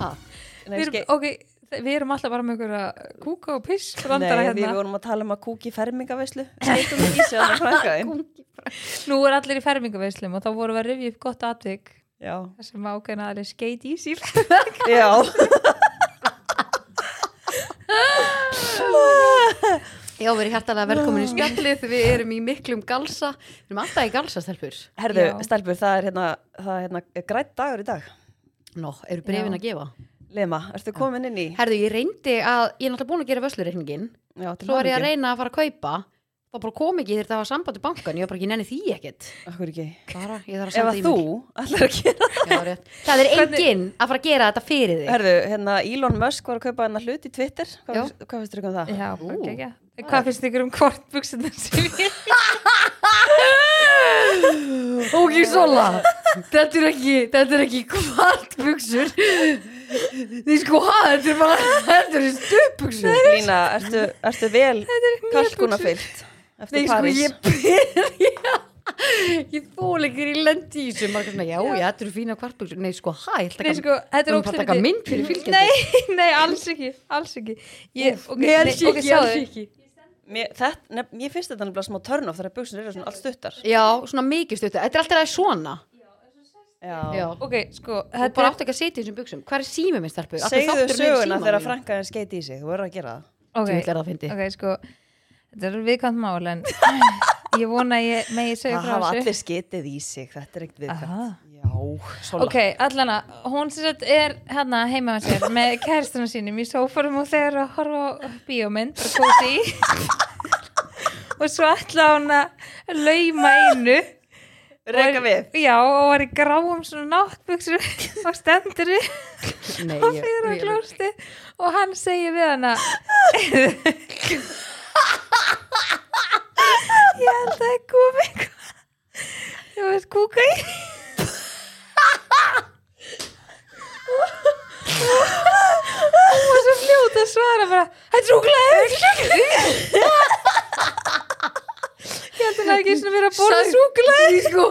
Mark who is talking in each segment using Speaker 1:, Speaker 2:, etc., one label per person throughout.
Speaker 1: Nei,
Speaker 2: Við erum,
Speaker 1: skei-
Speaker 2: okay, við erum alltaf bara með einhverja kúka og piss brandara
Speaker 1: Nei, við
Speaker 2: hérna.
Speaker 1: vorum að tala um að kúki fermingaveislu skeitum í sig að það franga einn
Speaker 2: Nú er allir í fermingaveislim og þá vorum við að rifja upp gott atvik
Speaker 1: Já,
Speaker 2: þar sem ákveðin aðeins skeit í síl
Speaker 1: já
Speaker 3: Já, við erum hjartalega velkomin í spjallið, við erum í miklum galsa, við erum alltaf í galsa, stelpur.
Speaker 1: Herðu,
Speaker 2: Já.
Speaker 1: stelpur, það er hérna, það er hérna grætt dagur í dag
Speaker 3: Nó, eru brefin
Speaker 2: Já.
Speaker 3: að gefa?
Speaker 1: Lema, ertu komin inn í?
Speaker 3: Herðu, ég reyndi að, ég er náttúrulega búin að gera vöslureikningin,
Speaker 1: Já, til
Speaker 3: svo var ég að
Speaker 1: hamingju.
Speaker 3: reyna að fara að kaupa, þá bara kom ekki þegar það var samband í bankan, ég var bara ekki nenni því ekkert.
Speaker 1: Af hverju ekki?
Speaker 3: Bara, ég þarf að
Speaker 1: Ef
Speaker 3: senda
Speaker 1: að
Speaker 3: í
Speaker 1: þú
Speaker 3: mig.
Speaker 1: ætlar að gera
Speaker 3: Já, það er rétt. Það er enginn að fara að gera þetta fyrir þig.
Speaker 1: Herðu, hérna Elon Musk var að kaupa hérna hlut í Twitter Hvað
Speaker 3: Já.
Speaker 1: finnst- hvað finnst þér ekki um það?
Speaker 2: Já, bara
Speaker 3: Ú.
Speaker 2: gegja. Hvað finnst ykkur um hvort buksunar sem ég
Speaker 3: Ok, Sola, þetta er ekki, þetta er ekki kvart buksur. Nei, sko, ha, þetta er bara, þetta er stupuksur.
Speaker 1: Lína, ertu, ertu vel kalkunafyllt eftir
Speaker 3: Nei,
Speaker 1: Nei,
Speaker 3: sko,
Speaker 1: París?
Speaker 3: ég byrja, ég þóla ekki í lendi í þessu. Margar svona, já, já, þetta eru fína kvart buksur. Nei, sko, ha, ég ætla
Speaker 2: Nei, sko, þetta er
Speaker 3: Hún bara taka
Speaker 2: ógeðslega
Speaker 3: mynd fyrir fylgjendur.
Speaker 2: Nei, nei, alls ekki, alls ekki Ég,
Speaker 3: Úff,
Speaker 2: ok,
Speaker 3: nei, alls
Speaker 2: nei, ok,
Speaker 3: ekki,
Speaker 2: sjáðu.
Speaker 3: alls ekki.
Speaker 1: Mér, þetta, nef, mér finnst þetta nefnilega smá törn of þegar buksin eru svona allt stuttar
Speaker 3: Já, svona mikið stuttu. Þetta er alltaf aðeins svona. Já.
Speaker 2: Ok, sko,
Speaker 3: Þú
Speaker 2: þetta
Speaker 3: bara
Speaker 2: er
Speaker 3: átt ekki að setja í þessum buksum. Hvað er símið minn, stelpur? Af hverju
Speaker 1: Segðu
Speaker 3: þátturinn er í
Speaker 1: söguna
Speaker 3: símanum
Speaker 1: þegar
Speaker 3: mínum?
Speaker 1: frankaðin skeiti í sig, þú verður að gera það
Speaker 2: Ok,
Speaker 3: Djöfull er það fyndið.
Speaker 2: ok, sko Þetta er viðkvæmt mál, en ég vona að ég megi segja
Speaker 1: Það
Speaker 2: frá
Speaker 1: hafa
Speaker 2: þessu
Speaker 1: allir skeitið í sig, þetta er ekkert
Speaker 2: Aha.
Speaker 1: viðkvæmt Já, sola
Speaker 2: Ok, allana, hún sem sagt er hérna heima með sér með kærstuna sínum í sófarum og þeir eru að horfa á bíómynd og kósi í og svo ætla hún að lauma einu
Speaker 1: Reka
Speaker 2: Og
Speaker 1: við
Speaker 2: er- Já, og var í gráum svona náttbuksu og stendur upp
Speaker 3: Nei,
Speaker 2: og
Speaker 3: ég-
Speaker 2: fyrir á
Speaker 3: ég-
Speaker 2: klósti og hann segir við hana Ég held að það kom eitthvað Ég veist kúka í Hún var svo fljót að svara bara Þetta er úglaði Ég held að það ekki svona verið að borða
Speaker 3: Sagði-
Speaker 2: súklaði
Speaker 3: Sko,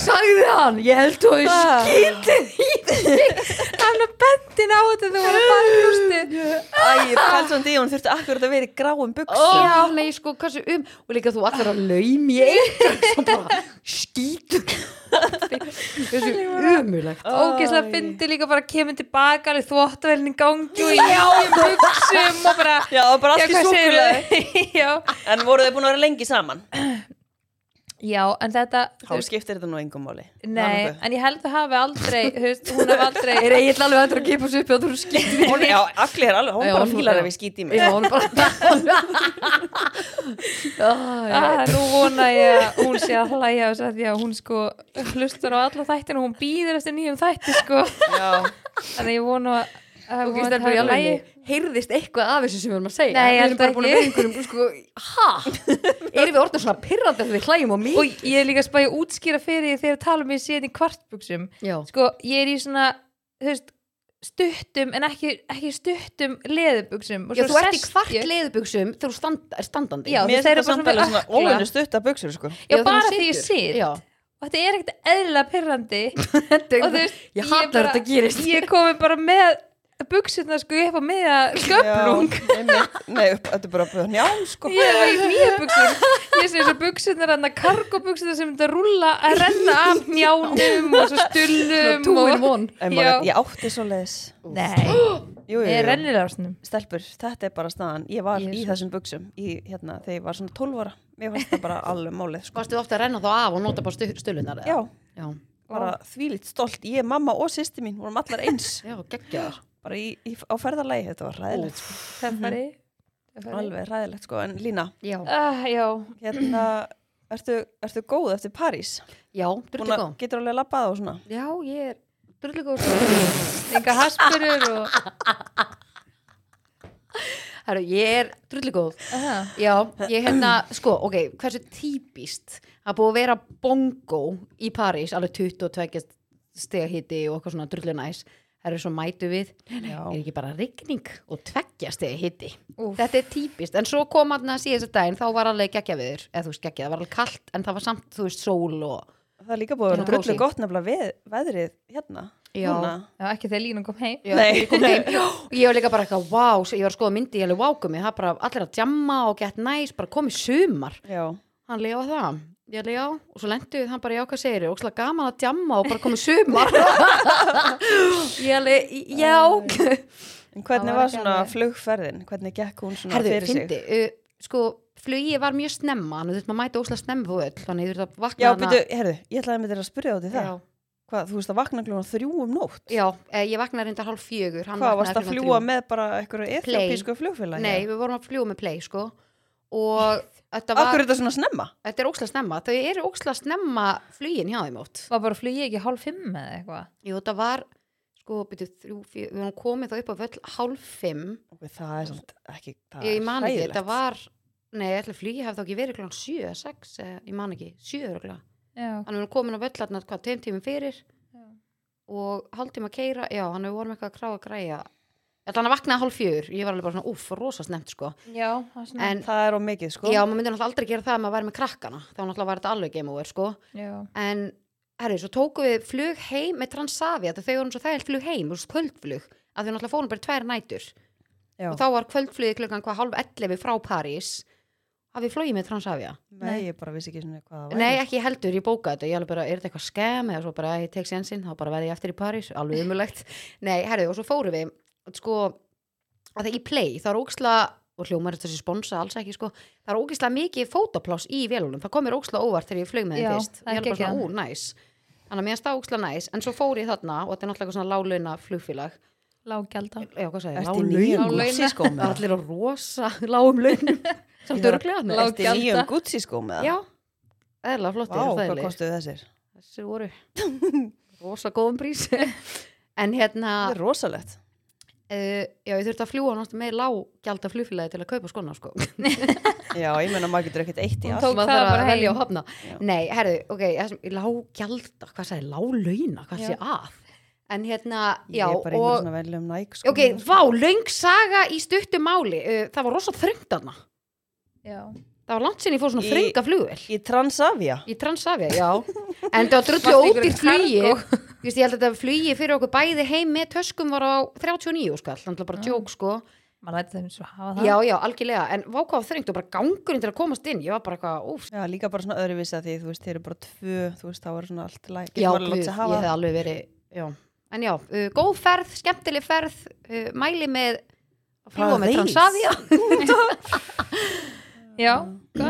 Speaker 3: sagði hann, ég held þú að ég
Speaker 1: Ah.
Speaker 3: skýtið í
Speaker 2: Hann er bendin á þetta þegar hún var bara klústi
Speaker 1: Æ, Karlsson Díón þurfti akkurat að vera í gráum buksum
Speaker 3: Já, nei, sko, hversu um Og líka þú allar að laumi í eitt Svo bara skýtu Hversu umulegt
Speaker 2: ógeðslega fyndi líka bara kemur tilbaka alveg þvóttavælinn í gangi og já, ég buksum og bara
Speaker 1: Já, það var bara allt í
Speaker 2: hvað
Speaker 1: súkulega
Speaker 2: segirðu? já.
Speaker 1: En voru þið búin að vera lengi saman?
Speaker 2: já, en þetta
Speaker 1: Þá skiptir þetta nú engum máli
Speaker 2: nei,
Speaker 1: Nanningu.
Speaker 2: en ég held að hafi aldrei hefst, hún hef aldrei
Speaker 3: Er eiginlega alveg að það kipa sér upp og þú skýtu
Speaker 1: Hún, já, Agli er alveg, hún
Speaker 3: Já,
Speaker 1: bara
Speaker 3: hún-
Speaker 1: fílar
Speaker 3: já.
Speaker 1: ef ég skýt í mig
Speaker 3: Já, hún bara Ah, já.
Speaker 2: Ah, nú vona ég að hún sé að hlæja þess að því að hún sko hlustar á alla þættin og hún býður eftir nýjum þætti sko
Speaker 1: Já,
Speaker 2: þannig að ég vona að- að
Speaker 3: Ok,
Speaker 2: hún
Speaker 3: stelpur, í
Speaker 2: hafi
Speaker 3: alveg
Speaker 2: hlægi.
Speaker 3: heyrðist eitthvað af þessu sem við erum að segja
Speaker 2: Nei, ég
Speaker 3: Við
Speaker 2: held
Speaker 3: erum bara búin að
Speaker 2: ekki.
Speaker 3: vera einhverjum, sko, ha? Erum við orðin svona pirrandi þegar við hlægjum á mig?
Speaker 2: og ég er líka að spæja útskýra fyrir því þegar ég tala um ég séð í kvartbuksum
Speaker 3: Já,
Speaker 2: sko, ég er í svona þú veist, stuttum en ekki, ekki stuttum leðubuksum
Speaker 3: Já, þú ert í kvart leðubuksum þegar þú standa, er standandi
Speaker 2: Já,
Speaker 1: mér
Speaker 2: þeir
Speaker 1: finnst
Speaker 2: eru
Speaker 1: þetta samt
Speaker 2: bara
Speaker 1: alveg
Speaker 2: svona
Speaker 1: svona
Speaker 2: ökla.
Speaker 1: óvenju stutta buksur sko
Speaker 2: já,
Speaker 3: þegar
Speaker 2: bara
Speaker 3: þú
Speaker 2: því ég
Speaker 3: situr.
Speaker 2: sit
Speaker 3: Já.
Speaker 2: og þetta er ekkert eðla pyrrandi og
Speaker 3: Þetta
Speaker 2: þú
Speaker 3: er-
Speaker 2: veist,
Speaker 3: Ég hata
Speaker 2: bara-
Speaker 3: þegar þetta gerist
Speaker 2: ég komi bara með buksutna sko upp á miða sköplung
Speaker 1: Já, einmitt. Nei, upp, þetta er bara að búið njám sko
Speaker 2: ég er í nýja buksur ég sé þessu buksutnar hann að kargobuksutna sem þetta rúlla að renna af njánum og svo stullum
Speaker 3: Two
Speaker 2: og...
Speaker 3: in one
Speaker 1: En
Speaker 2: Já.
Speaker 1: maður, ég átti svo leiðis
Speaker 2: nei,
Speaker 1: Jú, jú,
Speaker 2: ég
Speaker 1: jú,
Speaker 2: rennir ásnum
Speaker 1: stelpur, þetta er bara staðan Ég var í
Speaker 2: Jesús.
Speaker 1: þessum buksum, í, hérna, þegar ég var svona 12 ára Mér fannst það bara alveg málið sko
Speaker 3: Varstu ofta að renna þá af og nota bara stu, stölunar
Speaker 1: Já,
Speaker 3: Já,
Speaker 1: bara þvílitt stolt Ég, mamma og systir mín vorum allar eins
Speaker 3: já geggjaðar
Speaker 1: Bara í, í, á ferðalagi, þetta var ræðilegt sko.
Speaker 2: teffari
Speaker 1: Alveg ræðilegt sko, en Lína
Speaker 3: Já,
Speaker 2: Ah, já,
Speaker 1: Hérna, ertu, ertu góð eftir París?
Speaker 3: já,
Speaker 1: Búin
Speaker 3: drullu
Speaker 1: að-
Speaker 3: góð
Speaker 1: Getur alveg labbað og svona
Speaker 3: Já, ég er drullu góð
Speaker 2: enga haspurur og
Speaker 3: Herru, ég er drullu góð
Speaker 2: Aha.
Speaker 3: Já, ég hérna, sko, ok, hversu típist að búið að vera bongo í París, alveg 22 stega hiti og eitthvað svona drullu næs Það eru svo mætu við,
Speaker 1: Já.
Speaker 3: er ekki bara rigning og tveggja stegi hitti
Speaker 2: Úff.
Speaker 3: þetta er típist, en svo kom hann að síðast daginn þá var alveg geggja viður, eða þú veist geggja það var alveg kallt, en það var samt, þú veist, sól og
Speaker 1: Það er líka búið að vera
Speaker 3: Já.
Speaker 1: drullu gott nefnilega veð, veðrið hérna
Speaker 3: Já.
Speaker 1: Núna.
Speaker 2: Já, ekki þegar Línu kom heim
Speaker 3: Já,
Speaker 1: Nei.
Speaker 3: þegar ég kom heim, og ég var líka bara eitthvað, wow, ég var að skoða myndi, ég alveg vákum mig, það bara allir að djamma og gett næs, bara komið sumar.
Speaker 1: Já.
Speaker 3: Hann leiði á það, ég leiði á, og svo lendu við, hann bara, já, hvað segir þér, ókslega gaman að djamma og bara komið sumar. ég leiði, já.
Speaker 1: En hvernig var,
Speaker 2: Það var ekki
Speaker 1: svona
Speaker 2: alveg-
Speaker 1: flugferðin? Hvernig gekk hún svona
Speaker 3: Herðu,
Speaker 1: fyrir sig?
Speaker 3: fyndi, uh, sko, flugið var mjög snemma, þannig þú þurft maður mæta ókslega snemma fóðull, þannig þú þurft að vakna
Speaker 1: Já,
Speaker 3: hana-
Speaker 1: byrju, herðu, ég ætlaði með þér að spyrja á því það.
Speaker 3: Já.
Speaker 1: Hvað, þú veist að vakna klúna þrjú um nótt?
Speaker 3: Já, eh, ég vaknaði reyndar hálf fjögur hann
Speaker 1: Hvað,
Speaker 3: vaknaði
Speaker 1: varst að
Speaker 3: klukkan
Speaker 1: fljúa
Speaker 3: þrjú.
Speaker 1: með bara einhverju ethiopísku flugfélagi?
Speaker 3: Nei, við vorum að fljúa með play, sko Og þetta var,
Speaker 1: Akkur er þetta svona snemma?
Speaker 3: þetta er óksla snemma Þau eru óksla snemma flugin hjá þeim átt
Speaker 2: Var bara flugið ekki hálf fimm eða eitthvað
Speaker 3: Jú, þetta var, sko, byrju, þrjú, fjö, við vorum komið þá upp á völl hálf fimm
Speaker 1: Ok, það er samt ekki, það
Speaker 3: Ég
Speaker 1: er
Speaker 3: man ekki, þetta
Speaker 1: hræðilegt.
Speaker 3: var Nei, ég ætla að flugi hefði þá ekki verið klán sjö, eða sex, eh, ég man ekki, sjö öruglega
Speaker 2: Já,
Speaker 3: Þannig við vorum komin á völl hann, hvað, tveim tímum fyrir
Speaker 2: Já.
Speaker 3: Og hálftíma að keira, já, hann við vorum eitthvað að kráa að græja Þannig að vaknaði hálf fjögur, ég var alveg bara svona, úff, rosa snemt, sko.
Speaker 2: já það var svona
Speaker 3: En
Speaker 1: Það er á mikið, sko.
Speaker 3: Já, maður myndi náttúrulega aldrei gera það að maður væri með krakkana þá náttúrulega var þetta alveg game over, sko
Speaker 2: já.
Speaker 3: en, herri, svo tókum við flug heim með Transavia, þegar þau voru svo þægilt flug heim þú veist, kvöldflug, að þau náttúrulega fórum bara í tvær nætur
Speaker 1: Já.
Speaker 3: og þá var kvöldflugið klukkan hvað hálf 11 frá París að við flogið með Transavia
Speaker 1: Nei, ég bara vissi ekki svona hvað það var.
Speaker 3: Nei, ekki heldur, ég bókaði þetta, ég alveg bara, er þetta eitthvað skem eða svo bara, ég tek sénsinn, þá bara verði ég eftir í París, alveg umulegt. Nei, herðu, og svo fórum við, sko, að það í play, það er óksla, og hljómar þetta sem sponsa alls ekki, sko, það er óksla mikið fótapláss í vélunum, það komir óksla óvart þegar ég flög með
Speaker 2: Já,
Speaker 3: þeim fyrst.
Speaker 2: það er
Speaker 3: Ég alveg bara
Speaker 2: geggjað.
Speaker 3: svona, ú, næs. Þannig að mér stað óksla næs, en svo fór ég þarna, og þetta er náttúrulega eitthvað svona láluna flugfélag.
Speaker 2: lággjaldar
Speaker 3: Já, hvað sagði,
Speaker 1: Ertu í nýjum
Speaker 2: Lág launa.
Speaker 1: Gucci-skóm?
Speaker 3: Það er allir á rosa lágum launum. Samt
Speaker 1: Já.
Speaker 3: örugglega, nei.
Speaker 2: Lág-
Speaker 1: Ertu í nýjum Gucci-skóm eða?
Speaker 3: Já, eðlilega
Speaker 1: Vá,
Speaker 3: flottir,
Speaker 1: hvað
Speaker 3: þægilegir.
Speaker 1: kostuðu þessir?
Speaker 3: þessi voru rosa góðum prís en hérna
Speaker 1: Það er rosalegt.
Speaker 3: uh, já, ég þurfti að fljúa náttúrulega með lággjald af flugfélagi til að kaupa skona sko.
Speaker 1: Já, ég menna maður getur ekkert eitt í
Speaker 2: Hún
Speaker 1: allt.
Speaker 2: tók-
Speaker 3: Maður
Speaker 2: það
Speaker 3: þarf að
Speaker 2: bara heim.
Speaker 3: velja og hafna
Speaker 1: Já.
Speaker 3: nei, herðu, ok, lággjald hvað sagði, láglauna, hvað
Speaker 2: Já.
Speaker 3: sé að en hérna,
Speaker 1: Ég
Speaker 3: já
Speaker 1: er bara einhver
Speaker 3: og,
Speaker 1: svona veljum næk, sko.
Speaker 3: ok, vá, löng saga í stuttum máli, uh, það var rosa þröngt þarna,
Speaker 2: Já,
Speaker 3: það var langt sinni ég fór svona
Speaker 1: Í-
Speaker 3: þrönga flugvel
Speaker 1: Í Transavia?
Speaker 3: Í Transavia, já. En það var drullu
Speaker 2: Varstu í einhverju
Speaker 3: ódýrt flugi.
Speaker 2: kargó?
Speaker 3: Þú veist, ég held að þetta flugi fyrir okkur bæði heim með töskum var á 39 skall. Þannig bara
Speaker 2: Já.
Speaker 3: djók, sko.
Speaker 2: maður lætur þeim svo hafa það
Speaker 3: Já, já, algjörlega. En vákvað þrengt og bara gangurinn til að komast inn. Ég var bara eitthvað, úf.
Speaker 1: Já, líka bara svona öðruvísa því, þú veist, þeir eru bara tvö, þú veist, þá er svona allt í lagi.
Speaker 3: Já,
Speaker 1: Getur maður
Speaker 3: guð,
Speaker 1: látið
Speaker 3: ég
Speaker 1: sig hafa
Speaker 3: hef
Speaker 1: það.
Speaker 3: alveg verið, já. En já, uh, góð ferð, skemmtileg ferð, uh, mæli með að fljúa með
Speaker 1: París.
Speaker 3: Transavia.
Speaker 2: Já,
Speaker 1: Já.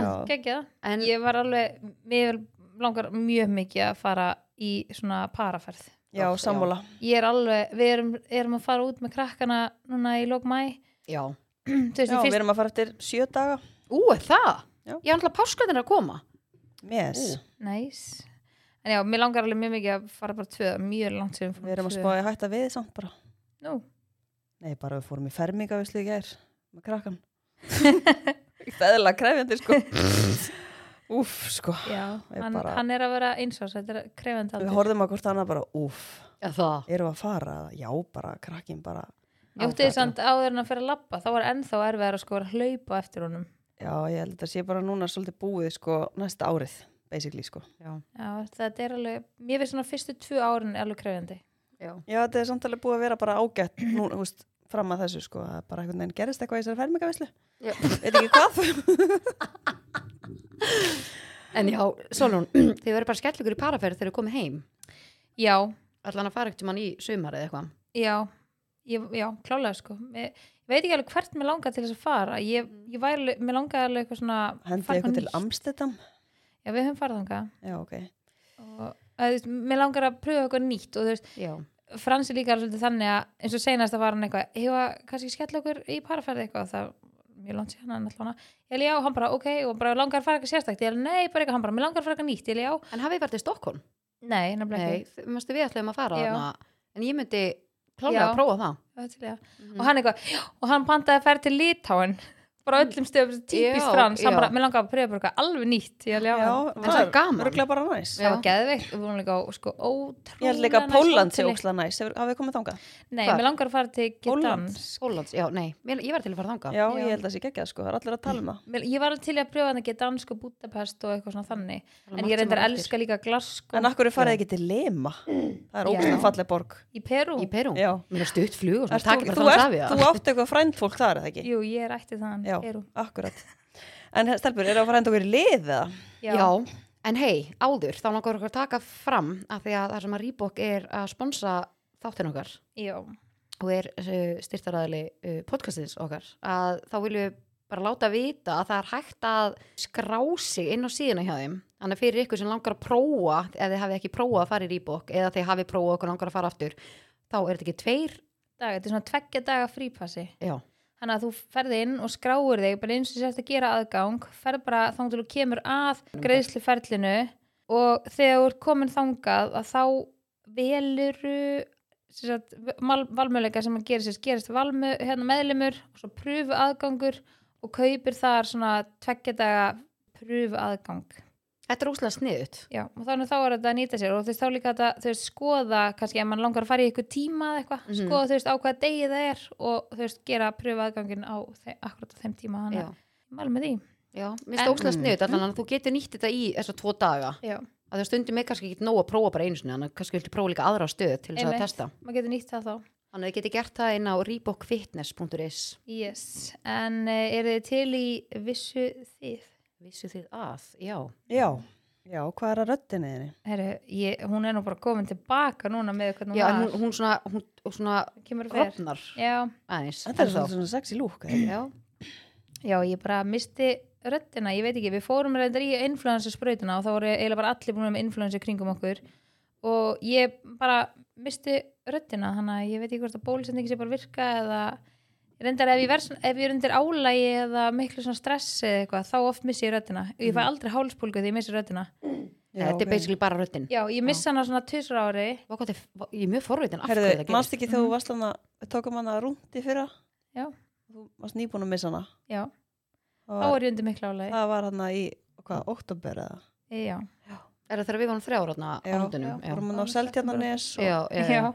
Speaker 2: gott, geggjað
Speaker 3: En
Speaker 2: Ég var alveg, mér langar mjög mikið að fara í svona paraferð
Speaker 1: Já, sammála.
Speaker 2: Ég er alveg, við erum, erum að fara út með krakkana núna í lók mæ
Speaker 3: já,
Speaker 2: Þú veist,
Speaker 1: Já,
Speaker 2: í
Speaker 1: við
Speaker 2: fyrst
Speaker 1: erum að fara eftir sjö daga.
Speaker 3: ú, er það?
Speaker 1: Já.
Speaker 3: Ég er alltaf páskvöldin að koma.
Speaker 1: Yes.
Speaker 2: Næs En já, mér langar alveg mjög mikið að fara bara tvö Mjög langt sem
Speaker 1: Við erum að spáði hætta við samt bara.
Speaker 2: Nú,
Speaker 1: Nei, bara við fórum í fermingavislu í gær með krakkan. Feðla krefjandi, sko. Úf, sko.
Speaker 2: já,
Speaker 1: Ég
Speaker 2: hann,
Speaker 1: bara-
Speaker 2: hann er að vera eins og þetta er krefandi
Speaker 1: Við
Speaker 2: aldur.
Speaker 1: horfðum að hvort annað bara, úf,
Speaker 3: Já, það.
Speaker 1: erum við að fara? Já, bara, krakkin bara,
Speaker 2: Njóttið þið samt áður en að fyrir að labba, þá var ennþá erfiðar að sko vera að hlaupa eftir honum.
Speaker 1: já, ég held að þetta sé bara núna svolítið búið, sko, næsta árið, basically, sko.
Speaker 3: Já,
Speaker 2: Já, þetta er alveg, mér finnst svona fyrstu tvö árin er alveg krefjandi.
Speaker 3: já.
Speaker 1: Já, þetta er samtalið búið að vera bara ágætt, núna, þú veist, fram að þessu, sko, að bara einhvern veginn gerist eitthvað í þessari fermingavislu.
Speaker 3: Já.
Speaker 1: Veit ekki hvað?
Speaker 3: En já, Solon, þið verður bara skell ykkur í paraferð þegar þið komið heim.
Speaker 2: Já,
Speaker 3: Allan að fara ekkert mann í sumar eða eitthvað.
Speaker 2: já, ég, já, klálega sko. Ég, ég veit ekki alveg hvert mér langar til þess að fara. Ég, ég væri, alveg- mér langaði alveg eitthvað svona...
Speaker 1: Hendið
Speaker 2: fara
Speaker 1: eitthvað til
Speaker 2: nýtt.
Speaker 1: Amstedam?
Speaker 2: Já, við höfum farið þangað.
Speaker 1: Já, ok.
Speaker 2: Og, að, þú veist, mér langar að pröfa eitthvað nýtt og þú veist,
Speaker 3: Já.
Speaker 2: Fransi líka er svolítið þannig að eins og seinast að var hann eitthvað, hefa kannski skella okkur í paraferði eitthvað, það var mjög langt síðan hann allan að, ég alveg já, hann bara ok og bara langar að fara eitthvað sérstakt, ég alveg nei, bara eitthvað hann bara, mér langar að fara eitthvað nýtt, ég alveg já,
Speaker 3: En hafið þið verið í Stokkólm?
Speaker 2: nei, nefnilega
Speaker 3: Nei,
Speaker 2: ekki
Speaker 3: þið- manstu, við ætlum að fara
Speaker 2: Já.
Speaker 3: þarna. En ég myndi klálega
Speaker 2: Já.
Speaker 3: að prófa það.
Speaker 1: Mhm.
Speaker 2: Það er til, já. og hann eitthvað, já, og hann pantaði að fara til Litáin bara á öllum stöðum sem típist
Speaker 3: Mm. Já,
Speaker 2: frans hann
Speaker 3: já.
Speaker 2: bara, mér langar að pröfa bara eitthvað alveg nýtt ég alveg á
Speaker 1: Já,
Speaker 2: hann.
Speaker 3: En það er gaman.
Speaker 1: Örglega bara næs.
Speaker 3: Já.
Speaker 2: það var geðveikt, við vorum líka á sko ótrúlega
Speaker 1: Ég held líka að
Speaker 2: næs
Speaker 1: Póland sé
Speaker 2: hóteli.
Speaker 1: ókslega næs. Hefur- Hafið þið komið þangað?
Speaker 2: nei,
Speaker 3: Hvar?
Speaker 2: mér langar að fara til
Speaker 1: Pólland?
Speaker 2: Gdansk
Speaker 3: Skólands, já, nei, mér, ég var til að fara þangað
Speaker 1: Já, ég held að það sé geggjað sko. Það er allir að tala um það.
Speaker 2: Mér- ég var alveg til í að pröfa hann að geta dansk og Budapest og eitthvað svona þannig
Speaker 3: Það er
Speaker 2: en ég
Speaker 3: margt sem
Speaker 2: reyndar
Speaker 3: maður
Speaker 2: að
Speaker 3: elskir.
Speaker 2: elska líka Glasgow
Speaker 1: En akkur er farið ekki til Lima? Það er
Speaker 2: Já.
Speaker 1: ókslega falleg borg.
Speaker 2: í Peru
Speaker 3: í Perú,
Speaker 1: Já.
Speaker 3: mér er stutt flug og
Speaker 1: Ert
Speaker 3: svona
Speaker 1: Þú,
Speaker 3: takir
Speaker 1: þú,
Speaker 3: bara
Speaker 1: ert,
Speaker 3: Transavia
Speaker 1: þú átt eitthvað frænd fólk þar, eða ekki?
Speaker 2: jú, ég er ættið þann
Speaker 1: Já,
Speaker 2: Peru
Speaker 1: akkurat. En eh, stelpur, eru að fara enda okkur í lið eða?
Speaker 2: já,
Speaker 3: Já, en hei, áður, þá langar okkur að taka fram að því að það sem að Reebok er að sponsa þáttin okkar
Speaker 2: já.
Speaker 3: og er uh, styrtaræðili uh, podcastins okkar að þá viljum við bara láta vita að það er hægt að skrá sig inn á síðuna hjá þeim þannig að fyrir ykkur sem langar að prófa ef þið hafið ekki prófað að fara í Reebok eða þið hafið prófað okkur langar að fara aftur þá er þetta ekki tveir
Speaker 2: Dag, þetta er svona tveggja daga frípassi
Speaker 3: já,
Speaker 2: þannig að þú ferði inn og skráir þig bara eins og sérst að gera aðgang ferð bara þangað til þú kemur að greiðsluferlinu og þegar þú ert komin þangað að þá veluru sérst, valmöleika sem að gera sérst, gerist valmu, hérna, meðlumur og svo pröfu aðgangur og kaupir þar svona tveggja daga pröfu aðgang
Speaker 3: þetta er óslega sniðut
Speaker 2: Já, og þannig þá er þetta að nýta sér og þú veist þá líka þetta, þú veist, skoða kannski ef mann langar að fara í eitthvað tíma eða eitthvað
Speaker 3: Mhm.
Speaker 2: skoða þú veist á hvaða degi það er og þú veist gera pröfa aðgangin á þeim, akkurat á þeim tíma þannig Mm.
Speaker 3: já,
Speaker 2: að ég mælu með því
Speaker 3: já, mér finnst það óslega
Speaker 1: En-
Speaker 3: sniðut þannig að þú getur nýtt þetta í þessa tvo daga
Speaker 2: Já,
Speaker 3: að það stundum er kannski ekki nóg að prófa bara einu sinni þannig að kannski viltu prófa líka aðra stöð til þess að
Speaker 2: Einmitt.
Speaker 3: testa
Speaker 2: maður getur nýtt það þá
Speaker 3: þannig að þið geti gert það inn á reebokfitness.is
Speaker 2: Yes, en uh, eru þið til í vissu þið?
Speaker 3: vissu þið að, já
Speaker 1: Já. Já, hvað er að röddinni þinni?
Speaker 2: Heru, ég, hún er nú bara komin tilbaka núna með hvernig
Speaker 3: já, en
Speaker 2: hún
Speaker 3: hún, hún svona, hún, hún svona
Speaker 2: var kemur og fer
Speaker 3: rofnar
Speaker 2: Já,
Speaker 3: aðeins
Speaker 1: Þetta er
Speaker 3: ennþá.
Speaker 1: svolítið svona sexy lúk. eða ekki?
Speaker 3: já,
Speaker 2: já, ég bara misti röddina, ég veit ekki, við fórum reyndar í influensursprautina og þá voru eiginlega bara allir búin með influensu kringum okkur og ég bara misti röddina, þannig að ég veit ekki hvort að bólusendingi sé bara að virka eða reyndar ef ég, vers, ef ég er undir álægi eða miklu svona stress eða eitthvað, þá oft missi ég röddina ég fæ aldrei hálspólgu því ég missi röddina
Speaker 1: Mm. Já,
Speaker 3: þetta
Speaker 1: ok.
Speaker 3: er basically bara röddin
Speaker 2: já, ég missa hana svona tvisur ári
Speaker 3: Vá, hvað þetta er- ég er mjög forvitin af hverju
Speaker 1: Herðu,
Speaker 3: það
Speaker 1: mannst
Speaker 3: gerist
Speaker 1: ekki þegar þú varst hann að tókum hann að rúndi fyrra?
Speaker 2: Já.
Speaker 1: Þú varst nýbúin að missa hana.
Speaker 2: já,
Speaker 1: Það
Speaker 2: þá
Speaker 1: var-
Speaker 2: er ég undir miklu álægi
Speaker 1: Það var hann í, hvað, oktober eða?
Speaker 2: já,
Speaker 3: er það þegar við varum þrjára þarna á
Speaker 1: Já,
Speaker 3: hundunum já,
Speaker 1: Vorum hann á Seltjarnanes
Speaker 3: já,
Speaker 1: og...
Speaker 3: já, já,
Speaker 2: já.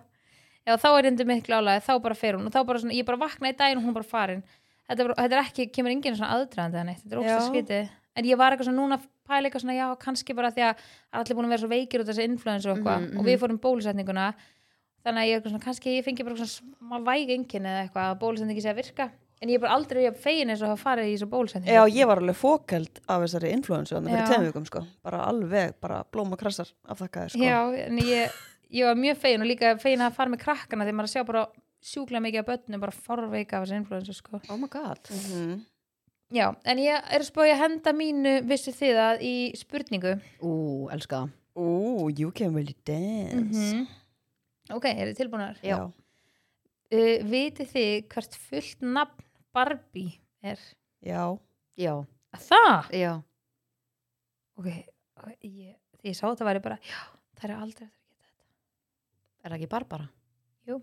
Speaker 2: já, þá er ég undir miklu álægi þá bara fer hún og þá bara svona, ég bara vakna í daginn og hún er bara farin þetta er, bara, þetta er ekki, kemur enginn svona aðdraðandi eða neitt, þetta er ógst
Speaker 1: Já.
Speaker 2: skrítið en ég var eitthvað svona núna að pæla eitthvað svona já, kannski bara því að allir búin að vera svo veikir út af þessi influensu og eitthvað
Speaker 3: Mhm, mhm.
Speaker 2: og við fórum bólusetninguna þannig að ég er eitthvað svona, kannski ég fengi bara eitthvað svona smá væg enginn eða eitthvað að bólusetningi sé að virka en ég er bara aldrei jafn fegin eins og hafa farið í þessu bólusetningu
Speaker 1: Já, ég var alveg fókeld af þessari influensu þannig fyrir
Speaker 2: Já.
Speaker 1: tveim vikum, sko. Bara alveg, bara blóma krassar afþakkaðir, sko.
Speaker 2: Já, en ég, ég var mjög fegin og líka fegin að fara með krakkana þegar maður er að sjá bara sjúklega mikið af börnum bara forveika af þessu influensu sko.
Speaker 3: oh my god
Speaker 1: Mhm.
Speaker 2: Já, en ég er spóið að henda mínu vissu þið að í spurningu
Speaker 3: ú, elska það
Speaker 1: Ooh, you can really
Speaker 2: mm
Speaker 1: dance.
Speaker 2: Ok, eru þið tilbúinar?
Speaker 3: Já.
Speaker 2: Uh, vitið þið hvert fullt nafn Barbie er?
Speaker 1: Já.
Speaker 3: já,
Speaker 2: Að það?
Speaker 3: já,
Speaker 2: Ok, ok, ég, því ég sá þetta var ég bara, já, það er aldrei eftir að geta þetta.
Speaker 3: er það ekki Barbara
Speaker 1: Jú.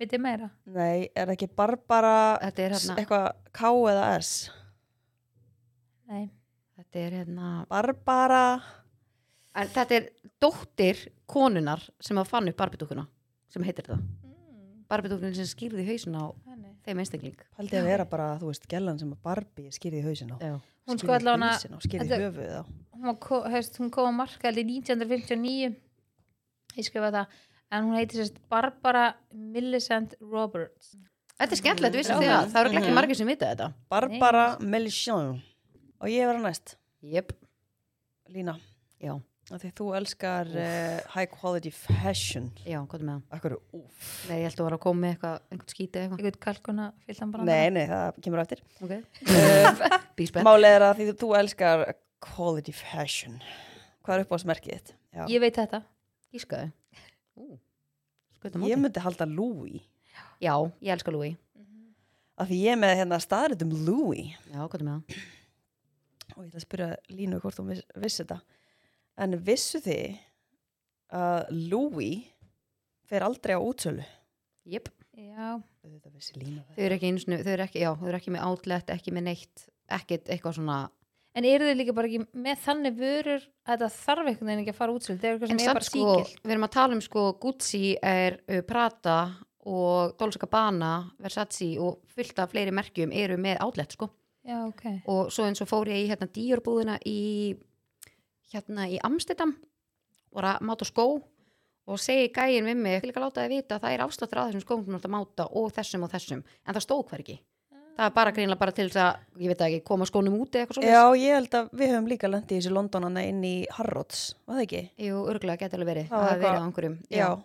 Speaker 2: Vitið þið meira?
Speaker 1: Nei, er það ekki Barbara
Speaker 3: þetta er
Speaker 1: s-
Speaker 3: hérna,
Speaker 1: eitthvað K eða S?
Speaker 2: Nei.
Speaker 3: þetta er hérna
Speaker 1: Barbara
Speaker 3: En þetta er dóttir konunar sem að fann upp barbitúkuna sem heitir það.
Speaker 2: Mm,
Speaker 3: Barbitúkunin sem skýrði hausin á
Speaker 2: þannig.
Speaker 3: þeim einstakling.
Speaker 1: Paldi að vera bara, þú veist, gellan sem að Barbie skýrði í hausin á.
Speaker 3: Já.
Speaker 2: Hún sko
Speaker 1: Skýrði í
Speaker 2: allavega-
Speaker 1: hausinn á, Skýrði í
Speaker 2: Þetta-
Speaker 1: höfuð á.
Speaker 2: hún, var, ko- hefst, hún kom að marka held ég 1959 ég skrifa það en hún heitir sérst Barbara Millicent Roberts
Speaker 3: Þetta er skemmtilegt, vissu
Speaker 1: Mhm.
Speaker 3: þið það. Það eru ekki
Speaker 1: Mhm.
Speaker 3: margir sem vita þetta.
Speaker 1: Barbara Melchon. Og ég vera næst,
Speaker 3: Jöp.
Speaker 1: Lína.
Speaker 3: Já,
Speaker 1: Af Því þú elskar uh, high quality fashion.
Speaker 3: já, hvað er með það?
Speaker 1: Akkur, úf.
Speaker 3: Nei, ég held að þú var að koma með eitthvað, einhvern skítið eitthvað.
Speaker 2: einhvern kalkuna fyllt hann bara
Speaker 1: Nei, nei, það kemur eftir.
Speaker 3: Ok.
Speaker 1: Uh,
Speaker 3: Bísbett.
Speaker 1: Málið er að því þú elskar quality fashion. Hvað er upp á smerkið þitt? Já.
Speaker 2: ég veit þetta
Speaker 3: Gískaðu. Ú. Skutum
Speaker 1: Ég
Speaker 3: móti.
Speaker 1: myndi halda Louis.
Speaker 3: Já, ég elska Louis.
Speaker 1: Af því ég er með hérna staðritum Louis.
Speaker 3: Já, hvað er með það?
Speaker 1: Og ég ætla að spyrja Línu hvort hún viss, vissi þetta. En vissu þið að Louis fer aldrei á útsölu?
Speaker 3: Jöp.
Speaker 2: já,
Speaker 1: auðvitað vissi lína það.
Speaker 3: þau eru ekki einu sinni, þau eru ekki, já, þau eru ekki með outlet, ekki með neitt, ekkit eitthvað svona
Speaker 2: En eru þau líka bara ekki með þannig vörur að það þarf einhvern veginn ekki að fara útsöld? Það er eitthvað sem
Speaker 3: en
Speaker 2: er
Speaker 3: samt
Speaker 2: bara
Speaker 3: sko,
Speaker 2: síkild.
Speaker 3: við erum að tala um sko Gucci er uh, Prata og Dolce Gabbana, Versace og fullt af fleiri merkjum eru með outlet sko
Speaker 2: Já, ok.
Speaker 3: og svo eins og fór ég í hérna Dior búðina í hérna í Amsterdam og að máta skó og segi gæin við mig, ég vil ekki láta þið vita að það er afsláttur á þessum skóm sem þú ert að máta og þessum og þessum en það stóð hver ekki það er bara greinlega bara til þess að, ég veit það ekki, koma skónum út eða eitthvað svona
Speaker 1: Já, ég held að við höfum líka landið í þessu Londonana inn í Harrods, var það ekki?
Speaker 3: Jú, örgulega geti alveg verið,
Speaker 1: Það
Speaker 3: það
Speaker 1: var
Speaker 3: hafi verið
Speaker 1: eitthvað-
Speaker 3: á einhverjum
Speaker 1: Já,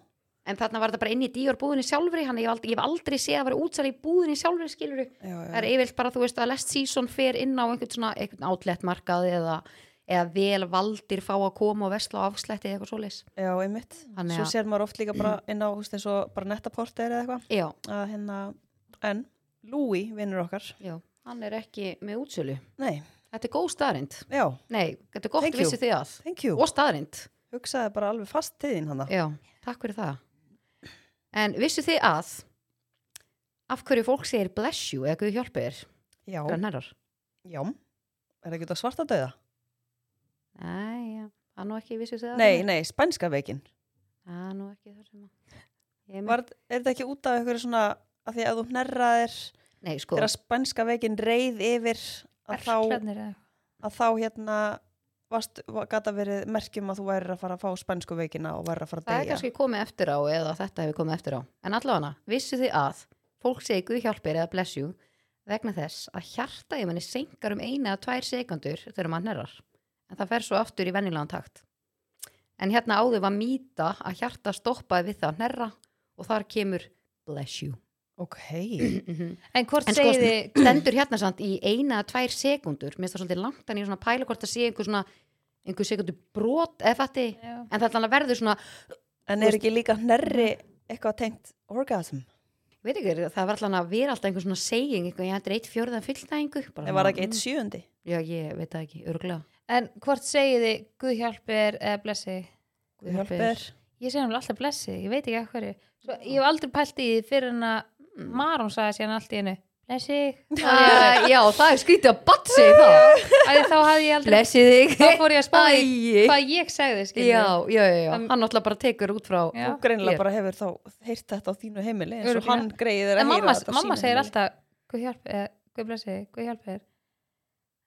Speaker 3: En þarna var þetta bara inn í Dior búðinni sjálfri hann, ég, hef aldrei, ég hef aldrei séð að vera útsal í búðinni sjálfri skiluru,
Speaker 1: já, já.
Speaker 3: það er yfirlt bara þú veist að last season fer inn á einhvern svona einhvern outlet markað eða, eða vel valdir fá að koma og vesla á afslætti eða eitthvað svoleiðis
Speaker 1: já einmitt.
Speaker 3: Þannig
Speaker 1: Svo
Speaker 3: að-
Speaker 1: sér maður oft líka bara inn á, þú veist, eins og bara nettaporter eða eitthvað.
Speaker 3: Já,
Speaker 1: Að hérna, en Louis, vinnur okkar,
Speaker 3: já, hann er ekki með útsölu
Speaker 1: nei,
Speaker 3: Þetta er góð staðrind
Speaker 1: já,
Speaker 3: Nei, þetta er gott
Speaker 1: Thank
Speaker 3: Thank vissi
Speaker 1: you.
Speaker 3: þið að
Speaker 1: thank you.
Speaker 3: Og staðrind
Speaker 1: Hugsaði bara alveg fast til þín hann
Speaker 3: Já, takk fyrir það En vissu þið að af hverju fólk segir bless you eða guð hjálpi þér
Speaker 1: Já,
Speaker 3: Grannarar
Speaker 1: já. Er ekki þetta svarta döða?
Speaker 3: Nei, já, það er nú ekki vissu þið að
Speaker 1: Nei, nei, spænska veikin.
Speaker 3: Það er nú ekki það sem að Ég er með-
Speaker 1: Var, er þetta ekki út af einhverju svona, að því að þú hnerraðir,
Speaker 3: Nei, sko,
Speaker 1: þegar spænska veikin reið yfir, að þá
Speaker 3: hérna?
Speaker 2: Berklarnir eða.
Speaker 1: að þá hérna varst, gata verið merkjum að þú værir að fara að fá spænsku veikina og værir að fara að
Speaker 3: það er
Speaker 1: deyja.
Speaker 3: kannski komið eftir á eða þetta hefur komið eftir á En allavega, vissu þið að fólk segi Guð hjálpir eða bless you vegna þess að hjarta í manni senkar um eina að tvær sekundur þegar maður nærrar en það fer svo aftur í venjulegan takt En hérna áður var mýta að hjarta stoppaði við það að nærra og þar kemur bless you
Speaker 1: Ok,
Speaker 2: En hvort
Speaker 3: En sko,
Speaker 2: segið þið
Speaker 3: stendur hérna samt í eina að tvær sekundur, mér finnst það svolítið langt en ég er svona að pæla hvort það sé einhver svona einhver sekundu brot eða fatti
Speaker 2: Já.
Speaker 3: en það er þannig að verður svona,
Speaker 1: en er ekki líka hnerri eitthvað tengt orgasm?
Speaker 3: ég veit ekki, það var alltaf að vera alltaf einhver svona seging, einhver, ég hættir eitt fjörðan fulltæðingu
Speaker 2: Mm.
Speaker 1: Nei, var það ekki eitt sjöundi?
Speaker 3: "Mm, Já, ég veit það ekki, örgulega
Speaker 2: En hvort segið þið Guð hjálpir eða blessi?
Speaker 1: Guð hjálpi þér.
Speaker 2: Ég segi hann alltaf blessi, ég veit ekki að hverju. Svo, ég hef aldrei pælt í því fyrir hann að Marón sagði síðan allt í hennu. Blessi.
Speaker 3: uh, Já, það er skrítið að batt sig það
Speaker 2: Æ, þá hafði ég aldrei,
Speaker 3: Blessi þig
Speaker 2: þá fór ég að spá í
Speaker 3: Æi.
Speaker 2: hvað ég segði, skiljum.
Speaker 3: Já, já, já, já,
Speaker 2: Það-
Speaker 3: hann alltaf bara tekur út frá
Speaker 2: Já.
Speaker 1: Þú greinilega
Speaker 3: Ég-
Speaker 1: bara hefur þá heyrt þetta á þínu heimili eins og
Speaker 2: Örugglega.
Speaker 1: hann greið er að
Speaker 2: en
Speaker 1: heyra
Speaker 2: mamma,
Speaker 1: þetta á
Speaker 2: mamma
Speaker 1: sínu
Speaker 2: segir
Speaker 1: heimili.
Speaker 2: alltaf Guð hjálpi, eh, Guð blessi, þig, Guð hjálpi þér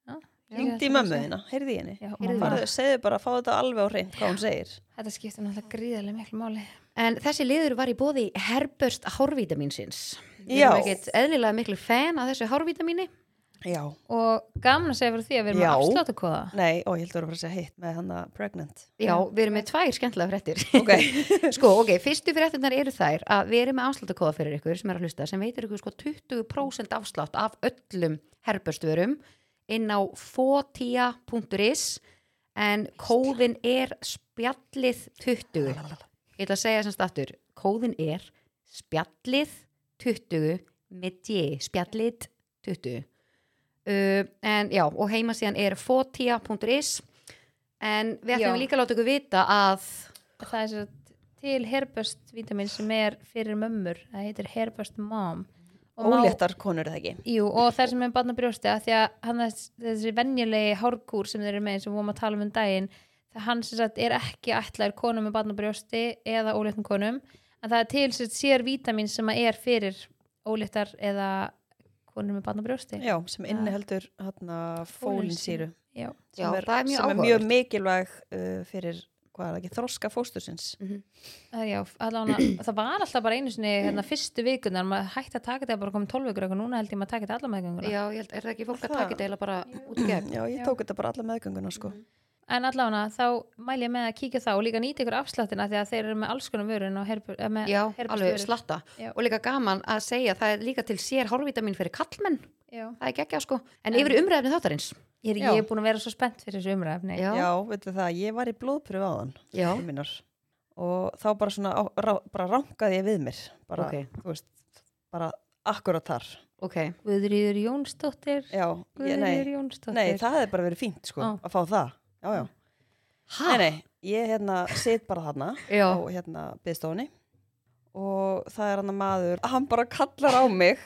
Speaker 2: Já, ég held
Speaker 1: Hringdu í
Speaker 2: að
Speaker 1: mömmu
Speaker 2: það
Speaker 1: þína, heyrði henni.
Speaker 2: sé- Já,
Speaker 3: Heyrðu
Speaker 2: mamma.
Speaker 1: Farðu, segðu bara að fá þetta alveg á hreint hvað hún segir.
Speaker 2: Þetta skiptir náttúrulega gríðarlega miklu máli
Speaker 3: En þessi liður var í bóði Herbert hárvítaminsins. Við
Speaker 1: Já.
Speaker 3: erum ekkert eðlilega miklu fan af þessu hárvítamini.
Speaker 1: Já.
Speaker 2: Og gaman að segja fyrir því að við erum
Speaker 1: Já.
Speaker 2: að afsláta kóða
Speaker 1: Nei, og ég heldur að fara að segja hitt með hann að pregnant.
Speaker 3: Já, við erum með tvær skemmtilega fréttir.
Speaker 1: Ok,
Speaker 3: sko, ok, fyrstu fréttirnar eru þær að við erum með afsláttakóða fyrir ykkur sem er að hlusta sem veitir ykkur sko 20% afslátt af öllum herbörstvörum inn á fotia.is en kóðin er spjallið 20. Ég ætla að segja sem stattur, kóðin er spjallið 20 með ég, spjallið 20. Uh, en já, og heimasíðan er fotia.is en við ætlum
Speaker 2: Já.
Speaker 3: líka að láta ykkur vita að
Speaker 2: Það er svo til herböst vítamin sem er fyrir mömmur Það heitir herböst mom Og má-
Speaker 1: óléttar konur er það ekki.
Speaker 2: Jú, og þær sem er barna brjósti að því að hann er þessi venjulegi hárkúr sem þeir eru með eins og við vorum að tala um um daginn það hann sem sagt er ekki ætlaður konum með barna brjósti eða óléttum konum en það er til sem sagt sér vítamin sem að er fyrir óléttar eða konum með barna brjósti
Speaker 1: Já, sem inniheldur hann að
Speaker 2: Fólinsýru.
Speaker 1: fólinsýru.
Speaker 2: Já.
Speaker 1: sem,
Speaker 3: Já,
Speaker 1: er,
Speaker 3: það er
Speaker 1: sem
Speaker 3: mjög
Speaker 1: er
Speaker 3: áhugavert.
Speaker 1: mjög mikilvæg uh, fyrir hvað er það ekki, þroska fóstursins
Speaker 3: Mhm.
Speaker 2: Það, já, allána, það var alltaf bara einu sinni hérna, fyrstu vikunar, maður hætti að taka þetta bara komið 12 vikur og núna held ég maður að taka þetta allar meðgönguna
Speaker 3: Já, ég held, er það ekki fólk að
Speaker 1: Það-
Speaker 3: taka þetta eiginlega bara út í gegn?
Speaker 1: Já, ég
Speaker 2: Já.
Speaker 1: tók þetta bara alla meðgönguna sko
Speaker 2: en allána þá mæl ég með að kíkja það og líka nýta ykkur afsláttina því að þeir eru með alls konar vörun og herbu, eh, með
Speaker 3: Já, alveg
Speaker 2: herbústvörur.
Speaker 3: slatta.
Speaker 2: Já.
Speaker 3: Og líka gaman að segja, það er líka til sér hárvítamin fyrir kallmenn,
Speaker 2: Já.
Speaker 3: það er geggja sko. En,
Speaker 2: En-
Speaker 3: yfir í umræðinu þáttarins.
Speaker 2: Ég er,
Speaker 1: Já.
Speaker 2: ég er búin að vera svo spennt fyrir þessu umræfni.
Speaker 3: Já,
Speaker 1: Já, veitu það, ég var í blóðpröfu áðan
Speaker 3: já.
Speaker 1: stelpur mínar, og þá bara svona á, rá, bara rankaði ég við mér bara,
Speaker 3: Ok.
Speaker 1: þú veist, bara akkurat þar
Speaker 3: ok.
Speaker 2: Guðrýður Jónsdóttir,
Speaker 1: Já, ég,
Speaker 2: Guðrýður
Speaker 1: nei,
Speaker 2: Jónsdóttir.
Speaker 1: nei, það hefði bara verið fínt sko
Speaker 2: Ó.
Speaker 1: að fá það, já, já
Speaker 3: Hæ?
Speaker 1: Nei, nei, ég hérna sit bara þarna
Speaker 3: Já,
Speaker 1: á hérna byðstofunni og það er hann maður hann bara kallar á mig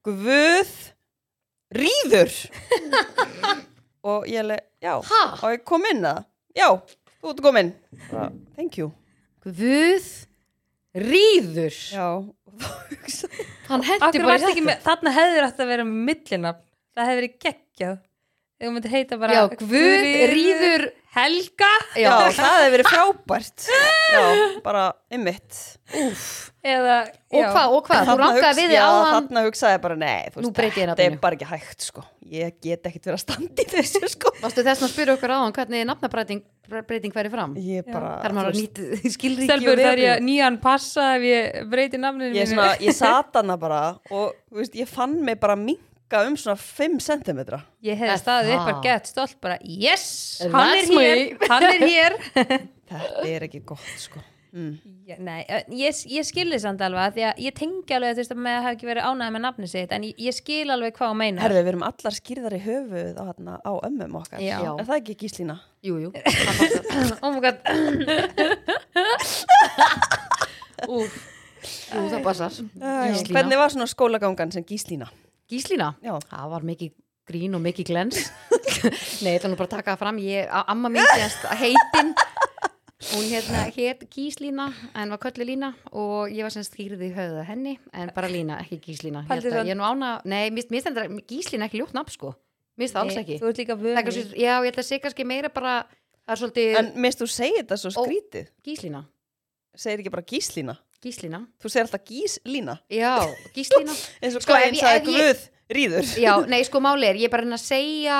Speaker 1: Guð Ríður og ég leið, já
Speaker 3: Ha?
Speaker 1: og ég kom inn það, já, þú ert komin Bara, thank you
Speaker 3: Guð Ríður
Speaker 1: já, og þá hugsaði
Speaker 3: Hann hendi
Speaker 2: Akkur
Speaker 3: bara
Speaker 2: varst ekki með, þarna hefur þetta að vera með millinafn. Það hefur verið geggjað. Þegar myndir heita bara
Speaker 3: Já, Guð Ríður
Speaker 2: Helga
Speaker 1: já, það hefði verið frábært já, bara ymmit
Speaker 2: eða
Speaker 3: Og
Speaker 2: já.
Speaker 3: hvað, og hvað, þú rankaði við þig
Speaker 1: já,
Speaker 3: á hann
Speaker 1: þarna hugsaði ég bara, nei, þú
Speaker 3: Nú breyti ég hérna,
Speaker 1: þetta er
Speaker 3: nafninu.
Speaker 1: bara ekki hægt sko, ég get ekkert verið að standa í þessu sko
Speaker 3: Varstu þess að spyrja okkur á hann hvernig nafnabreiting væri fram?
Speaker 1: ég
Speaker 2: Já,
Speaker 1: bara,
Speaker 3: Þar maður nýtt skilríki
Speaker 2: Stelbur
Speaker 3: og
Speaker 2: þar ég
Speaker 3: vegabréf.
Speaker 2: nýjan passa ef ég breyti nafninu
Speaker 1: ég, svona, ég sat hana bara og þú veist, ég fann mig bara minka um svona 5 cm
Speaker 2: Ég hefði
Speaker 3: Er
Speaker 2: staðið upp
Speaker 3: það?
Speaker 2: að gett stolt bara Yes,
Speaker 3: Ah. That's
Speaker 2: hann er hér,
Speaker 3: me.
Speaker 2: hann er hér
Speaker 1: þetta er ekki gott sko mm.
Speaker 2: Já, Nei, ö, ég, ég skilði samt alveg að því að ég tengi alveg þú veist að maður hafi ekki verið ánægð með nafni sitt en ég, ég skil alveg hvað hún meina
Speaker 1: herðu, við erum allar skýrðar í höfuð á, hana, á ömmum okkar
Speaker 2: Já.
Speaker 1: er það ekki gíslína?
Speaker 3: Jú, jú Hann var-
Speaker 2: Oh my god
Speaker 3: Úff. Jú, það passar Gíslína.
Speaker 1: hvernig var svona skólagangan sem gíslína?
Speaker 3: Gíslína
Speaker 1: Já.
Speaker 3: Það var mikið grín og mikið glens Nei, ég ætla nú bara að taka það fram ég, a- Amma mín sérst heitin Hún hérna hétt Gíslína en var köllu Lína og ég var sem skýrði í höfuð á henni en bara Lína, ekki Gíslína Ég
Speaker 2: Pældi
Speaker 3: held að
Speaker 2: það-
Speaker 3: Ég er nú ána, nei, mér mér stendur að Gíslína er ekki ljótt nafn sko Mér finnst það alls
Speaker 2: Nei,
Speaker 3: ekki
Speaker 2: Þú ert líka
Speaker 3: Það er
Speaker 2: vömi
Speaker 3: kannski- Já, ég held að sé kannski meira bara það er svolítið
Speaker 1: en minnst þú segir þetta svo
Speaker 3: Ó.
Speaker 1: skrítið
Speaker 3: Gíslína
Speaker 1: segir ekki bara gíslína
Speaker 3: Gíslína,
Speaker 1: þú segir alltaf gíslína
Speaker 3: já, Gíslína
Speaker 1: eins og
Speaker 3: Sko,
Speaker 1: hvað
Speaker 3: ef
Speaker 1: eins
Speaker 3: ég-
Speaker 1: að
Speaker 3: ef ég-
Speaker 1: guð rýður
Speaker 3: Já, nei, sko máli er, ég er bara að reyna að segja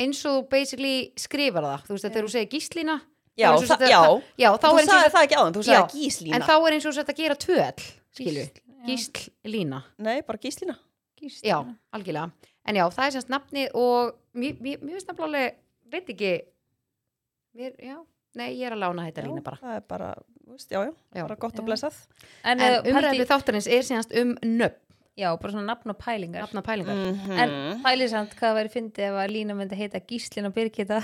Speaker 3: eins og þú basically skrifar það þú veist, þetta er þú segir Gíslína
Speaker 1: já,
Speaker 3: það er svo
Speaker 1: það,
Speaker 3: sem
Speaker 1: já,
Speaker 3: þetta- já, þá
Speaker 1: þú
Speaker 3: er eins og
Speaker 1: sagði
Speaker 3: þetta
Speaker 1: það ekki áðan þú
Speaker 3: Já,
Speaker 1: sagði
Speaker 3: en
Speaker 1: gíslína
Speaker 3: þá er eins og þetta að gera töl skilu,
Speaker 2: Gísl,
Speaker 3: Gíslína
Speaker 1: nei, bara gíslína
Speaker 2: gísl.
Speaker 3: já, algjörlega, en já, það er semst nafni og mér mér- mér finnst nafnilega alveg, veit ekki mér, já, nei, ég er að lána
Speaker 1: Já,
Speaker 3: þetta lína bara
Speaker 1: það er bara, þú veist, já, já,
Speaker 3: Já.
Speaker 1: bara uh, gott
Speaker 2: Já.
Speaker 1: og blessað
Speaker 2: En,
Speaker 3: en
Speaker 2: en
Speaker 3: umræðið þáttarins er semst um nöfn,
Speaker 1: Mm.
Speaker 2: Já, bara svona nafn og pælingar
Speaker 3: nafna pælingar
Speaker 1: Mhm.
Speaker 2: En pælið samt hvað væri fyndið ef að Lína myndi heita Gíslin og Birgitta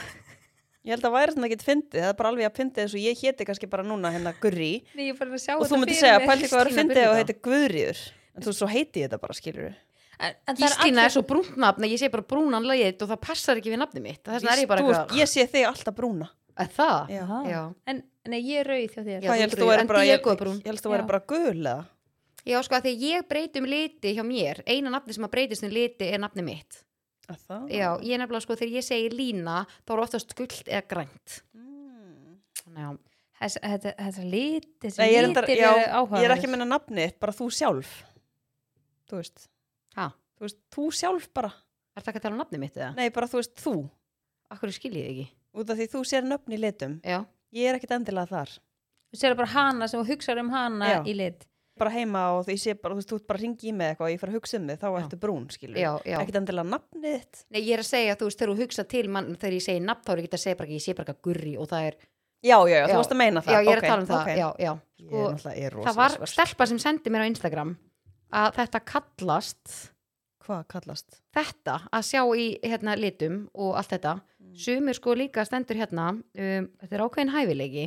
Speaker 1: ég held að væri svona ekkert fyndið það er bara alveg að fyndið eins og ég héti kannski bara núna hérna Gurri
Speaker 2: Nei, ég er bara að sjá
Speaker 1: og þú
Speaker 2: þetta
Speaker 1: myndir
Speaker 2: fyrir
Speaker 1: segja
Speaker 2: mér.
Speaker 1: pældi hvað var
Speaker 3: Kristína
Speaker 1: fyndið og
Speaker 3: Birgitta.
Speaker 1: heiti Guðriður en þú veist, svo heiti ég þetta bara skilur
Speaker 2: En, en það
Speaker 3: Gíslína er
Speaker 2: allir-
Speaker 3: svo brúnt nafn að ég sé bara brúnan lagið og það passar ekki við nafni mitt þess vegna er ég bara
Speaker 1: veist,
Speaker 3: eitthvað,
Speaker 1: ég sé þig alltaf brúna
Speaker 3: að það
Speaker 1: Já.
Speaker 2: Aha.
Speaker 3: já,
Speaker 2: En nei, ég er rauð hjá þér
Speaker 3: Já.
Speaker 1: Hvað,
Speaker 3: þú
Speaker 1: ég held
Speaker 3: ert
Speaker 1: að þú
Speaker 3: rauð,
Speaker 1: væri
Speaker 3: en
Speaker 1: bara- ég-
Speaker 3: Diego er brún.
Speaker 1: ég held að þú væri
Speaker 2: Já.
Speaker 1: bara gul eða
Speaker 3: já sko að því ég breytum liti hjá mér, eina nafni sem að breytist um liti er nafni mitt
Speaker 1: Að það?
Speaker 3: Já, ég er nefnilega sko þegar ég segi lína þá er oftast gullt eða grænt
Speaker 1: Mm.
Speaker 3: Þannig já,
Speaker 2: Þess- Þetta þetta er lítið Þessi
Speaker 1: Nei, ég, er
Speaker 2: lítir
Speaker 1: endar,
Speaker 2: eru
Speaker 1: já,
Speaker 2: áhugaverð
Speaker 1: ég er ekki að minna nafnið þitt, bara þú sjálf þú veist,
Speaker 3: hæ,
Speaker 1: þú veist, þú sjálf bara
Speaker 3: er það ekki að tala um nafni mitt eða?
Speaker 1: nei, bara þú veist, þú,
Speaker 3: Akkur skil ég þig ekki
Speaker 1: út af því þú sér nöfn í litum
Speaker 3: Já,
Speaker 1: ég er ekkert endilega þar
Speaker 2: Þú sér bara hana sem þú hugsar um hana
Speaker 1: Já.
Speaker 2: í lit
Speaker 1: bara heima og því sé bara, þú veist, þú ert bara að ringi í mig eitthvað og ég fer að hugsa um þig, þá
Speaker 3: Já.
Speaker 1: ertu brún, skilur
Speaker 3: já, já
Speaker 1: ekkert endilega nafnið þitt
Speaker 3: Nei, ég er að segja, þú veist, þegar þú hugsa til mann þegar ég segi nafn, þá er ég ekki að segja bara ekki ég sé bara ekki að gurri og það er,
Speaker 1: já, já, já,
Speaker 3: Já.
Speaker 1: þú varst að meina
Speaker 3: já,
Speaker 1: það
Speaker 3: ég
Speaker 1: Ok,
Speaker 3: er að tala um það
Speaker 1: ok.
Speaker 3: Já, já,
Speaker 1: ég
Speaker 3: sko,
Speaker 1: er náttúrulega er rosa
Speaker 3: það var stelpa sem sendi mér á Instagram að þetta kallast
Speaker 1: hvað kallast?
Speaker 3: þetta að sjá í hérna litum og allt þetta sumir sko líka stendur hérna um, þetta er ákveðin hæfileiki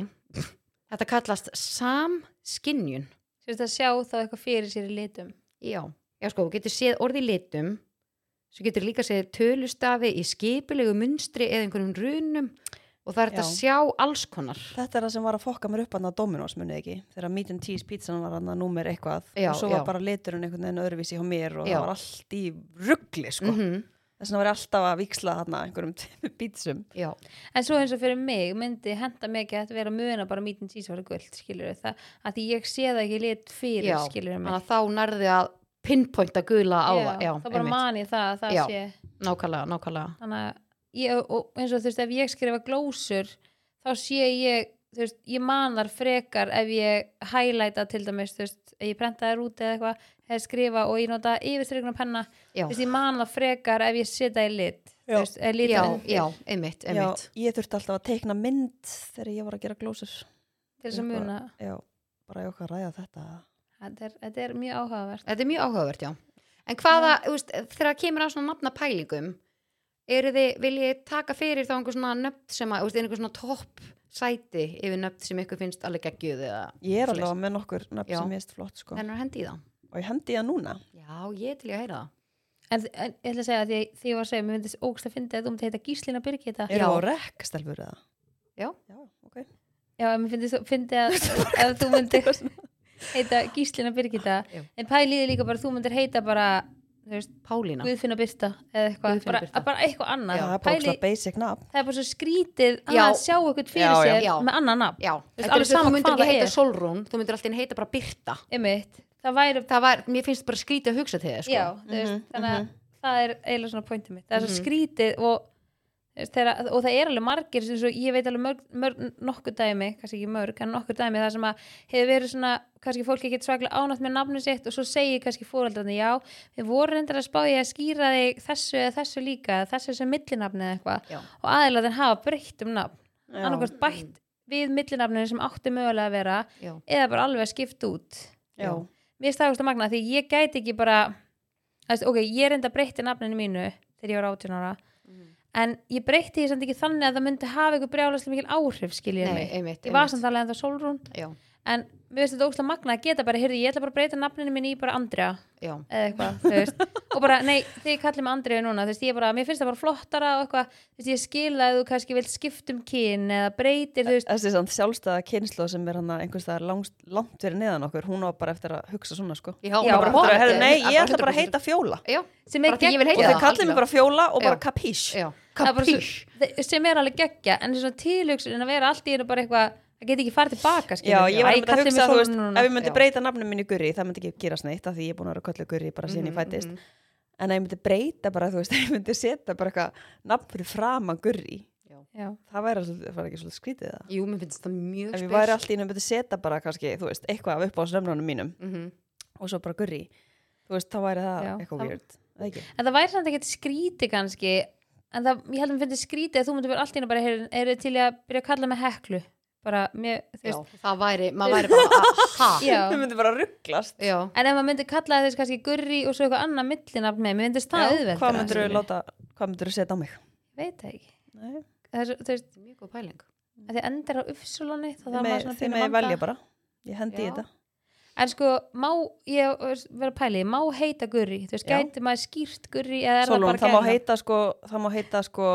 Speaker 3: þetta kallast samskinjun
Speaker 2: Þú veist að sjá þá eitthvað fyrir sér í litum
Speaker 3: já, já sko, þú getur séð orð í litum svo getur líka séð tölustafi í skipulegu munstri eða einhverjum runum og það er
Speaker 1: Já.
Speaker 3: þetta að sjá alls konar
Speaker 1: þetta er það sem var að fokka mér upp hann að Dominos munið ekki, þegar Meat and Cheese pizzan var hann að númer eitthvað
Speaker 3: Já,
Speaker 1: og svo
Speaker 3: já.
Speaker 1: var bara liturinn einhvern veginn öðruvísi hjá mér og
Speaker 3: Já.
Speaker 1: það var allt í ruggli sko.
Speaker 3: mm
Speaker 1: þess vegna var ég alltaf að viksla hann einhverjum tveimur pizzum
Speaker 3: já,
Speaker 2: En svo eins og fyrir mig myndi henda mikið að þetta vera muna bara mítin tísvara guld skilur það að því ég sé það ekki í lit fyrir
Speaker 3: já.
Speaker 2: skilur
Speaker 3: þannig að þá nærði að pinpointa gula á það já,
Speaker 2: þá bara
Speaker 3: einmitt.
Speaker 2: mani það að það
Speaker 3: Já.
Speaker 2: sé
Speaker 3: nákvæmlega, nákvæmlega
Speaker 2: þannig að ég, og eins og þú veist ef ég skrifa glósur þá sé ég þú veist, ég manar frekar ef ég highlighta til dæmis, þú veist, ef ég prenta þær út eða eitthvað, eða skrifa og ég nota yfirstrykna penna,
Speaker 3: já,
Speaker 2: þú veist, ég manar frekar ef ég setja í lit,
Speaker 1: Já.
Speaker 2: þú veist, eða lit
Speaker 3: já, já, einmitt,
Speaker 1: já,
Speaker 3: einmitt
Speaker 1: ég þurfti alltaf að teikna mynd þegar ég var að gera glósur
Speaker 2: til þess að muna,
Speaker 1: já, bara ég okkar að ræða þetta
Speaker 2: þetta er, þetta er mjög áhugavert.
Speaker 3: Þetta er mjög áhugavert, já. En hvaða, þú veist, þegar kemur á svona nafna pælingum, eru þið, vil ég taka fyrir þá einhver svona nöfn sem að, þú veist, einhver svona topp sæti yfir nöfn sem ykkur finnst alveg geggjuð eða
Speaker 1: Ég er alveg með nokkur nöfn
Speaker 3: Já.
Speaker 1: sem ég veist flott sko.
Speaker 3: hennar hendi í það
Speaker 1: og ég hendi það núna.
Speaker 3: já, ég er til ég að heyra það
Speaker 2: En, en ég ætla að segja að því, því ég var að segja, mér myndist ógst að fyndi að þú myndi heita Gíslina Birgitta.
Speaker 1: Er það
Speaker 3: Já.
Speaker 1: á rekk stelfur eða?
Speaker 3: Já.
Speaker 1: Já, ok.
Speaker 2: Já, en mér fyndist fyndi að, að þú myndi heita Gíslina Birgitta.
Speaker 3: Ah, Já.
Speaker 2: En pæliði líka bara, þú myndir heita bara, þú veist,
Speaker 3: Pálína,
Speaker 2: Guðfinna Birta eða eitthvað.
Speaker 3: Guðfinna
Speaker 2: Bara,
Speaker 3: Birta.
Speaker 2: bara eitthvað annað.
Speaker 1: það er bara
Speaker 2: Pæli,
Speaker 1: ókslega basic nafn.
Speaker 2: það er bara svo skrítið
Speaker 3: Já.
Speaker 2: að sjá eitthvað fyrir
Speaker 1: Já, já.
Speaker 2: sér
Speaker 3: Já.
Speaker 2: með annan nafn.
Speaker 3: já,
Speaker 2: veist,
Speaker 3: þetta
Speaker 2: alveg
Speaker 3: er svo
Speaker 2: sama
Speaker 3: þú
Speaker 2: hvað
Speaker 3: myndir ekki
Speaker 2: það
Speaker 3: heita
Speaker 2: er.
Speaker 3: Solrún þú myndir alltaf inn heita bara Birta
Speaker 2: Einmitt. Það væri,
Speaker 3: það var, mér finnst bara skrítið að hugsa til þess sko.
Speaker 2: já, þú veist,
Speaker 1: Mhm,
Speaker 2: þannig að það er eiginlega svona pointið mitt. Það er svo skrítið og, þú veist, þegar, og það er alveg margir sem svo, ég veit alveg mörg, mörg nokkur dæmi, kannski ekki mörg, en nokkur dæmi það sem að hefur verið svona, kannski fólk ekki svaklega ánátt með nafnum sitt og svo segir kannski fóraldrarnir, já, við vorum reyndar að spá ég að skýra þig þessu eða þessu líka, þessu sem millinafni eða eitthvað
Speaker 3: Já.
Speaker 2: og aðeinslega hafa breytt um nafn,
Speaker 1: Já.
Speaker 2: annarkvært bætt við millinafninu sem átti mögulega að vera
Speaker 3: Já.
Speaker 2: eða bara alveg að skipta út
Speaker 1: Já.
Speaker 2: mér stafist að magna því ég gæti ekki bara þú veist, ok, ég reynda að breytti nafninu mínu þegar ég var 18 ára en ég breytti því samt ekki þannig að það myndi hafa eitthvað brjálaslega mikil áhrif skiljið
Speaker 3: Nei,
Speaker 2: mig
Speaker 3: einmitt,
Speaker 2: ég var
Speaker 3: einmitt.
Speaker 2: samt alveg en það sólrún
Speaker 3: Já,
Speaker 2: en mér finnst þetta ógst að magna að geta bara, heyrðu, ég ætla bara að breyta nafninu mínu í bara Andrea
Speaker 3: já,
Speaker 2: eða eitthvað, þú veist og bara, nei, þið kallið mig Andrið núna, þú veist, ég bara, mér finnst það bara flottara og eitthvað, þú veist, ég skil að þú kannski vilt skiptum kyn eða breytir, þú veist
Speaker 1: Þessi samt sjálfstæða kynslu sem er hann einhvers staðar langt, langt verið neðan okkur, hún á bara eftir að hugsa svona sko.
Speaker 3: já,
Speaker 2: Já,
Speaker 1: Bara,
Speaker 2: bara
Speaker 1: bara, herri,
Speaker 3: hundra-
Speaker 1: nei, ég
Speaker 3: bara
Speaker 1: ætla bara að
Speaker 3: 100%.
Speaker 1: heita fjóla.
Speaker 3: já,
Speaker 2: sem er
Speaker 3: bara því ég vil
Speaker 2: gegn-
Speaker 1: Og
Speaker 3: heita
Speaker 1: þau kallið mig bara fjóla og bara
Speaker 3: Já.
Speaker 1: kapís.
Speaker 3: já,
Speaker 2: Kapís. sem er alveg geggja en svona tilhugsun að vera allt í einu bara eitthvað það geti ekki farið tilbaka skilur
Speaker 1: Já,
Speaker 2: við.
Speaker 1: ég var
Speaker 2: Æ,
Speaker 1: einmitt að
Speaker 2: kallið
Speaker 1: hugsa,
Speaker 2: mig
Speaker 1: þú
Speaker 2: Sólrún
Speaker 1: veist,
Speaker 2: núna.
Speaker 1: ef ég myndi
Speaker 3: Já.
Speaker 1: breyta nafnum minni í Gurri, það myndi ekki gerast neitt af því ég er búin að vera kallið Gurri bara síðan ég fættist. En ef ég myndi breyta bara, þú veist, ef ég myndi setja bara eitthvað nafn fyrir framan Gurri,
Speaker 2: Já.
Speaker 1: það væri alltaf, það var ekki svolítið skrítið það.
Speaker 3: jú, mér finnst það mjög
Speaker 1: Ef ég
Speaker 3: spes
Speaker 1: væri alltaf í nefnum myndi setja bara kannski, þú veist, eitthvað af upp á snöfnunum mínum
Speaker 3: Mhm.
Speaker 1: og svo bara Gurri, þú veist, þá væri það
Speaker 2: Já,
Speaker 1: eitthvað
Speaker 2: það-
Speaker 1: weird, eða ekki?
Speaker 2: en það væri samt ekkert skríti kannski en það, ég held að mér finnst skrítið að þú myndi vera allt í einu bara heyrðu, eru til í að byrja að kalla mig heklu bara, mér, þú
Speaker 3: já,
Speaker 2: veist
Speaker 3: það væri, maður væri bara að- ha,
Speaker 2: Já.
Speaker 1: Þau myndi bara rugglast.
Speaker 3: já,
Speaker 2: en ef maður myndi kalla þess kannski gurri og svo eitthvað annað millinafn með, mér myndist það auðveldara,
Speaker 1: Hvað myndir
Speaker 2: skilur
Speaker 1: þú
Speaker 2: við.
Speaker 1: láta, hvað myndir þú setja á mig?
Speaker 2: veit það ekki
Speaker 1: Nei,
Speaker 2: það er, svo- þú veist,
Speaker 3: mjög góð pæling
Speaker 2: að þið endir á uppsulunni þá
Speaker 1: þið
Speaker 2: þarf maður
Speaker 1: með,
Speaker 2: svona
Speaker 1: þið
Speaker 2: pínu
Speaker 1: með
Speaker 2: að vanda.
Speaker 1: velja bara. Ég hendi í
Speaker 3: Já.
Speaker 1: þetta.
Speaker 2: En sko, má, ég verið að pæli, má heita gurri, þú veist,
Speaker 1: Já.
Speaker 2: gæti maður skýrt gurri eða er
Speaker 1: Solon,
Speaker 2: það
Speaker 1: það má
Speaker 2: bara gæna?
Speaker 1: heita sko, það má heita sko,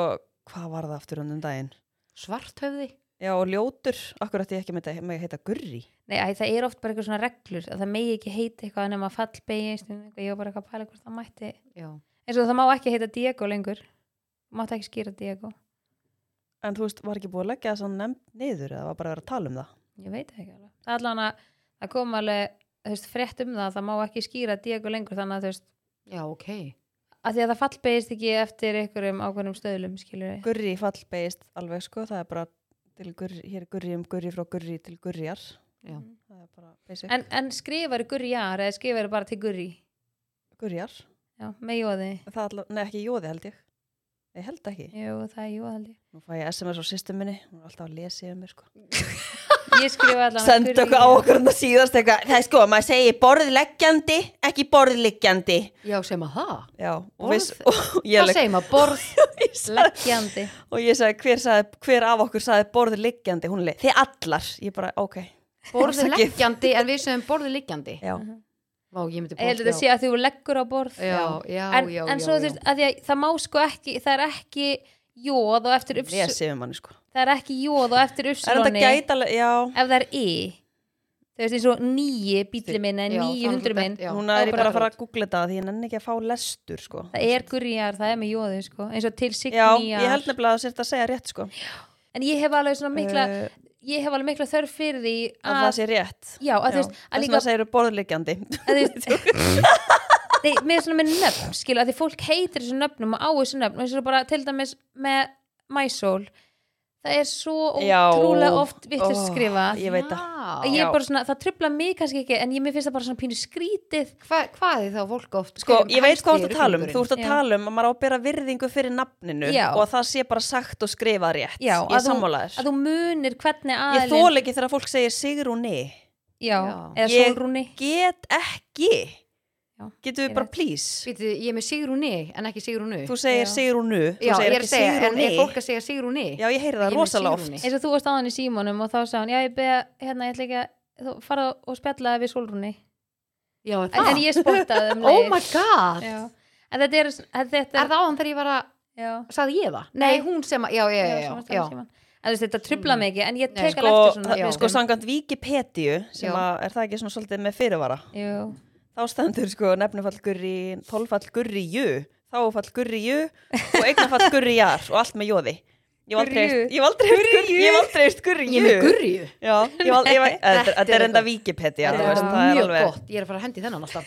Speaker 1: hvað var það aftur um daginn?
Speaker 3: svarthöfði,
Speaker 1: Já, og ljótur, akkur ætti ég ekki með þetta, með heita gurri.
Speaker 2: Nei, æ, það er oft bara eitthvað svona reglur, að það megi ekki heita eitthvað nema fallbegist, ég var bara eitthvað að pæla hvort það mætti.
Speaker 3: já,
Speaker 2: Eins og það má ekki heita Diego lengur, mátt ekki skýra Diego,
Speaker 1: En þú veist, var ekki búið að leggja það svona nefnd niður eða var bara að vera að tala um það?
Speaker 2: ég veit það ekki alveg. Það er allan að, það kom alveg, þú veist, frétt um það, það má ekki skýra Diego lengur, þannig að þú veist,
Speaker 3: já, ok
Speaker 2: að því að það fallbegist ekki eftir einhverjum ákveðnum stöðlum, skilur
Speaker 1: Gurri fallbeist alveg sko, það er bara til gurri, hér er gurri um gurri frá gurri til gurriar.
Speaker 3: Já.
Speaker 1: Það er bara basic.
Speaker 2: En, en skrifar gurriar eða skrifar bara til gurri?
Speaker 1: Gurriar,
Speaker 2: Já, með jóði.
Speaker 1: það er alveg, nei ekki jóði held ég. Ég held ekki.
Speaker 2: Jú, það er jú held ég.
Speaker 1: Nú fæ ég SMS á system minni, hún er alltaf að lesa yfir mér sko.
Speaker 2: ég skrifa allan
Speaker 1: Senda okkur á okkur hann að síðast eitthvað, það er sko, maður segir borðleggjandi, ekki borðliggjandi.
Speaker 3: já, sem að það,
Speaker 1: Já, og
Speaker 3: Borð-
Speaker 1: viss, og ég
Speaker 3: það
Speaker 1: legg
Speaker 3: segir maður borð
Speaker 2: leggjandi
Speaker 1: og ég sagði hver, sagði hver af okkur sagði borðið liggjandi hún leið, þið allar, ég bara ok
Speaker 3: borðu
Speaker 1: Afsakið.
Speaker 3: leggjandi, en við sem borðu liggjandi
Speaker 1: já,
Speaker 3: Vá, ég myndi
Speaker 2: ég held að
Speaker 3: borð,
Speaker 2: þetta sé að þú leggur á borð
Speaker 3: já, já,
Speaker 2: en,
Speaker 3: já,
Speaker 2: en
Speaker 3: já,
Speaker 2: svo
Speaker 3: já.
Speaker 2: þú veist að því að það má sko ekki það er ekki jóð og eftir upps,
Speaker 1: ég séum manni sko
Speaker 2: það er ekki jóð og eftir
Speaker 1: er þetta
Speaker 2: uppslóni ef
Speaker 1: gætalega, já,
Speaker 2: það er i þú veist eins og nýji bíli minn
Speaker 3: Já,
Speaker 2: eða nýju
Speaker 3: það er
Speaker 2: hundru minn
Speaker 3: já,
Speaker 1: hún
Speaker 2: það
Speaker 1: er
Speaker 2: er
Speaker 1: ég bara
Speaker 2: bara
Speaker 1: að fara að googla þetta því ég nenni ekki að fá lestur sko
Speaker 2: það er gurjar, það er með jóði sko eins og til
Speaker 1: já, ég
Speaker 2: signýjar
Speaker 1: held nefnilega að þetta að segja rétt sko
Speaker 2: en ég hef alveg svona mikla
Speaker 1: Eh,
Speaker 2: ég hef alveg mikla þörf fyrir því
Speaker 1: að það sé rétt
Speaker 2: já, að þú veist að
Speaker 1: þess
Speaker 2: líka
Speaker 1: að segir borðið liggjandi
Speaker 2: að þú veist Nei, með svona með nöfn, skilja, því fólk heitir þessu nöfnum og á þessu nöfn og eins og bara til dæmis með MySoul það er svo
Speaker 1: Já.
Speaker 2: ótrúlega oft
Speaker 1: Ó,
Speaker 2: vittlust skrifa
Speaker 1: ég veit það.
Speaker 2: að
Speaker 3: Já.
Speaker 2: ég er bara svona, það trubla mig kannski ekki en ég mér finnst það bara svona pínu skrítið
Speaker 3: Hva, hvað er þá fólk oft
Speaker 1: sko,
Speaker 3: fyrir
Speaker 1: ég veit hvað þú
Speaker 3: helsti
Speaker 1: ert að tala um þú ert að
Speaker 2: Já.
Speaker 1: tala um að maður á að bera virðingu fyrir nafninu
Speaker 2: Já.
Speaker 1: og að það sé bara sagt og skrifað rétt
Speaker 2: já,
Speaker 1: ég
Speaker 2: að, þú,
Speaker 1: sammálaður
Speaker 2: að þú munir hvernig
Speaker 1: ég
Speaker 2: aðein
Speaker 1: þól ekki þegar fólk segir Sigrúni
Speaker 2: já,
Speaker 3: Já.
Speaker 2: eða
Speaker 1: Ég-
Speaker 2: Sólrúni
Speaker 1: get ekki Getum
Speaker 2: Ég
Speaker 1: við bara
Speaker 2: veit.
Speaker 1: please?
Speaker 3: Býtu, ég er með Sigrúni en ekki Sigrúnu
Speaker 1: Þú segir
Speaker 2: Já.
Speaker 1: Sigrúnu. Þú
Speaker 3: Já, ég
Speaker 1: segir
Speaker 3: er
Speaker 1: ekki
Speaker 3: að segja, en
Speaker 1: Sigrúnu.
Speaker 3: er fólk að segja Sigrúni
Speaker 1: Já, ég heyri
Speaker 3: Ég
Speaker 1: það
Speaker 3: er með
Speaker 1: rosalega
Speaker 3: Sigrúnu.
Speaker 1: oft.
Speaker 2: eins og þú varst á hann í símanum og þá sagði hann, já ég beða, hérna ég ætla ekki að þú farað og spjallaði við sólrunni
Speaker 3: Já, er
Speaker 2: en,
Speaker 3: það
Speaker 2: en ég spottaði um
Speaker 3: Oh my god
Speaker 2: já. en þetta er, en þetta
Speaker 3: Er það á hann þegar ég var að,
Speaker 2: já,
Speaker 3: sagði ég það? Nei,
Speaker 2: Nei.
Speaker 3: hún sem að, já, já, já,
Speaker 2: sem
Speaker 3: já,
Speaker 2: varst á hann í
Speaker 3: já.
Speaker 2: símanum. en þú veist þetta trubla mig ekki en ég
Speaker 3: Nei.
Speaker 2: tek
Speaker 1: Sko,
Speaker 2: alveg eftir svona
Speaker 1: það-
Speaker 3: já.
Speaker 1: sko sangant Wikipedia sem
Speaker 3: Já.
Speaker 1: að, er það ekki svona svolítið með fyrirvara
Speaker 2: jú,
Speaker 1: þá stendur sko nefnifall gurri tólfall gurri jö, þáfall gurri jö og eignafall gurri jar og allt með jóði ég hef aldrei
Speaker 2: Gurri jö.
Speaker 1: heyrt- ég hef aldrei heyrt gurri- ég hef aldrei heist gurri
Speaker 3: Ég er með
Speaker 1: jö
Speaker 3: gurrið
Speaker 1: Já, ég var, ég var, þetta, þetta
Speaker 3: er
Speaker 1: er enda
Speaker 3: gott.
Speaker 1: Wikipedia
Speaker 3: Þetta
Speaker 1: þú
Speaker 2: Já.
Speaker 1: veist, það
Speaker 3: er
Speaker 1: er
Speaker 3: mjög
Speaker 1: alveg,
Speaker 3: gott Ég er að fara að hendi þennan alltaf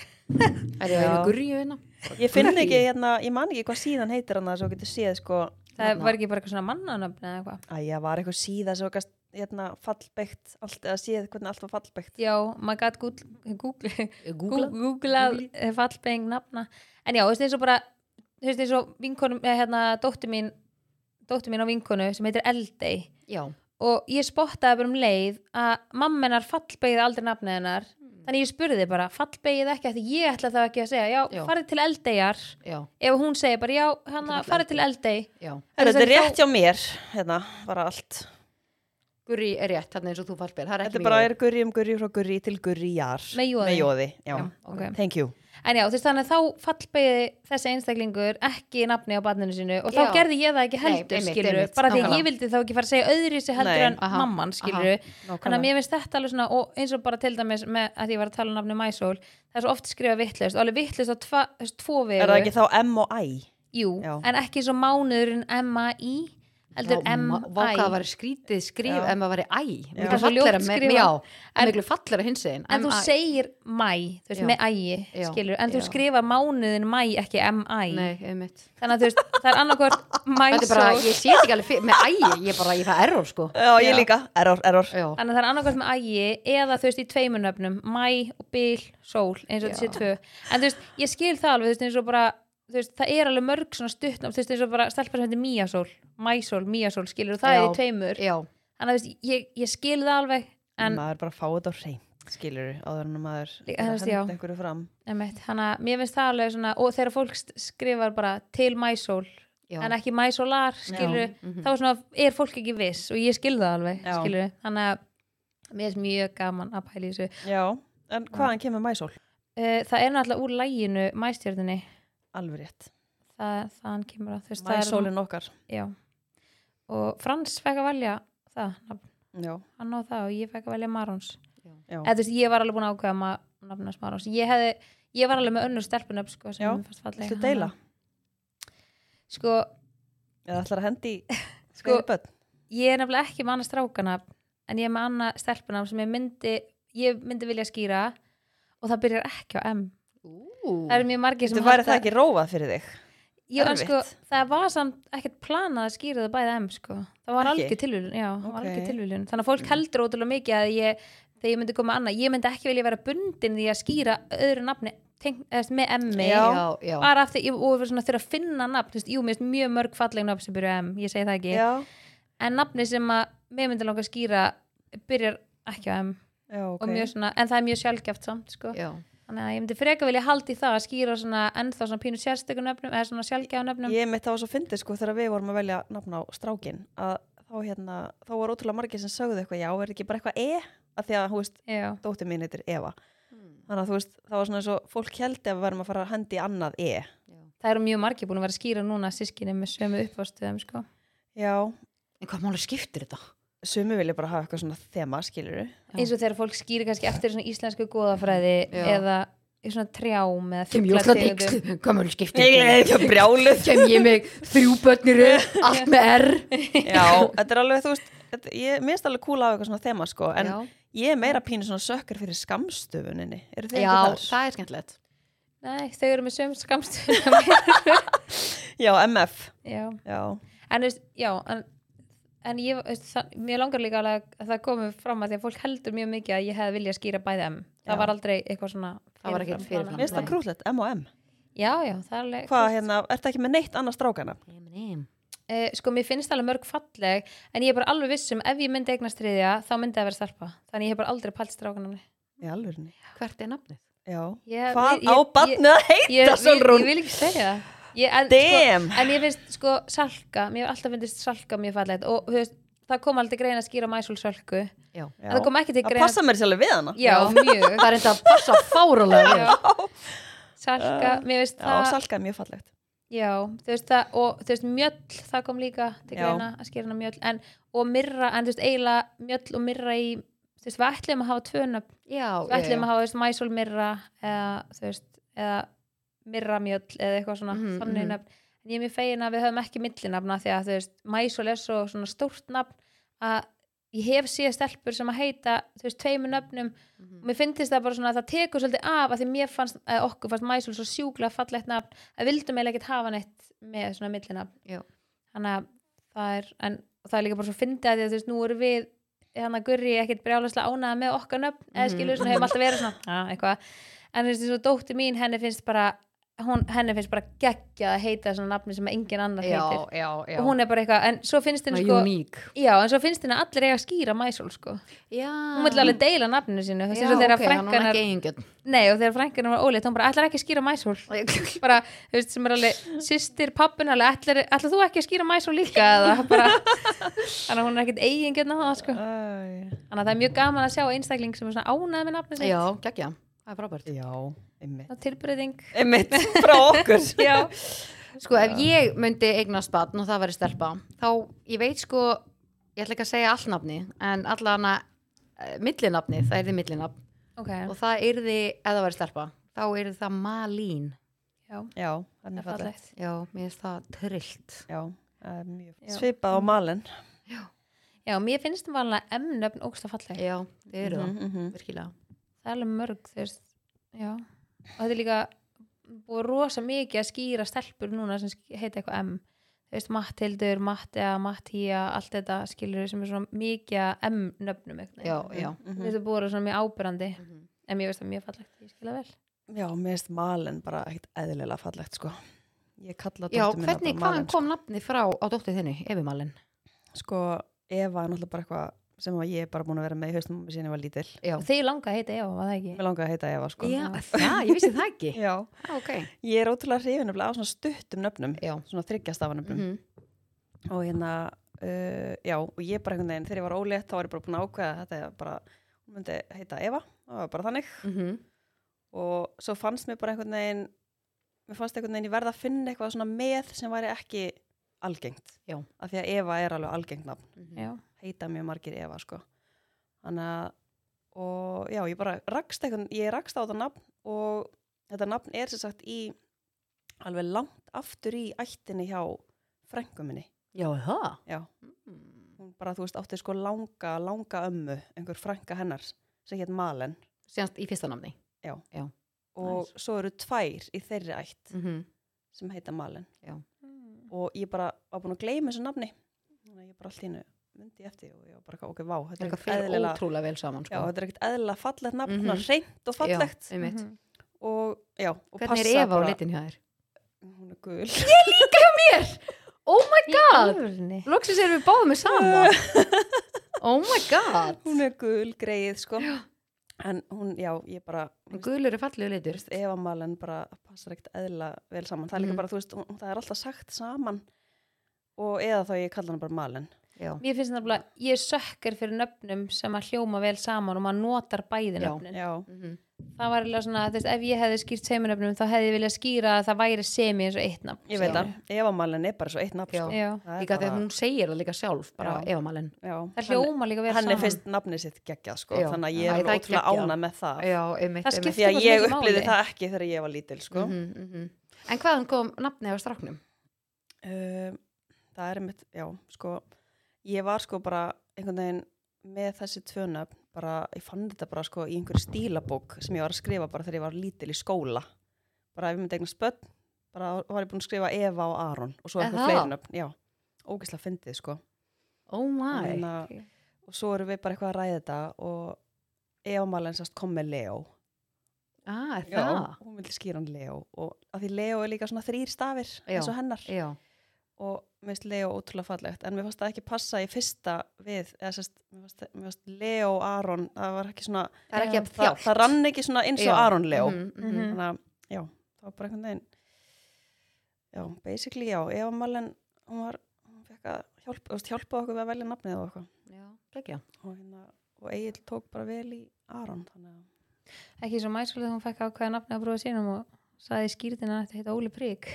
Speaker 3: Er ég
Speaker 1: Já.
Speaker 3: með gurrið hérna?
Speaker 1: ég finn
Speaker 3: Gurrí.
Speaker 1: ekki hérna, ég man ekki hvað síðan heitir hann að svo getur séð sko,
Speaker 2: það var ekki bara eitthvað svona mannanöfn eða eitthvað
Speaker 1: að ég var eitthvað síða svo gast, hérna, fallbyggt allt, eða séð hvernig allt var fallbyggt
Speaker 2: já, maður gæti googlað Google,
Speaker 3: Google
Speaker 2: googlað eh, fallbeng nafna en já, þú veist eins og bara þú veist eins og vinkonum, eh, hérna dóttir mín dóttir mín á vinkonu sem heitir Eldey
Speaker 3: Já,
Speaker 2: og ég spottaði bara um leið að mamma hennar fallbegið aldrei nafnið hennar þannig ég spurði bara fallbegið ekki af því ég ætla þá ekki að segja já,
Speaker 3: Já.
Speaker 2: farið til eldeyjar
Speaker 3: já,
Speaker 2: ef hún segir bara já, hann
Speaker 3: Þetta er
Speaker 2: farið til eldey
Speaker 3: já
Speaker 1: Heru, Þetta er
Speaker 2: Þannig að
Speaker 1: rétt hjá mér, hérna, bara allt
Speaker 3: Gurri er rétt, þarna eins og þú fallbel Það er
Speaker 1: Þetta
Speaker 3: ekki
Speaker 1: er bara,
Speaker 3: mjög
Speaker 1: er gurri um gurri frá gurri til gurri jar
Speaker 2: Með joði.
Speaker 1: já,
Speaker 2: Já, ok.
Speaker 1: thank you
Speaker 2: en já, þú veist þannig að þá fallbegið þessi einstaklingur ekki nafni á barninu sinu og þá
Speaker 3: Já.
Speaker 2: gerði ég það ekki
Speaker 3: Nei,
Speaker 2: heldur
Speaker 3: einmitt,
Speaker 2: skilur
Speaker 3: einmitt,
Speaker 2: bara því að
Speaker 3: nákvæmlega.
Speaker 2: ég vildi þá ekki fara að segja öðri sér heldur
Speaker 1: Nei,
Speaker 2: en
Speaker 3: aha,
Speaker 2: mamman skilur Þannig að mér finnst þetta alveg svona, og eins og bara til dæmis með að ég var að tala um nafni Mæsól, það er svo oft skrifa vittlust, alveg vittlust á tva, þú veist, tvo vegu.
Speaker 1: Er það ekki þá M og I?
Speaker 2: Jú,
Speaker 1: Já.
Speaker 2: en ekki eins og mánuðurinn M-A-I, heldur
Speaker 3: Váka að
Speaker 2: M-I.
Speaker 3: væri skrítið skrif
Speaker 1: Já.
Speaker 3: en maður væri æ Miklu
Speaker 2: Svo ljótt
Speaker 3: fallera með,
Speaker 2: skrifað.
Speaker 3: já,
Speaker 2: En-
Speaker 3: miklu fallera hins einn
Speaker 2: En þú segir mæ, þú veist,
Speaker 3: Já.
Speaker 2: með ægi,
Speaker 3: Já.
Speaker 2: skilur, en þú
Speaker 3: Já.
Speaker 2: skrifa mánuðin mæ, ekki M-I.
Speaker 3: Nei, einmitt
Speaker 2: Þannig að þú veist, það er annarkvort
Speaker 3: Þetta er bara,
Speaker 2: Mæsól,
Speaker 3: ég sé þetta ekki alveg fyrir, með æ Ég bara, ég fæ error sko
Speaker 1: Já, ég líka, error, error
Speaker 3: Já,
Speaker 2: þannig að það er annarkvort með ægi eða þú veist í tveimunöfnum, mæ og bil, sól, eins og
Speaker 3: Já.
Speaker 2: þessi tvö. En þú veist, ég skil það alveg, þú veist, eins og bara, þú veist, það er alveg mörg svona stuttnum, þú veist, eins og bara stelpa sem heitir mýjasól, mæsól, mýjasól, skilur, og það er
Speaker 3: Já.
Speaker 2: í tveimur.
Speaker 3: já,
Speaker 2: Þannig að þú veist, ég, ég skil það alveg, en
Speaker 1: Maður bara fá þetta á hreint, skilur áður en maður
Speaker 2: Líka,
Speaker 1: er að
Speaker 2: þú veist, já.
Speaker 1: henda einhverju fram
Speaker 2: Einmitt, hana, mér finnst það alveg svona og þegar fólk st- skrifar bara til mæsól
Speaker 3: já
Speaker 2: en ekki mæsólar skilur,
Speaker 3: mhm.
Speaker 2: þá er svona, er fólk ekki viss og ég skil það alveg
Speaker 1: Já.
Speaker 2: skilur, þannig að mér finnst mjög gaman að pæla í þessu
Speaker 1: Já, en hvaðan kemur mæsól?
Speaker 2: uh, það er náttúrulega úr læginu mæstjörninni
Speaker 1: Alveg rétt
Speaker 2: það, þaðan kemur að þú veist það er-
Speaker 1: Mæsólin okkar
Speaker 2: já. og Frans fekk að velja það, nafn,
Speaker 1: Já,
Speaker 2: hann á það og ég fekk að velja Marons
Speaker 1: já,
Speaker 2: eða þú veist, ég var alveg búin að ákveða ma- nafn hans Marons ég, hefði, ég var alveg með önnur stelpunöf sko, sem
Speaker 1: Já.
Speaker 2: mér fannst falleg.
Speaker 1: Viltu deila?
Speaker 2: Hana- sko,
Speaker 1: eða ætlar að hendi
Speaker 2: Sko,
Speaker 1: sko, bönn
Speaker 2: ég er nefnilega ekki með annað strákanafn en ég er með annað stelpunafn sem ég myndi ég myndi vilja skýra og það byrjar ekki á M
Speaker 3: Ú.
Speaker 2: það eru mjög margir
Speaker 1: Þú
Speaker 2: sem
Speaker 1: væri það ekki rófað fyrir þig
Speaker 2: Jú, en sko,
Speaker 1: erfitt?
Speaker 2: það var samt ekkert planað að skýra það bæði M sko. það
Speaker 1: Ekki?
Speaker 2: var
Speaker 1: Mm.
Speaker 2: algjör tilviljun, já, það var
Speaker 1: Ókei.
Speaker 2: algjör tilviljun þannig að fólk heldur ótrúlega mikið að ég þegar ég myndi koma annað, ég myndi ekki vilja vera bundin því að skýra öðru nafni tenk, eðst, með M-i
Speaker 3: Já, já,
Speaker 2: bara af því, og og svona þurfa að finna nafn, þú veist, jú, mér finnst mjög mörg falleg nafn sem byrja á M, ég segi það ekki
Speaker 1: Já,
Speaker 2: en nafni sem að mér myndi langa að skýra byrjar ekki á M
Speaker 1: já, ok
Speaker 2: og mjög svona, en það er mjög sjálfgeft samt sko.
Speaker 3: já
Speaker 2: þannig að ég myndi freka vilja haldi það að skýra svona, ennþá svona pínu sérstökum nöfnum eða svona sjálfgefa nöfnum
Speaker 1: Ég mitt það var svo fyndið sko þegar við vorum að velja nafn á strákin að þá hérna, þá var ótrúlega margir sem sögðu eitthvað já, er ekki bara eitthvað e af því að, hú veist,
Speaker 2: Já,
Speaker 1: dóttir mín heitir Eva þannig að þú veist, það var svona eins og fólk heldi að við verðum að fara að hendi annað e
Speaker 2: það eru mjög margir búin að vera að skýra núna sískinni með sömu uppástuðum sko.
Speaker 1: já,
Speaker 3: En hvað máli skiptir þetta?
Speaker 1: sumi vilja bara hafa eitthvað svona þema, skilur
Speaker 2: eins og þegar fólk skýri kannski eftir svona íslensku góðafræði
Speaker 3: Já.
Speaker 2: eða í svona trjám eða
Speaker 3: Kem ég ósla
Speaker 2: fuglategundum.
Speaker 3: text, hvað máli skiptir
Speaker 1: ekki að brjálu
Speaker 3: Kem ég með þrjú börnir allt með R
Speaker 1: já, þetta er alveg, þú veist þetta, ég minnst alveg kúla að hafa eitthvað svona þema sko, en
Speaker 3: Já.
Speaker 1: ég er meira pínu svona sökkar fyrir skamstöfuninni eru þið
Speaker 3: Já,
Speaker 1: ekki þar?
Speaker 3: það er skemmtilegt
Speaker 2: Nei, þau eru með sömu skamstuðum
Speaker 1: já, MF
Speaker 2: Já,
Speaker 1: já,
Speaker 2: en þú veist, já en, en ég, veist, það, mér langar líka alveg að það komi fram að því að fólk heldur mjög mikið að ég hefði viljað skýra bæði M það
Speaker 1: Já.
Speaker 2: var aldrei eitthvað svona
Speaker 3: Það var ekkert
Speaker 2: fyrirfram
Speaker 3: fyrirfram.
Speaker 1: minnst
Speaker 2: planað.
Speaker 1: það krúllett, M og M
Speaker 2: já, já, það er alveg
Speaker 1: hvað hérna, ertu ekki með neitt annars strákana?
Speaker 2: Eh, sko, mér finnst alveg mörg falleg en ég er bara alveg viss um ef ég myndi eignast þriðja þá myndi það vera stelpa þannig ég hef bara aldrei pælt strákanamni
Speaker 1: í alvörni
Speaker 3: Hvert er nafnið?
Speaker 1: Já.
Speaker 2: Ég-
Speaker 1: Hvað
Speaker 2: ég-
Speaker 1: á
Speaker 2: ég-
Speaker 1: barnið að
Speaker 2: ég,
Speaker 1: heita,
Speaker 2: vil, ég
Speaker 1: Solrún?
Speaker 2: vil ekki segja það ég, en,
Speaker 1: Damn.
Speaker 2: Sko, en ég finnst sko salka mér hef alltaf finnst salka mjög fallegt og þú veist, það kom aldrei greina að skýra mæsul sölku en
Speaker 3: Já.
Speaker 2: það kom ekki til
Speaker 1: Það
Speaker 2: greina
Speaker 1: passa mér sérlega við hana.
Speaker 2: já, mjög
Speaker 3: Það er enda að passa fáralega vel.
Speaker 2: já. salka, mér finnst
Speaker 1: Já,
Speaker 2: það
Speaker 1: salka er mjög fallegt.
Speaker 2: já, þú veist það og þú veist mjöll, það kom líka til
Speaker 1: Já.
Speaker 2: greina að skýra hana mjöll en, og myrra, en þú veist eiginlega mjöll og myrra í þú veist, við ætlum að hafa tvöna
Speaker 3: Já,
Speaker 2: við
Speaker 3: já,
Speaker 2: ætlum
Speaker 3: já.
Speaker 2: að hafa þú veist, mæsul myrra eða, þú veist, eða myrra mjöll eða eitthvað svona
Speaker 3: Mhm,
Speaker 2: þannig
Speaker 3: mhm.
Speaker 2: nöfn en ég er mjög fegin að við höfum ekki millinafna því að þú veist, mæsul er svo svona stórt nafn að ég hef síða stelpur sem að heita þú veist, tveimur nöfnum
Speaker 3: Mhm.
Speaker 2: og mér finnst það bara svona að það tekur svolítið af að því mér fannst, að okkur fannst mæsul svo sjúklega fallegt nafn að við vildum eiginlega ekkert hafa neitt með svona millinafn
Speaker 3: Já.
Speaker 2: þannig að það er, en það er líka bara svo fyndið að því að þú veist, nú eru við þannig að Gurri ekkert brjálaslega ánaða með okkar nöfn eða
Speaker 3: Mhm.
Speaker 2: skilur, svona hefum alltaf verið svona "Ah, eitthvað, en þú veist, eins og dóttir mín henni finnst bara, hún, henni finnst bara geggjað að heita svona nafni sem engin annar
Speaker 3: já,
Speaker 2: heitir,
Speaker 3: já, já.
Speaker 2: og hún er bara eitthvað en svo finnst henni sko
Speaker 3: Svona uník.
Speaker 2: já, en svo finnst henni að allir eiga að skýra mæsól sko,
Speaker 3: Já.
Speaker 2: hún vil alveg deila nafninu sínu, þess
Speaker 3: Já,
Speaker 2: að þeirra
Speaker 3: ok, hann er
Speaker 2: frænkanar
Speaker 3: ekki eigingjöld.
Speaker 2: nei, og þeirra frænkanar var óleitt, hún bara ætlar ekki að skýra mæsól bara, þú veist, sem er alveg sýstir pappin alveg, ætlar, ætlar þú ekki að skýra mæsól líka eða bara, þannig að hún er ekkert eigin getna það sko
Speaker 1: Æ,
Speaker 2: Þannig að það er mjög gaman að sjá einstakling sem er svona ánæð með nafnum
Speaker 3: Já, geggja. Það er frábært.
Speaker 1: Já, einmitt.
Speaker 2: Tilbreyting.
Speaker 1: Einmitt, frá okkur.
Speaker 2: Já.
Speaker 3: Sko, ef ég myndi eignast batn og það væri stelpa, þá, ég veit sko, ég ætla ekki að segja allnafni, en allan að millinafni, það er því millinafn.
Speaker 2: Ok.
Speaker 3: Og það er því, ef það væri stelpa, þá er það Malín.
Speaker 2: Já.
Speaker 1: Já, það er
Speaker 2: Það
Speaker 1: mjög
Speaker 2: er
Speaker 1: fallegt.
Speaker 2: fallegt.
Speaker 3: Já, mér finnst það trillt.
Speaker 1: Já, það er mjög
Speaker 2: Já.
Speaker 1: svipað á malin.
Speaker 2: Já, mér finnst það vanlega M-nöfn ógsta falleg.
Speaker 3: Já, þið eru það,
Speaker 1: -hmm.
Speaker 3: virkilega.
Speaker 2: Það er alveg mörg, þú veist. Já. Og þetta er líka búið rosa mikið að skýra stelpur núna sem sk- heita eitthvað M. Þú veist, Mattildur, Mattea, Mattia, allt þetta skilur sem er svona mikið að M-nöfnum. einhvern veginn.
Speaker 3: Já, já.
Speaker 2: Mér finnst það búið að vera svona mjög ábyrrandi.
Speaker 3: Mhm.
Speaker 2: En mér finnst það mjög fallegt, ég skilja vel.
Speaker 1: Já, mér finnst malin bara ekkert eðlilega fallegt, sko. Ég kalla
Speaker 3: Já,
Speaker 1: dóttur mína bara
Speaker 3: hvernig,
Speaker 1: sko.
Speaker 3: hvaðan
Speaker 1: malin.
Speaker 3: kom nafni frá á dóttu þinni, Evi Malin?
Speaker 1: Sko. sko, Eva er náttúrulega bara eitthvað sem að ég er bara búin að vera með í haustum síðan ég var lítil.
Speaker 3: Já.
Speaker 2: Og þið langa að heita Eva, var það ekki?
Speaker 1: Mér langar að heita Eva, sko.
Speaker 3: Já, það, ég vissi það ekki.
Speaker 1: Já.
Speaker 3: Já, ok.
Speaker 1: Ég er ótrúlega hrifin af svona stuttum nöfnum,
Speaker 3: Já.
Speaker 1: svona þryggjastafanöfnum.
Speaker 3: Mhm.
Speaker 1: og hérna uh, já, og ég bara einhvern veginn, þegar ég var ólétt þá var ég bara búin að ákveða að þetta er bara hún myndi heita Eva, það var bara þannig
Speaker 3: Mhm.
Speaker 1: og svo fannst mér bara einhvern veginn mér fannst einhvern veginn ég verða að finna eitthvað svona með sem væri ekki algengt
Speaker 3: Já.
Speaker 1: af því að Eva er alveg algengt nafn
Speaker 3: Mhm.
Speaker 2: Já.
Speaker 1: heita mjög margir Eva sko þannig að og já, ég bara rakst einhvern, ég rakst á þetta nafn og þetta nafn er sem sagt í alveg langt aftur í ættinni hjá frængum minni
Speaker 3: Já, það.
Speaker 1: já
Speaker 3: Mm.
Speaker 1: hún bara, þú veist, átti sko langa, langa ömmu, einhver frænka hennar sem hétt Malen
Speaker 3: Sérst í fyrsta namni.
Speaker 1: og svo eru tvær í þeirri ætt
Speaker 3: Mm -hmm.
Speaker 1: sem heita Malen
Speaker 2: Mm.
Speaker 1: og ég bara var búin að gleyma þessu nafni og ég bara allt í hennu myndi ég eftir því og ég var bara, ok, vá, þetta er
Speaker 3: Það
Speaker 1: ekkert
Speaker 3: fyrir
Speaker 1: eðlilega
Speaker 3: ótrúlega vel saman, sko.
Speaker 1: já, þetta er ekkert eðlilega fallegt nafn,
Speaker 3: Mhm.
Speaker 1: mm reynd og fallegt
Speaker 3: Já, einmitt.
Speaker 2: Mhm.
Speaker 1: og, já, og
Speaker 3: Hvernig er
Speaker 1: passar
Speaker 3: Eva á litin hjá þér?
Speaker 1: hún er gul
Speaker 3: Oh my god!
Speaker 2: Alvörni.
Speaker 3: Loksins erum við báðum með saman. oh my god!
Speaker 1: hún er gul, greið, sko en hún, já, ég bara
Speaker 3: Gulur er fallegu litur.
Speaker 1: veist, e- Eva Malen bara passar ekkert eðla vel saman. Það er líka
Speaker 3: Mhm.
Speaker 1: bara, þú veist, hún, það er alltaf sagt saman og eða þá ég kalla hana bara Malen.
Speaker 3: Já.
Speaker 2: Mér finnst það bara, ég er sökkar fyrir nöfnum sem að hljóma vel saman og maður notar bæði
Speaker 3: Já.
Speaker 2: nöfnin.
Speaker 1: Já,
Speaker 3: Mhm.
Speaker 2: Það var eiginlega svona, þú veist, ef ég hefði skýrt seminöfnum þá hefði ég viljað skýra að það væri semi eins og eitt nafn.
Speaker 1: ég veit
Speaker 3: Já.
Speaker 1: það. Eva Malen er bara svo eitt nafn,
Speaker 3: Já.
Speaker 1: sko.
Speaker 2: Já,
Speaker 1: Það er
Speaker 3: Líka þegar
Speaker 1: bara-
Speaker 3: hún segir það líka sjálf, bara
Speaker 1: Já.
Speaker 3: Eva Malin.
Speaker 1: Já,
Speaker 2: það hljóma líka vel
Speaker 1: hann, hann
Speaker 2: saman.
Speaker 1: er fyrst nafnið sitt geggjað, sko.
Speaker 3: Já.
Speaker 1: Þannig að ég er
Speaker 3: Æ,
Speaker 1: alveg
Speaker 3: það er
Speaker 1: ótrúlega
Speaker 3: geggjað.
Speaker 1: ánað með það.
Speaker 3: Já,
Speaker 2: Það
Speaker 3: einmitt. einmitt.
Speaker 2: skiptir
Speaker 1: Því að
Speaker 2: bara svo
Speaker 1: ég
Speaker 2: mikið
Speaker 1: upplýði
Speaker 2: máli.
Speaker 1: það ekki þegar ég var lítil, sko.
Speaker 3: Mhm, mhm. En hvaðan kom nafni á stráknum?
Speaker 1: um, það er mitt, já, sko ég var sko bara einhvern veginn með þessi tvö nöfn bara, ég fann þetta bara sko í einhverju stílabók sem ég var að skrifa bara þegar ég var lítil í skóla bara ef ég myndi eigna spöld bara var ég búin að skrifa Eva og Aron og svo
Speaker 3: Er
Speaker 1: eitthvað
Speaker 3: það?
Speaker 1: fleiri nöfn, já, ógeðslega fyndið sko
Speaker 3: Oh my.
Speaker 1: Þannig að- og svo erum við bara eitthvað að ræða þetta og Eva Malen sérst kom með Leo
Speaker 3: Ah, er
Speaker 1: já,
Speaker 3: það?
Speaker 1: hún vildi skýra hann Leo og að því Leo er líka svona þrýr stafir
Speaker 3: Já,
Speaker 1: eins og hennar
Speaker 3: Já.
Speaker 1: og mér finnst Leo ótrúlega fallegt en mér fannst það ekki passa í fyrsta við eða sérst, mér fannst, mér fannst Leo Aron það var ekki svona
Speaker 3: það er ekki
Speaker 2: Já,
Speaker 3: að
Speaker 1: það,
Speaker 3: þjált
Speaker 1: það rann ekki svona eins og
Speaker 3: Já.
Speaker 1: Aron Leo
Speaker 3: Mhm, mhm.
Speaker 2: Mhm.
Speaker 1: þannig að, já, það var bara einhvern veginn já, basically já Eva Malen, hún var hún fekk að hjálpa, þú veist, hjálpa okkur við að velja nafnið og eitthvað
Speaker 3: Já, gekkja.
Speaker 1: og, hérna, og Egil tók bara vel í Aron þannig að,
Speaker 2: ekki svo mæskulega hún fekk ákvæða nafni að bróða sínum og saði skýrtina að þetta heita Óli Prík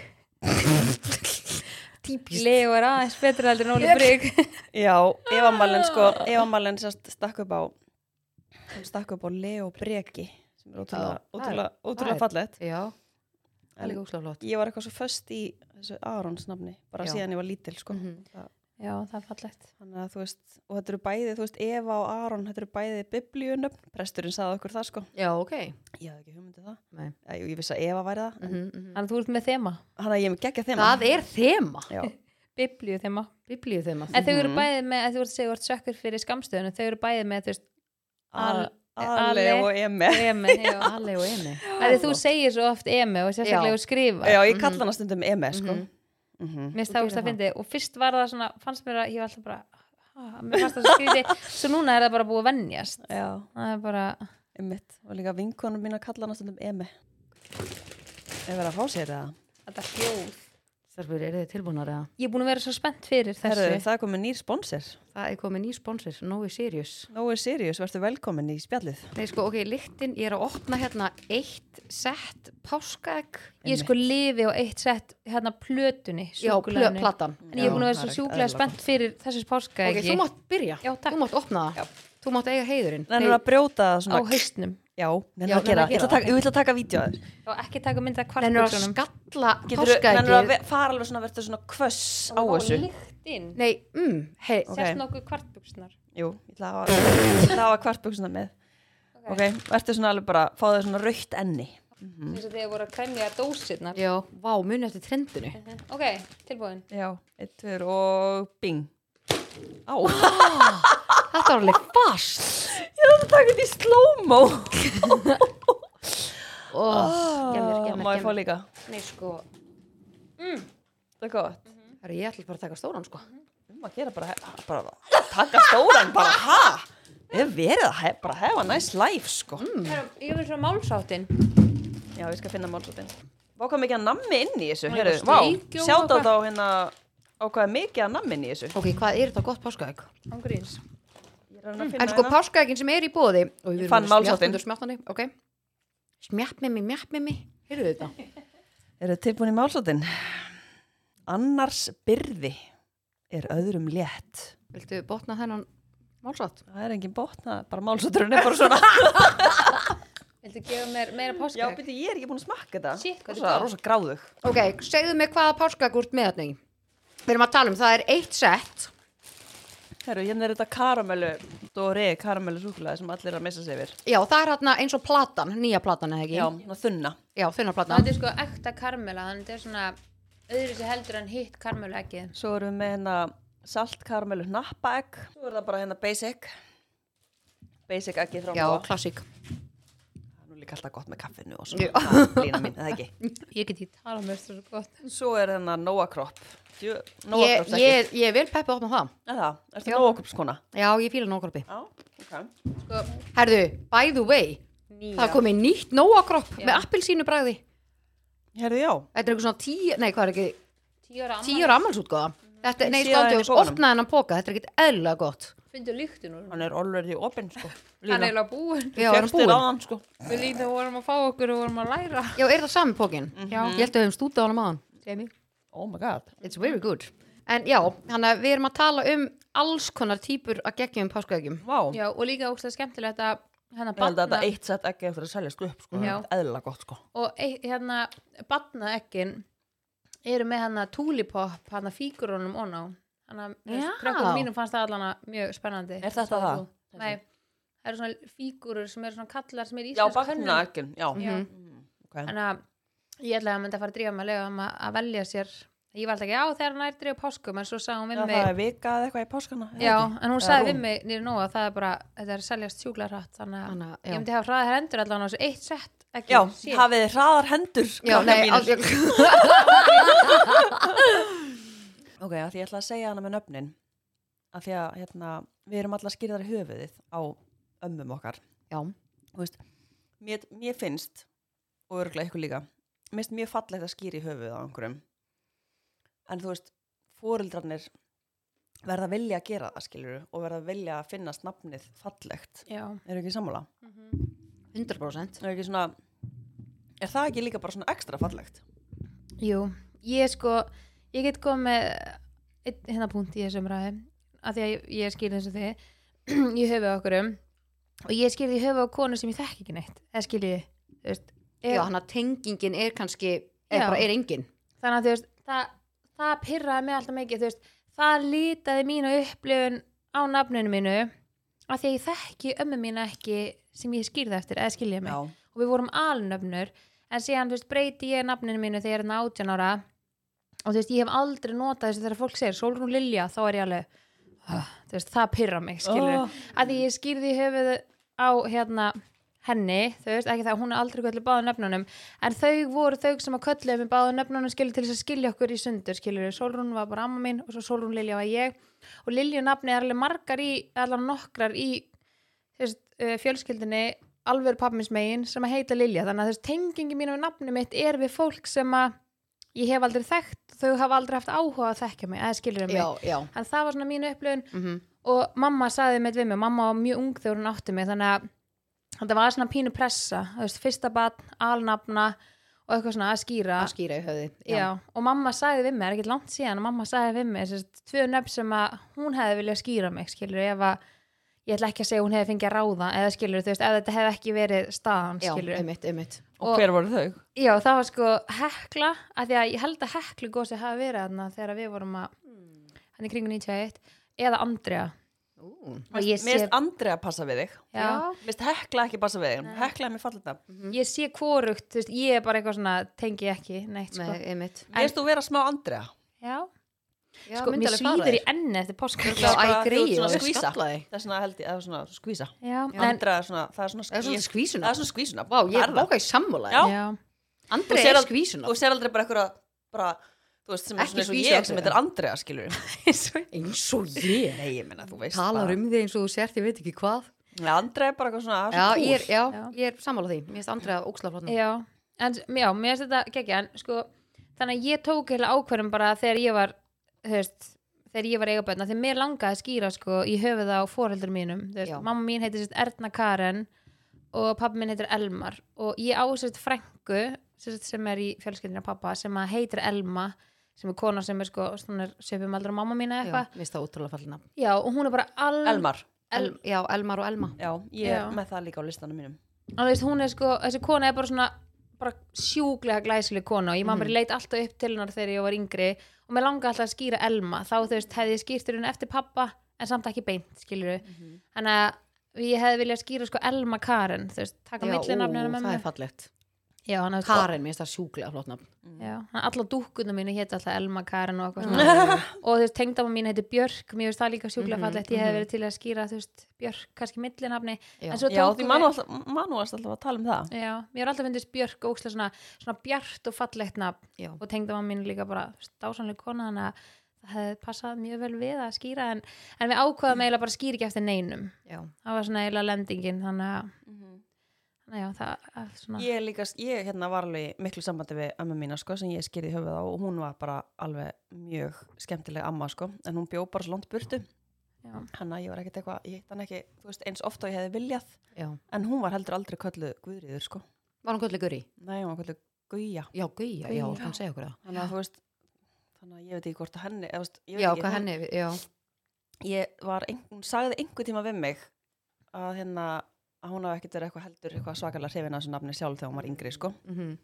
Speaker 3: Típist
Speaker 2: Leo er aðeins betur heldur en Óli Prík
Speaker 1: já, Eva Malen sko, Eva Malen sérst stakk upp á hún stakk upp á Leo Breki sem er
Speaker 3: Já,
Speaker 1: ótrúlega,
Speaker 3: það er-
Speaker 1: ótrúlega,
Speaker 3: það
Speaker 1: ótrúlega
Speaker 3: er-
Speaker 1: fallegt
Speaker 3: Já, það er
Speaker 1: en
Speaker 3: líka úslega flott
Speaker 1: ég var eitthvað svo föst í þessu Arons nafni, bara
Speaker 3: Já.
Speaker 1: síðan ég var lítil sko.
Speaker 3: Mhm.
Speaker 1: það,
Speaker 2: já, það er fallegt
Speaker 1: þannig að þú veist, og þetta eru bæði þú veist, Eva og Aron, þetta eru bæði biblíunöfn, presturinn sagði okkur það sko
Speaker 3: Já, ok
Speaker 1: ég hafði ekki hugmyndið það,
Speaker 3: Nei.
Speaker 1: Æ, jú, ég vissi að Eva væri það mm
Speaker 3: Mhm, mhm.
Speaker 2: þannig að þú ert með þema,
Speaker 1: hann að ég hef geggja þeim
Speaker 3: Það er þema
Speaker 1: Já,
Speaker 2: biblíu þema
Speaker 3: Biblíu þema
Speaker 2: en þau eru
Speaker 1: Mhm.
Speaker 2: bæði með, að þú ert að segja þú ert sökkur fyrir skamstöðunum, þau eru bæði með þú veist, Al-
Speaker 1: Ale
Speaker 2: Ale.
Speaker 1: og Eme
Speaker 2: emi já.
Speaker 3: Alli og Emi
Speaker 2: Þegar þú segir svo oft emi og
Speaker 3: Já.
Speaker 2: sérstaklega og skrifa
Speaker 1: já, ég kalla hana stundum Eme sko
Speaker 3: Mhm.
Speaker 1: mm -hmm.
Speaker 2: Mér
Speaker 3: Þú
Speaker 2: stáðist
Speaker 3: gerir
Speaker 2: að
Speaker 3: það.
Speaker 2: fyndi og fyrst var það svona, fannst mér að ég var alltaf bara "Ah, mér fannst það svo skrýti, svo núna er það bara búið að venjast
Speaker 1: já,
Speaker 2: það er bara,
Speaker 1: Emmitt, og líka vinkonum mín að kalla hana stundum Eme ég verið að fá sér það
Speaker 2: þetta er hljóð
Speaker 3: Þarfur, eru þið tilbúnar eða?
Speaker 2: Ég er búin að vera svo spennt fyrir þessu
Speaker 1: Herru, það er komið nýr sponsor
Speaker 3: Það er komið ný sponsor, Nói Sirius
Speaker 1: Nói Sirius, verður velkomin í spjallið
Speaker 3: Nei, sko, ok, lyktin, ég er að opna hérna eitt sett páskaegg
Speaker 2: Ég sko lifi á eitt sett hérna plötunni,
Speaker 3: Já, plö,
Speaker 2: súkulegni
Speaker 3: platan
Speaker 2: En ég er búin að vera
Speaker 1: Já, það
Speaker 2: svo
Speaker 1: er
Speaker 2: sjúklega
Speaker 1: ekkert
Speaker 2: spennt fyrir þessu páska
Speaker 3: Ok, þú mátt byrja,
Speaker 2: Já, takk.
Speaker 3: þú mátt opna það Þú mátt eiga heiðurinn
Speaker 1: Nennir að brjóta það
Speaker 2: á
Speaker 1: svona
Speaker 2: haustnum
Speaker 1: Já, nennir
Speaker 3: Já,
Speaker 1: að gera Ég ætla
Speaker 3: nennirðu að gera
Speaker 1: að taka, ég ætla að taka vídeo
Speaker 2: og ekki taka mynda
Speaker 3: Nennir að
Speaker 2: kvartbuxunum
Speaker 3: skalla
Speaker 1: Nennir að
Speaker 3: páskaeggið
Speaker 1: ve- fara alveg svona verður svona kvöss á þessu
Speaker 2: Líktinn,
Speaker 3: Nei, mm, hei,
Speaker 1: Ok.
Speaker 2: sérst nokkuð kvartbuxunar
Speaker 1: Jú, ég ætla að hafa- ég ætla að hafa kvartbuksuna með
Speaker 2: Ok.
Speaker 1: Ok, verður svona alveg bara fá þér svona raukt enni Mm.
Speaker 2: eins og þegar voru að kremja dósirnar
Speaker 3: já, vá, muni eftir trendinu
Speaker 2: Ok, tilbúin
Speaker 1: Já, eitt, tveir og bing Á,
Speaker 3: Þetta var alveg fast
Speaker 1: ég ætla að taka þetta í slow-mo
Speaker 3: oh,
Speaker 1: Ah,
Speaker 3: gemir,
Speaker 1: Má
Speaker 3: gemir,
Speaker 1: ég fá
Speaker 3: gemir.
Speaker 1: líka?
Speaker 3: Nei, sko,
Speaker 1: Það er gott
Speaker 3: herru, ég ætla bara að taka stóran sko.
Speaker 1: Um að gera bara, bara taka stóran, bara ha Ég verið að hef, bara hefa nice life sko
Speaker 2: Heru, Ég vil svo málsáttin
Speaker 1: Já, ég skal finna málsóttin. Vá hvað mikið að nammi inn í þessu, heyrðu,
Speaker 2: eitthvað
Speaker 1: vá,
Speaker 2: steikjó og
Speaker 1: sjáta
Speaker 2: eitthvað.
Speaker 1: þá hérna á hvað er mikið að nammi inn í þessu.
Speaker 3: Ok, hvað er þetta gott páskaegg?
Speaker 2: Ángríns
Speaker 1: Ég er að reyna að
Speaker 3: En
Speaker 1: finna
Speaker 3: sko
Speaker 1: hérna.
Speaker 3: páskaeggin sem er í bóði og
Speaker 1: Ég
Speaker 3: við erum
Speaker 1: fann
Speaker 3: að smjatta
Speaker 1: málsháttinn.
Speaker 3: undir smjáttanni, ok Smjatt með mig, mjatt með mig Heyrðu þetta?
Speaker 1: Eru tilbúin í málsóttin? Annars byrði er öðrum létt.
Speaker 3: Viltu botna þennan málsátt?
Speaker 1: Það er engin botna, bara málsótturinn er bara svona.
Speaker 2: Viltu gefa mér meira
Speaker 1: Já,
Speaker 2: páskaegg?
Speaker 1: byrju, ég er ekki búin að smakka þetta.
Speaker 2: Shit, hvað
Speaker 1: þetta
Speaker 2: þetta
Speaker 1: er
Speaker 2: er
Speaker 1: rosa gráðug.
Speaker 3: Ok, segðu mig hvaða páskaegg úr með þarna í Við erum að tala um, það er eitt sett
Speaker 1: Herru, hérna er þetta karamellu, dóri, karamellu súkulega sem allir er að missa sig yfir.
Speaker 3: Já, það er hérna eins og platan, nýja platan eða ekki
Speaker 1: Já, svona þunna.
Speaker 3: Já þunna platan
Speaker 2: Þetta er sko ekta karmela þannig þetta er svona öðru sem heldur en hitt karmela ekki
Speaker 1: Svo erum við með hérna saltkaramellu hnappaegg. Svo er það bara hérna basic. Basic eggi frá
Speaker 3: Já,
Speaker 1: Móa.
Speaker 3: klassík
Speaker 1: Það er nú líka alltaf gott með kaffinu og
Speaker 3: Já.
Speaker 1: svona Ha, lína mín, eða ekki.
Speaker 2: Ég get í tala með þessu svo gott
Speaker 1: Svo er hérna þennan Nóakropp.
Speaker 3: Ég,
Speaker 1: Nóakropp, ekki?
Speaker 3: ég, ég vil peppa opna það
Speaker 1: Er það? Er það Nóakroppskona?
Speaker 3: Já, ég fíla nógkorpi
Speaker 1: Já, ok.
Speaker 2: sko,
Speaker 3: Herðu, by the way,
Speaker 2: nýja.
Speaker 3: það er komið nýtt nóakropp
Speaker 2: Já.
Speaker 3: með appelsínu bræði
Speaker 1: Herðu, já.
Speaker 3: Þetta er eitthvað svona tíu, nei hvað er ekki,
Speaker 2: Tíu ára amma
Speaker 3: tíu ára ammalsútgáða Þetta, nei,
Speaker 1: Ég sé
Speaker 3: sko,
Speaker 1: það hérna í
Speaker 3: skándi og
Speaker 1: pokanum.
Speaker 3: opnaði hennan póka, þetta er ekkit eðlilega gott
Speaker 2: Fundu lyktin úr honum.
Speaker 1: Hann er already open, sko.
Speaker 2: Hann er eiginlega búinn.
Speaker 3: Já, er hann
Speaker 1: Fjöxtir á
Speaker 3: búinn?
Speaker 1: hann, sko.
Speaker 2: Við lítum vorum að fá okkur og vorum að læra
Speaker 3: Já, er það sami pókin?
Speaker 2: Já.
Speaker 3: Ég held að við höfum stútið á hann maðan
Speaker 2: Jamie
Speaker 1: Oh my god.
Speaker 3: It's very good En já, hann að við erum að tala um alls konar típur að geggjum páskaðegjum
Speaker 1: Vá. Ég
Speaker 2: Já, og líka ógstlega skemmtilegt að hérna
Speaker 1: held að þetta
Speaker 2: batna
Speaker 1: eitt sett ekki eftir að seljast upp, sko.
Speaker 2: Já.
Speaker 1: Þetta er Eðlilega gott, sko.
Speaker 2: og eitt, hérna batna ekkin eru með hérna tulipop hérna fíkurunum og ná þannig
Speaker 3: Já.
Speaker 2: að krökkum mínum fannst það allana mjög spennandi
Speaker 1: Er þetta
Speaker 2: Svo
Speaker 1: það?
Speaker 2: þú- Nei, það eru svona fígurur sem eru svona kallar sem eru
Speaker 1: Já,
Speaker 2: íslensk
Speaker 1: bakna ekki. Já.
Speaker 2: Já.
Speaker 1: Mm, ok.
Speaker 2: Þannig að ég ætlaði að myndi að fara að drífa með lögum að, að velja sér ég var alltaf ekki á þegar hann er drífa páskum en svo sagði hún
Speaker 1: Já,
Speaker 2: við
Speaker 1: Það
Speaker 2: mig
Speaker 1: er vika eða eitthvað í páskana. er það
Speaker 2: Já,
Speaker 1: ekki?
Speaker 2: en hún
Speaker 1: Eða
Speaker 2: sagði
Speaker 1: rúm.
Speaker 2: við mig nýri nóg að það er bara, þetta er að seljast sjúklega hratt þannig að
Speaker 3: Þannig að,
Speaker 2: ég
Speaker 3: já.
Speaker 2: myndi hafa hraðar hendur allan á þessu eitt sett ekki,
Speaker 1: Já,
Speaker 2: shit.
Speaker 1: hafið þið hraðar hendur,
Speaker 3: Já,
Speaker 1: krakkar
Speaker 3: nei,
Speaker 1: mínir.
Speaker 3: al-
Speaker 1: Ó, Ok, af því ég ætla að segja hana með nöfnin af því að hérna, við erum allar skýrðar í höfuðið á ömmum okkar
Speaker 3: Já,
Speaker 1: Þú veist, mér, mér finnst og örgulega ykkur líka mér finnst mjög fallegt að skýra í höfuðið á einhverjum en þú veist fóreldrarnir verða að vilja að gera það skilur og verða að vilja að finnast nafnið fallegt
Speaker 2: já,
Speaker 1: eru ekki sammála?
Speaker 3: 100%
Speaker 1: Er, ekki svona, er það ekki líka bara svona ekstra fallegt?
Speaker 2: Jú, ég sko ég get komið með einn hérna punkt í þessum ræði af því að ég, ég skil þessu þið ég höfuð okkur um og ég skil því höfuð á konu sem ég þekki ekki neitt eða skil ég, þú veist
Speaker 3: Já,
Speaker 2: ef,
Speaker 3: hann að tengingin er kannski er
Speaker 2: Já.
Speaker 3: bara er engin
Speaker 2: þannig að þú veist það, það pyrraði mig alltaf mikið þú veist, það lítaði mínu upplifun á nafninu mínu af því að ég þekki ömmu mína ekki sem ég skýrði eftir eða skil ég mig og við vorum alnöfnur en síðan þú veist, breyti ég nafninu mínu þegar ég er 18 ára og þú veist, ég hef aldrei notað þessu þegar fólk segir Solrún Lilja, þá er ég alveg "Ah", þú veist, það pyrra mig, skilur
Speaker 1: Oh.
Speaker 2: oh. að því ég skýrði í höfuð á hérna henni, þú veist, ekki það hún er aldrei köllu báðu nöfnunum, en þau voru þau sem að kölluðu með báðu nöfnunum skilur til þess að skilja okkur í sundur, skilur Solrún var bara amma mín og svo Solrún Lilja var ég og Lilju nafni er alveg margar í allan nokkrar í þú veist, eh, fjölskyldinni alveg pappins megin sem að heita Lilja þannig að þessi tengingi mín við nafni mitt er við fólk sem að ég hef aldrei þekkt þau hafa aldrei haft áhuga að þekka mig eða skilur mig,
Speaker 3: Já, já
Speaker 2: en það var svona mín upplöfun
Speaker 3: mm
Speaker 2: og mamma saði með við mig, mamma var mjög ung þegar hún átti mig þannig að þetta var svona pínu pressa, þú veist, fyrsta batn, alnafna og eitthvað svona að skýra
Speaker 3: Að skýra í höfði
Speaker 2: já. og mamma saði við mig, er ekki langt síðan og mamma saði við mig, þessi tvö nöfn sem að hún hefði viljað skýra mig, skilur ef að ég ætla ekki að segja að hún hefði fengið að ráða eða skilur, þú veist, ef þetta hefði ekki verið staðan,
Speaker 3: já
Speaker 2: skilur
Speaker 3: einmitt, einmitt
Speaker 1: og,
Speaker 2: Og-
Speaker 1: hver voru þau?
Speaker 2: já, það var sko hekla, af því að ég held að heklu gósi hafi verið þarna þegar við vorum að
Speaker 1: Hmm.
Speaker 2: hann í kringu 91, eða Andrea
Speaker 3: Ú.
Speaker 2: og ég
Speaker 1: Mér
Speaker 2: sé,
Speaker 1: finnst Andri að passa við þig
Speaker 2: já,
Speaker 1: Mér finnst Hekla ekki passa við þig Hekla er mér fallegt nafn
Speaker 3: Mhm.
Speaker 2: ég sé kvorugt, þú veist, ég er bara eitthvað svona tengi ekki, neitt, sko
Speaker 3: Nei, einmitt
Speaker 1: Mér finnst þú vera smá Andri
Speaker 2: já,
Speaker 3: Já,
Speaker 2: sko,
Speaker 3: myndi
Speaker 2: mér
Speaker 3: alveg fara
Speaker 2: svíður í
Speaker 3: þér.
Speaker 2: enni eftir páska
Speaker 3: Já, æ,
Speaker 1: Bara, þú
Speaker 3: greyið,
Speaker 1: ert svona
Speaker 3: alveg
Speaker 1: skvísa.
Speaker 3: skallaði.
Speaker 1: Það er svona held ég, það er svona skvísa
Speaker 2: já, en,
Speaker 1: Andra er svona, það er svona,
Speaker 3: Það er svona
Speaker 1: ég-
Speaker 3: skvísuna
Speaker 1: það er svona skvísuna
Speaker 3: Vá, ég
Speaker 1: Það
Speaker 3: er
Speaker 1: er það.
Speaker 3: bóka í sammála
Speaker 1: Já.
Speaker 2: já
Speaker 3: Andri
Speaker 1: Þú sér
Speaker 3: er
Speaker 1: að-
Speaker 3: skvísuna
Speaker 1: Þú sér aldrei bara einhverja bara, þú veist, sem er
Speaker 3: Ekki
Speaker 1: svona eins og
Speaker 3: skvísu
Speaker 1: ég sem
Speaker 3: Andrea.
Speaker 1: heitir Andrea, skilur
Speaker 2: Svo-
Speaker 3: Eins og ég
Speaker 1: Nei, ég minna, þú veist
Speaker 3: Talar
Speaker 1: bara.
Speaker 3: um þig eins og þú sért, ég veit ekki hvað
Speaker 1: Nei, Andrea er bara eitthvað svona, það er
Speaker 3: Já,
Speaker 1: svona
Speaker 3: ég er,
Speaker 1: kúl.
Speaker 3: já,
Speaker 2: Já.
Speaker 3: ég er sammála því Mér finnst Andri að óksla flotna
Speaker 2: já, en já, mér finnst þetta geggja en sko, þannig að ég tók heila ákvörðum bara þegar ég var þú veist, þegar ég var eigaböðna, þegar mér langaði að skýra sko, í höfuð á foreldur mínum þú veist,
Speaker 3: Já.
Speaker 2: mamma mín heitir sérst Erna Karen og pappa mín heitir Elmar og ég á sérst frængu sérst, sem er í fjölskyldinu af pappa sem að heitir Elma sem er kona sem er sko svona söpum aldra mamma mína
Speaker 3: Já,
Speaker 2: eitthvað
Speaker 3: mér finnst það ótrúlega falna
Speaker 2: já. og hún er bara al
Speaker 1: Elmar,
Speaker 3: El, Já, Elmar og Elma
Speaker 1: já, ég er
Speaker 2: Já.
Speaker 1: með það líka á listanum mínum
Speaker 2: og þú veist, hún er sko, þessi kona er bara svona bara sjúklega glæsileg kona og ég
Speaker 3: Mhm.
Speaker 2: maður mm leit alltaf upp til hennar þegar ég var yngri og mér langaði alltaf að skýra Elma þá þú veist, hefði ég skýrt henni eftir pappa en samt ekki beint, skilur við
Speaker 3: Mhm.
Speaker 2: þannig að ég hefði viljað skýra sko Elma Karen, þú veist, taka
Speaker 3: Já,
Speaker 2: millinafni hennar
Speaker 3: ú, það
Speaker 2: mömmu
Speaker 3: er fallegt
Speaker 2: já, hann hefði
Speaker 3: Karen, mér finnst það sjúklega flotna
Speaker 2: já, hann- allar dúkkunum mínu hétt alltaf Elma Karen og eitthvað svona
Speaker 1: Nei,
Speaker 2: og þú veist, tengdama mín heiti Björk mér veist það líka sjúklega
Speaker 3: Mhm,
Speaker 2: fallegt, ég hefði
Speaker 3: mhm.
Speaker 2: verið til að skýra þú veist, Björk, kannski millinafni
Speaker 3: Já.
Speaker 2: en svo
Speaker 1: Já,
Speaker 2: tókum
Speaker 1: því
Speaker 2: við-
Speaker 1: manu alltaf, manu varst alltaf að tala um það
Speaker 2: Já, mér er alltaf fyndist Björk ókslega svona, svona bjart og fallegt nafn
Speaker 3: Já,
Speaker 2: og tengda mamma mín er líka bara dásanlega kona þannig að það hefði passað mjög vel við að skýra en, en við ákvaðum eiginlega bara að skýra ekki eftir neinum
Speaker 3: já,
Speaker 2: það var svona eiginlega lendingin þannig að,
Speaker 3: Mhm.
Speaker 2: þannig að já, það að svona,
Speaker 1: Ég er líka, ég hérna var alveg í miklu sambandi við amma mína, sko, sem ég skýrði í höfuð á og hún var bara alveg mjög skemmtileg amma, sko, en hún bjó bara svo langt burtu
Speaker 2: já,
Speaker 1: hann að ég var ekkert eitthvað, ég hitt hann ekki þú veist, eins ofta og ég hefði viljað
Speaker 3: já
Speaker 1: en hún var heldur aldrei kölluð Guðriður sko
Speaker 3: Var hann kvöldlega guri?
Speaker 1: nei, hún var kölluð Guðja
Speaker 3: Já, Guðja, já,
Speaker 2: Gauja.
Speaker 3: hann segja okkur það
Speaker 1: þannig að þú veist, þannig að ég veit ekki hvort að henni eða, þú veist, ég veit
Speaker 3: Já,
Speaker 1: ekki,
Speaker 3: hvað
Speaker 1: hún-
Speaker 3: henni, já,
Speaker 1: ég var, ein, hún sagði einhver tíma við mig að hérna að hún hafi ekkert verið eitthvað heldur eitthvað svakalega hrifin að þessu nafni sjálf þegar hún var yngri sko
Speaker 3: mm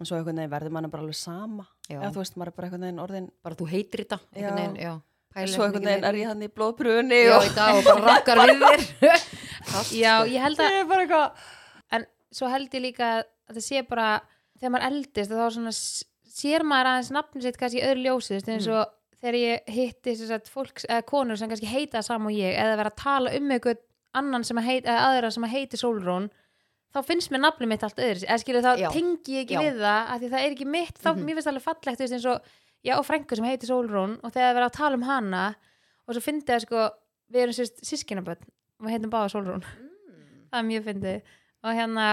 Speaker 1: en svo einhvern veginn verður mann bara alveg sama
Speaker 3: já.
Speaker 1: eða þú veist, maður er bara einhvern veginn orðin
Speaker 3: bara þú heitir þetta
Speaker 1: Já.
Speaker 3: einhvern veginn, já. Pælir
Speaker 1: svo
Speaker 3: ekki
Speaker 1: einhvern veginn
Speaker 3: meira
Speaker 1: er
Speaker 3: í-
Speaker 1: ég hann í blóðbrunni
Speaker 3: já,
Speaker 1: og
Speaker 3: í dag og bara rakkar við þér
Speaker 2: já,
Speaker 1: sko.
Speaker 2: ég held að
Speaker 1: ég er bara eitthvað
Speaker 2: svo held ég líka að það sé bara þegar maður eldist þá svona s- sér maður aðeins nafnum sitt kannski í öðru ljósi þú veist,
Speaker 3: Mm.
Speaker 2: eins og þegar ég hitti þess að fólks eða konur sem kannski heita saman og ég eða vera að tala um einhvern annan sem að heita eða aðra sem að heiti Solrún þá finnst mér nafnum mitt allt öðru eða skilur þá
Speaker 3: Já.
Speaker 2: tengi ég ekki
Speaker 3: Já. Mhm.
Speaker 2: við það af því það er ekki mitt þá mér finnst það alveg fallegt þú veist, eins og já, og frængu sem heiti Sólrún og þegar við erum að tala um hana og svo fyndið að sko, við erum sérst sískinabönd og við heitum báða Sólrún það er mjög fyndið og hérna,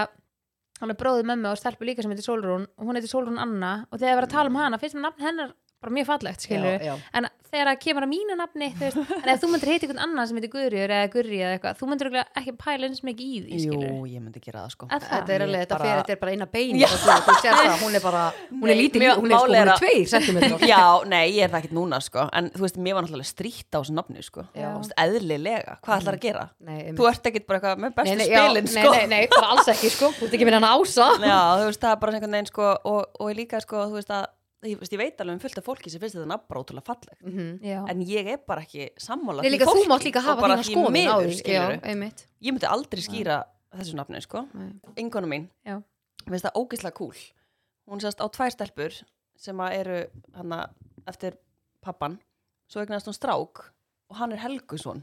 Speaker 2: hann er bróðið mömmu og stelpur líka sem heitir Sólrún og hún heitir Sólrún Anna og þegar við erum að tala um hana, finnst mér nafn hennar bara mjög fallegt, skilur
Speaker 3: já, já.
Speaker 2: en þegar það kemur að mínu nafni þú veist, en ef þú myndir heita einhvern annan sem heitir Guðriður eða Gurri eða eitthvað, þú myndir örugglega ekki pæla eins mikið í því,
Speaker 1: Jú,
Speaker 2: skilur
Speaker 1: ég myndi gera það sko.
Speaker 2: Að það?
Speaker 3: Þetta er alveg, þetta
Speaker 1: Bara-
Speaker 3: fer, þetta er bara eina bein og þú, þú sér það, hún er bara, hún er
Speaker 1: Nei,
Speaker 3: lítið,
Speaker 1: mjög-
Speaker 3: hún er sko, hún
Speaker 1: máli er
Speaker 3: er
Speaker 1: að-
Speaker 3: tveir sentimetrar.
Speaker 1: Já, nei, ég er það ekkert núna sko. En þú veist, mér var náttúrulega strýtt á þessu nafni sko.
Speaker 2: Já.
Speaker 1: Þú veist, Eðlilega, hvað ætlar að gera?
Speaker 3: Nei, einmitt.
Speaker 1: Þú ert ekkert bara eitthvað með bestu
Speaker 3: Mm. Nei, nei, já,
Speaker 1: spilin sko.
Speaker 3: Nei, nei, nei, bara alls ekki, sko, þú ert ekki minn hann ása.
Speaker 1: Já, þú veist, það er bara einhvern veginn sko og, og líka sko, þú veist að ég, veist, ég veit alveg um fullt af fólki sem finnst þetta nafn bara ótrúlega fallegt
Speaker 2: Já.
Speaker 1: en ég er bara ekki sammála því
Speaker 3: Nei, Mhm. líka þú
Speaker 1: fólki
Speaker 3: mátt líka
Speaker 1: og
Speaker 3: hafa
Speaker 1: bara
Speaker 3: þína
Speaker 1: því
Speaker 3: skoðun á
Speaker 1: miður,
Speaker 3: því, já,
Speaker 1: skilurðu.
Speaker 3: einmitt.
Speaker 1: Ég myndi aldrei skýra þessu nafni sko
Speaker 3: Nei.
Speaker 1: Ingonu mín,
Speaker 2: Já.
Speaker 1: mér finnst það ógislega cool Hún sérst á tvær stelpur sem að eru hana eftir pappan svo eignast hún strák og hann er Helgusson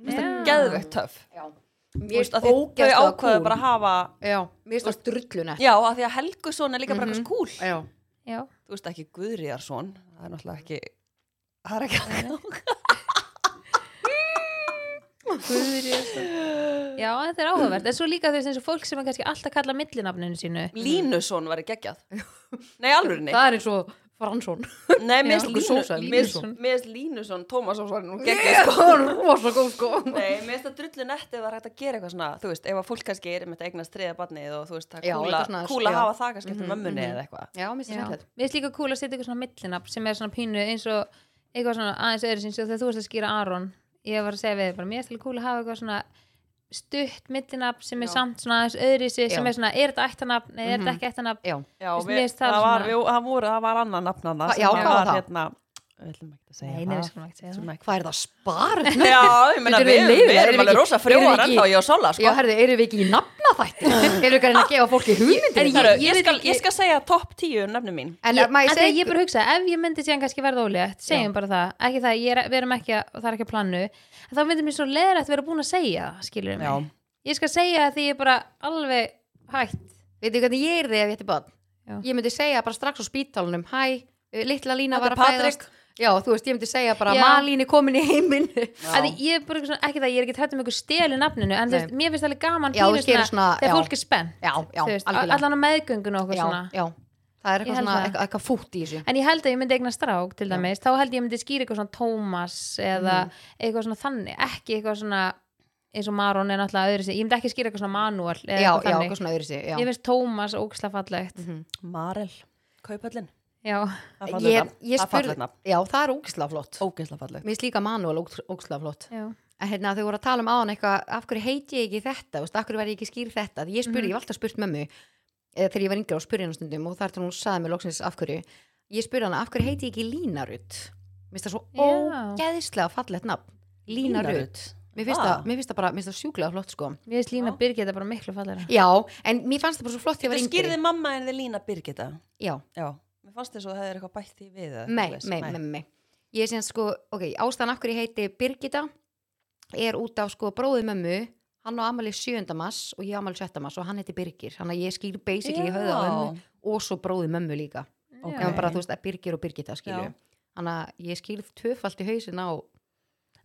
Speaker 1: Mér finnst
Speaker 2: Já.
Speaker 1: það geðvegt töff
Speaker 3: Já.
Speaker 1: Þú
Speaker 3: Mér
Speaker 1: veist,
Speaker 3: finnst
Speaker 1: af því Þau
Speaker 3: Ah. ógeðslega
Speaker 1: ákvaðu bara að hafa
Speaker 3: Já, mér finnst það drullunett.
Speaker 1: Já, af því að Helgusson er líka bara eitthvað skúl
Speaker 3: Mhm. Já.
Speaker 2: Já.
Speaker 1: þú veist ekki Guðriðarsson það er náttúrulega ekki það er ekki
Speaker 2: Já, þetta er áhugavert, en svo líka þau eins og fólk sem er kannski alltaf kalla millinafninu sínu
Speaker 1: Línusson var geggjað nei alveg nei,
Speaker 3: Það er eins og Fransson.
Speaker 1: nei mér
Speaker 3: Já. Sósa,
Speaker 1: finnst
Speaker 3: Línusson.
Speaker 1: Línu- mér finnst Línusson Tómas Ásvar nú geggjað sko
Speaker 3: Rósa góð, sko.
Speaker 1: Nei, mér finnst það drullu nett ef það er hægt að gera eitthvað svona, þú veist, ef að fólk kannski er með þetta eignast þriða barnið og þú veist, það
Speaker 3: Já,
Speaker 1: er kúla,
Speaker 3: eitthvað svona,
Speaker 1: kúla að
Speaker 3: já.
Speaker 1: hafa það kannski eftir
Speaker 3: Mhm,
Speaker 1: mömmunni
Speaker 3: mhm.
Speaker 1: eða eitthvað.
Speaker 3: Já, mér
Speaker 2: Já.
Speaker 3: finnst það
Speaker 2: Mér
Speaker 3: skemmtilegt.
Speaker 2: finnst líka cool að setja eitthvað svona millinafn sem er svona pínu eins og eitthvað svona aðeins öðru sinns og þegar þú varst að skýra Aron ég var að segja við þig bara, mér finnst líka cool að hafa eitthvað svona stutt millinafn sem er
Speaker 3: Já.
Speaker 2: samt svona aðeins öðru sinns
Speaker 3: Já. Mhm.
Speaker 2: sem er svona, er þetta ættanafn eða er þetta ekki ættanafn
Speaker 3: Já.
Speaker 1: Já,
Speaker 2: Veist, mér
Speaker 1: við,
Speaker 2: finnst það
Speaker 1: það, var,
Speaker 2: svona-
Speaker 1: við, það, voru, það var annað nafnana
Speaker 3: Ha- já, hvað var það?
Speaker 1: hérna, við ætlum ekki að segja
Speaker 2: Nei, nei, við skulum ekki segja
Speaker 1: Skulum ekki.
Speaker 3: Hvað er það spart?
Speaker 1: Já, ég meina
Speaker 3: Þetta er
Speaker 1: við, við,
Speaker 3: leiðilegt,
Speaker 1: erum
Speaker 3: erum
Speaker 1: alveg
Speaker 3: ekki-
Speaker 1: rosa
Speaker 3: erum
Speaker 1: frjóar
Speaker 3: ekki-
Speaker 1: ennþá ég og Sola
Speaker 3: Já,
Speaker 1: sko.
Speaker 3: herðu, eru við ekki í nafnaþætti? Eru við ekki að reyna að gefa fólki hugmyndir?
Speaker 1: Ég,
Speaker 3: um það?
Speaker 1: ég, ég, skal, ég skal segja topp 10 nöfnum mín
Speaker 3: En
Speaker 2: Ég, en
Speaker 3: maður
Speaker 2: þegar
Speaker 3: segi-
Speaker 2: ég bara hugsa, ef ég myndi síðan kannski verða ólétt, segjum bara það, ekki það, ég er, við erum ekki, að- það er ekki að planu, en þá myndi mér svo leðrætt vera búin að segja, það, skilur mig.
Speaker 1: Já.
Speaker 2: Ég skal segja það því ég er bara alveg hætt.
Speaker 3: Veitu hvernig ég er þið ef ég ætti bann?
Speaker 2: Já.
Speaker 3: Ég myndi segja bara strax á spítalunum Hæ, uh, litla Lína
Speaker 1: Þetta
Speaker 3: var
Speaker 1: er
Speaker 3: að
Speaker 1: Patrik.
Speaker 3: fæðast Já, þú veist, ég myndi segja bara
Speaker 2: Já.
Speaker 3: Malín er komin í heiminn
Speaker 1: Já.
Speaker 2: Að ég er bara eitthvað svona, ekki það, ég er ekki trætt um eitthvað stelu nafninu, en þú
Speaker 3: Nei.
Speaker 2: veist, mér finnst það alveg gaman
Speaker 3: Já,
Speaker 2: pínu
Speaker 3: þú gerir svona-
Speaker 2: þegar
Speaker 3: já.
Speaker 2: fólk er spennt,
Speaker 3: Já, já,
Speaker 2: þú veist,
Speaker 3: algjörlega.
Speaker 2: allan á meðgöngun og okkur
Speaker 3: Já,
Speaker 2: svona.
Speaker 3: já, það
Speaker 2: Ég
Speaker 3: er
Speaker 2: held
Speaker 3: eitthvað, svona,
Speaker 2: það.
Speaker 3: eitthvað, eitthvað fútt í þessu
Speaker 2: En ég held að ég myndi eigna strák til dæmis, þá held ég ég myndi skýra eitthvað svona Tómas eða
Speaker 3: Mhm.
Speaker 2: eitthvað svona þannig, ekki eitthvað svona eins og Maron er náttúrulega öðru sér, ég myndi ekki skýra eitthvað svona Manuel eða
Speaker 3: Já,
Speaker 2: eitthvað
Speaker 3: já, Mhm.
Speaker 2: þannig.
Speaker 3: eitthvað svona öðru sig
Speaker 2: Ég finnst Tómas ógislega fallegt
Speaker 1: Marel, Kaupöllin
Speaker 2: Já,
Speaker 1: Það fallið
Speaker 3: ég,
Speaker 1: nafn,
Speaker 3: ég
Speaker 1: það
Speaker 3: spurði,
Speaker 1: fallið nafn,
Speaker 3: já, það er ógislega flott
Speaker 1: ógeðslega fallið
Speaker 3: Mér finnst líka Manuel ógislega flott
Speaker 2: já,
Speaker 3: En hérna þau voru að tala um aðan eitthvað, af hverju heiti ég ekki þetta, veist, af hverju var ég ekki skýr þetta, því ég spurði,
Speaker 1: Mhm.
Speaker 3: ég var alltaf spurt mömmu, eða þegar ég var yngri og spurði hennar stundum og þar til hún saði mér loksins af hverju, ég spurði hana, af hverju heiti ég ekki Lína Rutt? Mér finnst það svo
Speaker 2: Já.
Speaker 3: ógeðislega fallegt nafn,
Speaker 1: Lína
Speaker 3: Lína Rutt.
Speaker 1: Rut.
Speaker 3: Mér finnst
Speaker 1: Ah.
Speaker 3: það, mér finnst það bara, mér finnst það sjúklega flott sko.
Speaker 2: mér finnst Lína
Speaker 1: Já.
Speaker 2: Birgitta bara miklu fallera
Speaker 3: Já, en mér fannst það bara svo flott
Speaker 1: Þetta
Speaker 3: þegar ég var yngri.
Speaker 1: skýrði mamma en þið Lína Birgitta
Speaker 3: Já,
Speaker 1: Já, mér fannst þess að það er eitthvað bætt því við eða
Speaker 3: mei,
Speaker 1: eitthvað
Speaker 3: mei,
Speaker 1: svoleiðis.
Speaker 3: mei, mei. Ég sé sko, ok, ástæðan af hverju ég heiti Birgitta er út af sko bróði mömmu, hann á amali 7. mass og ég á amali 7. mass og hann heiti Birgir, þannig að ég skýr basically í höfðu á mömmu
Speaker 1: Já.
Speaker 3: og svo bróði mömmu líka.
Speaker 1: Ok.
Speaker 3: Okay. Bara, þú veist, að Birgir og Birgitta skilju.
Speaker 1: Já.
Speaker 3: Þannig að ég skýrð tvöfalt í hausin á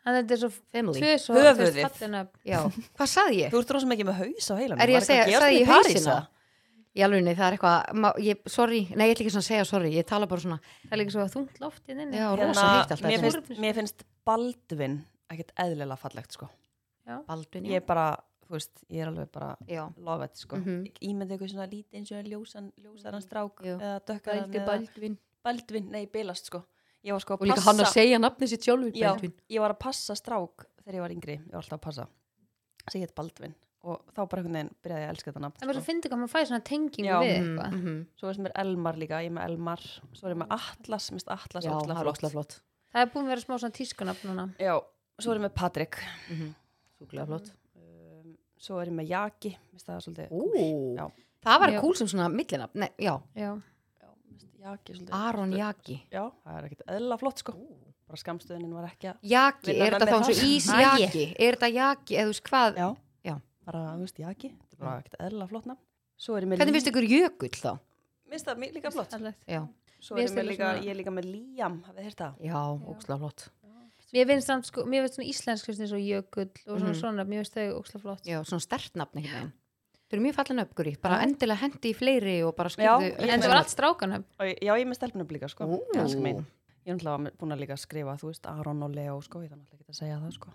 Speaker 2: En þetta er svo
Speaker 3: family.
Speaker 2: tvö svo
Speaker 1: Höfuðið.
Speaker 2: þú veist, fallin nöfn.
Speaker 3: Já, hvað saði ég?
Speaker 1: Þú ert rosa mikið með haus á heilanum
Speaker 3: Er
Speaker 1: Var
Speaker 3: ég að
Speaker 1: eitthvað
Speaker 3: segja, sagði
Speaker 1: gerast
Speaker 3: ég
Speaker 1: í París,
Speaker 3: hausina?
Speaker 1: eða?
Speaker 3: Í alveg, það er eitthvað, ma- ég, sorry, nei, ég ætla ekki svona að segja sorry, ég tala bara svona,
Speaker 2: Það er líka svo þungt loft í þinni
Speaker 3: já, rosa
Speaker 1: Hérna,
Speaker 3: heitt alltaf.
Speaker 1: mér
Speaker 3: þetta.
Speaker 1: finnst, mér finnst Baldvin ekkert eðlilega fallegt sko.
Speaker 3: Baldvin, já.
Speaker 1: ég er bara, þú veist, ég er alveg bara
Speaker 3: já.
Speaker 1: love it sko. mm
Speaker 3: Mhm. Mm,
Speaker 1: -hmm. ímyndi eitthvað svona lítið eins og en ljósan, ljósaran strák
Speaker 3: Jú.
Speaker 1: eða dökkaran
Speaker 3: Baldi,
Speaker 1: eða
Speaker 3: Baldvin.
Speaker 1: Baldvin, nei bilast sko. ég var sko
Speaker 3: Og
Speaker 1: að
Speaker 3: líka hann að
Speaker 1: passa
Speaker 3: segja nafni sitt sjálfur,
Speaker 1: Já.
Speaker 3: Baldvin.
Speaker 1: ég var að passa strák þegar ég var yngri ég var alltaf að passa, sem ég heit Baldvin og þá bara einhvern veginn byrjaði ég að elska þetta
Speaker 2: Það er
Speaker 1: nafn
Speaker 2: svo
Speaker 1: sko.
Speaker 2: fyndið hvað maður fæði svona tengingu
Speaker 1: Já.
Speaker 2: við
Speaker 3: Mm,
Speaker 2: eitthvað
Speaker 3: mhm.
Speaker 1: svo veist mér Elmar líka, ég er með Elmar svo er ég með Atlas, minnst Atlas
Speaker 3: Já,
Speaker 1: ógeðslega
Speaker 3: það er
Speaker 1: flott.
Speaker 3: óslega flott.
Speaker 2: Það er búin að vera smá svona tískunafn núna
Speaker 1: Já, svo er ég með Patrik
Speaker 3: Sjúklega flott.
Speaker 1: um, svo er ég með Jaki minnst það er svolítið
Speaker 3: Ú,
Speaker 1: Já.
Speaker 3: það var
Speaker 2: Já.
Speaker 3: cool sem svona millinafn, nei, já,
Speaker 2: Já,
Speaker 1: Já, minnst Jaki er svolítið
Speaker 3: Aron Jaki.
Speaker 1: Já, það er ekkert eðla flott sko bara skamstöðunin var ekki að
Speaker 3: Jaki,
Speaker 1: Vinna
Speaker 3: er
Speaker 1: með
Speaker 3: þetta þá
Speaker 1: mér
Speaker 3: eins og
Speaker 1: þar.
Speaker 3: ís
Speaker 2: Æi.
Speaker 3: Jaki? Er þetta Jaki, eða þú veist hvað?
Speaker 1: Já,
Speaker 3: Já.
Speaker 1: bara, þú veist, Jaki þetta er bara ekkert eðla flott nafn svo er ég með
Speaker 3: Hvernig finnst ykkur jökull þá?
Speaker 1: Minnst það mér líka flott
Speaker 2: allveg
Speaker 3: Já.
Speaker 1: Svo
Speaker 2: Mér
Speaker 1: erum
Speaker 2: finnst
Speaker 1: við
Speaker 2: þetta
Speaker 1: líka,
Speaker 2: svona-
Speaker 1: ég er líka með Liam, hafið þér það?
Speaker 3: Já, ókslega flott.
Speaker 2: Mér finnst samt, sko, mér finnst svona íslensk eins og jökull og svona
Speaker 3: Mhm.
Speaker 2: svona, mér finnst þau ókslega flott.
Speaker 3: Já, svona stertnafn ekki meginn. Þau eru mjög fallin uppgur í, bara endilega hendi í fleiri og bara
Speaker 1: Já,
Speaker 3: skipðu
Speaker 1: ég-
Speaker 2: En það var allt strákanöfn.
Speaker 1: Og, ég- já, ég er með stelpunum líka, sko.
Speaker 3: Ú.
Speaker 1: Ég er alls mín. Ég er náttúrulega búin að líka skrifa, þú veist, Aron og Leo, sko, ég er náttúrulega ekki að segja það, sko.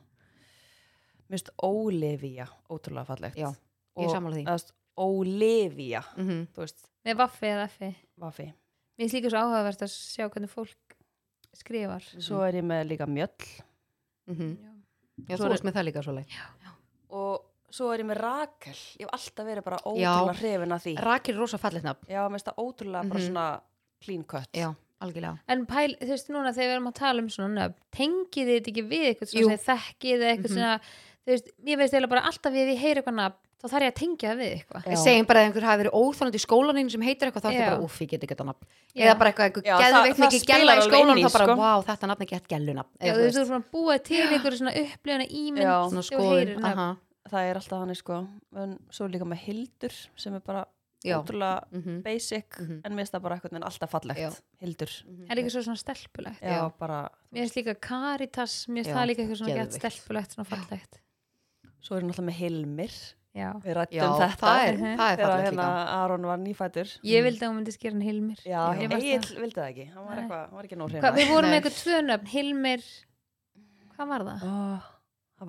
Speaker 1: Mér finnst Olivia ótrúlega fallegt.
Speaker 3: Já, ég er
Speaker 1: Og,
Speaker 3: sammála
Speaker 1: eða, þú
Speaker 3: því.
Speaker 1: veist, Olivia,
Speaker 3: Mm -hmm.
Speaker 1: þú veist,
Speaker 2: Nei, vaffi eða effi.
Speaker 1: Vafi.
Speaker 2: Mér finnst líka svo áhugavert að sjá hvernig fólk skrifar.
Speaker 3: Mhm.
Speaker 1: Svo er ég með líka Mjöll
Speaker 3: Mm.
Speaker 2: Já.
Speaker 3: Já,
Speaker 1: Svo
Speaker 3: þú
Speaker 1: er-
Speaker 3: veist með það líka svo leið.
Speaker 1: og svo er ég með Rakel. Ég hef alltaf verið bara
Speaker 3: Já.
Speaker 1: ótrúlega hrifin að því.
Speaker 3: Rakir er rosa fallið nafn.
Speaker 1: Já, mér finnst það ótrúlega bara
Speaker 3: Mhm.
Speaker 1: svona clean cut.
Speaker 3: Já, algjörlega.
Speaker 2: En pæl, þú veist núna þegar við erum að tala um svona nöfn, tengið þið þetta ekki við eitthvað
Speaker 3: Jú.
Speaker 2: svona sem þekkið eða eitthvað
Speaker 3: Mhm.
Speaker 2: svona, þú veist, ég veist eiginlega bara alltaf við ég heyri eitthvað nafn, þá þarf ég að tengja það við eitthvað.
Speaker 3: Við segjum bara að einhver hafi verið óþólandi í skólaninu sem heitir eitthvað, þá er
Speaker 2: Já.
Speaker 3: þetta bara, uff, ég get ekki þetta nafn.
Speaker 2: Já.
Speaker 3: Eða bara eitthvað, einhver
Speaker 1: Já,
Speaker 3: geðveikt
Speaker 1: það-
Speaker 3: mikið
Speaker 1: það
Speaker 3: gæla
Speaker 1: spilar
Speaker 3: í
Speaker 1: alveg
Speaker 3: skólanum,
Speaker 1: inn í,
Speaker 3: þá bara,
Speaker 1: sko.
Speaker 3: wow, þetta nafn er ekki hægt gælunafn.
Speaker 2: Já, þú veist, þú erum svona búið til eitthvað svona upplifuna ímynd
Speaker 1: Já.
Speaker 3: svona
Speaker 2: þegar þú heyrir
Speaker 3: skoðun.
Speaker 2: nöfn.
Speaker 3: aha,
Speaker 1: Það er alltaf hann, sko. En svo er líka með Hildur sem er bara
Speaker 3: Já.
Speaker 1: ótrúlega
Speaker 3: mhm,
Speaker 1: basic
Speaker 3: Mhm.
Speaker 1: en mér finnst það bara eitthvað en alltaf fallegt.
Speaker 3: Já.
Speaker 1: Hildur.
Speaker 2: Það er líka svo svona stelpulegt.
Speaker 1: Já,
Speaker 3: Já.
Speaker 1: bara.
Speaker 2: Mér finnst líka Caritas, mér
Speaker 3: Já,
Speaker 2: finnst það líka eitthvað svona gett
Speaker 3: geðveikt.
Speaker 2: stelpulegt, svona fallegt.
Speaker 1: Svo er hann alltaf með Hilmir.
Speaker 2: Já.
Speaker 1: Við rættum
Speaker 3: Já,
Speaker 1: Um þetta.
Speaker 3: það er,
Speaker 2: Mhm.
Speaker 3: það er
Speaker 1: Þegar
Speaker 3: fallið
Speaker 1: hérna
Speaker 3: líka.
Speaker 1: Aron var nýfætur.
Speaker 2: Ég vildi að hún myndi skera hann Hilmir.
Speaker 1: Já,
Speaker 2: Ég
Speaker 1: Egil
Speaker 2: varst það.
Speaker 1: vildi það ekki. Hann var,
Speaker 2: Nei.
Speaker 1: eitthvað, hann var ekki nóg
Speaker 2: Hva,
Speaker 1: hreina.
Speaker 2: við vorum
Speaker 3: Nei.
Speaker 2: með eitthvað tvö nöfn, Hilmir hvað var það?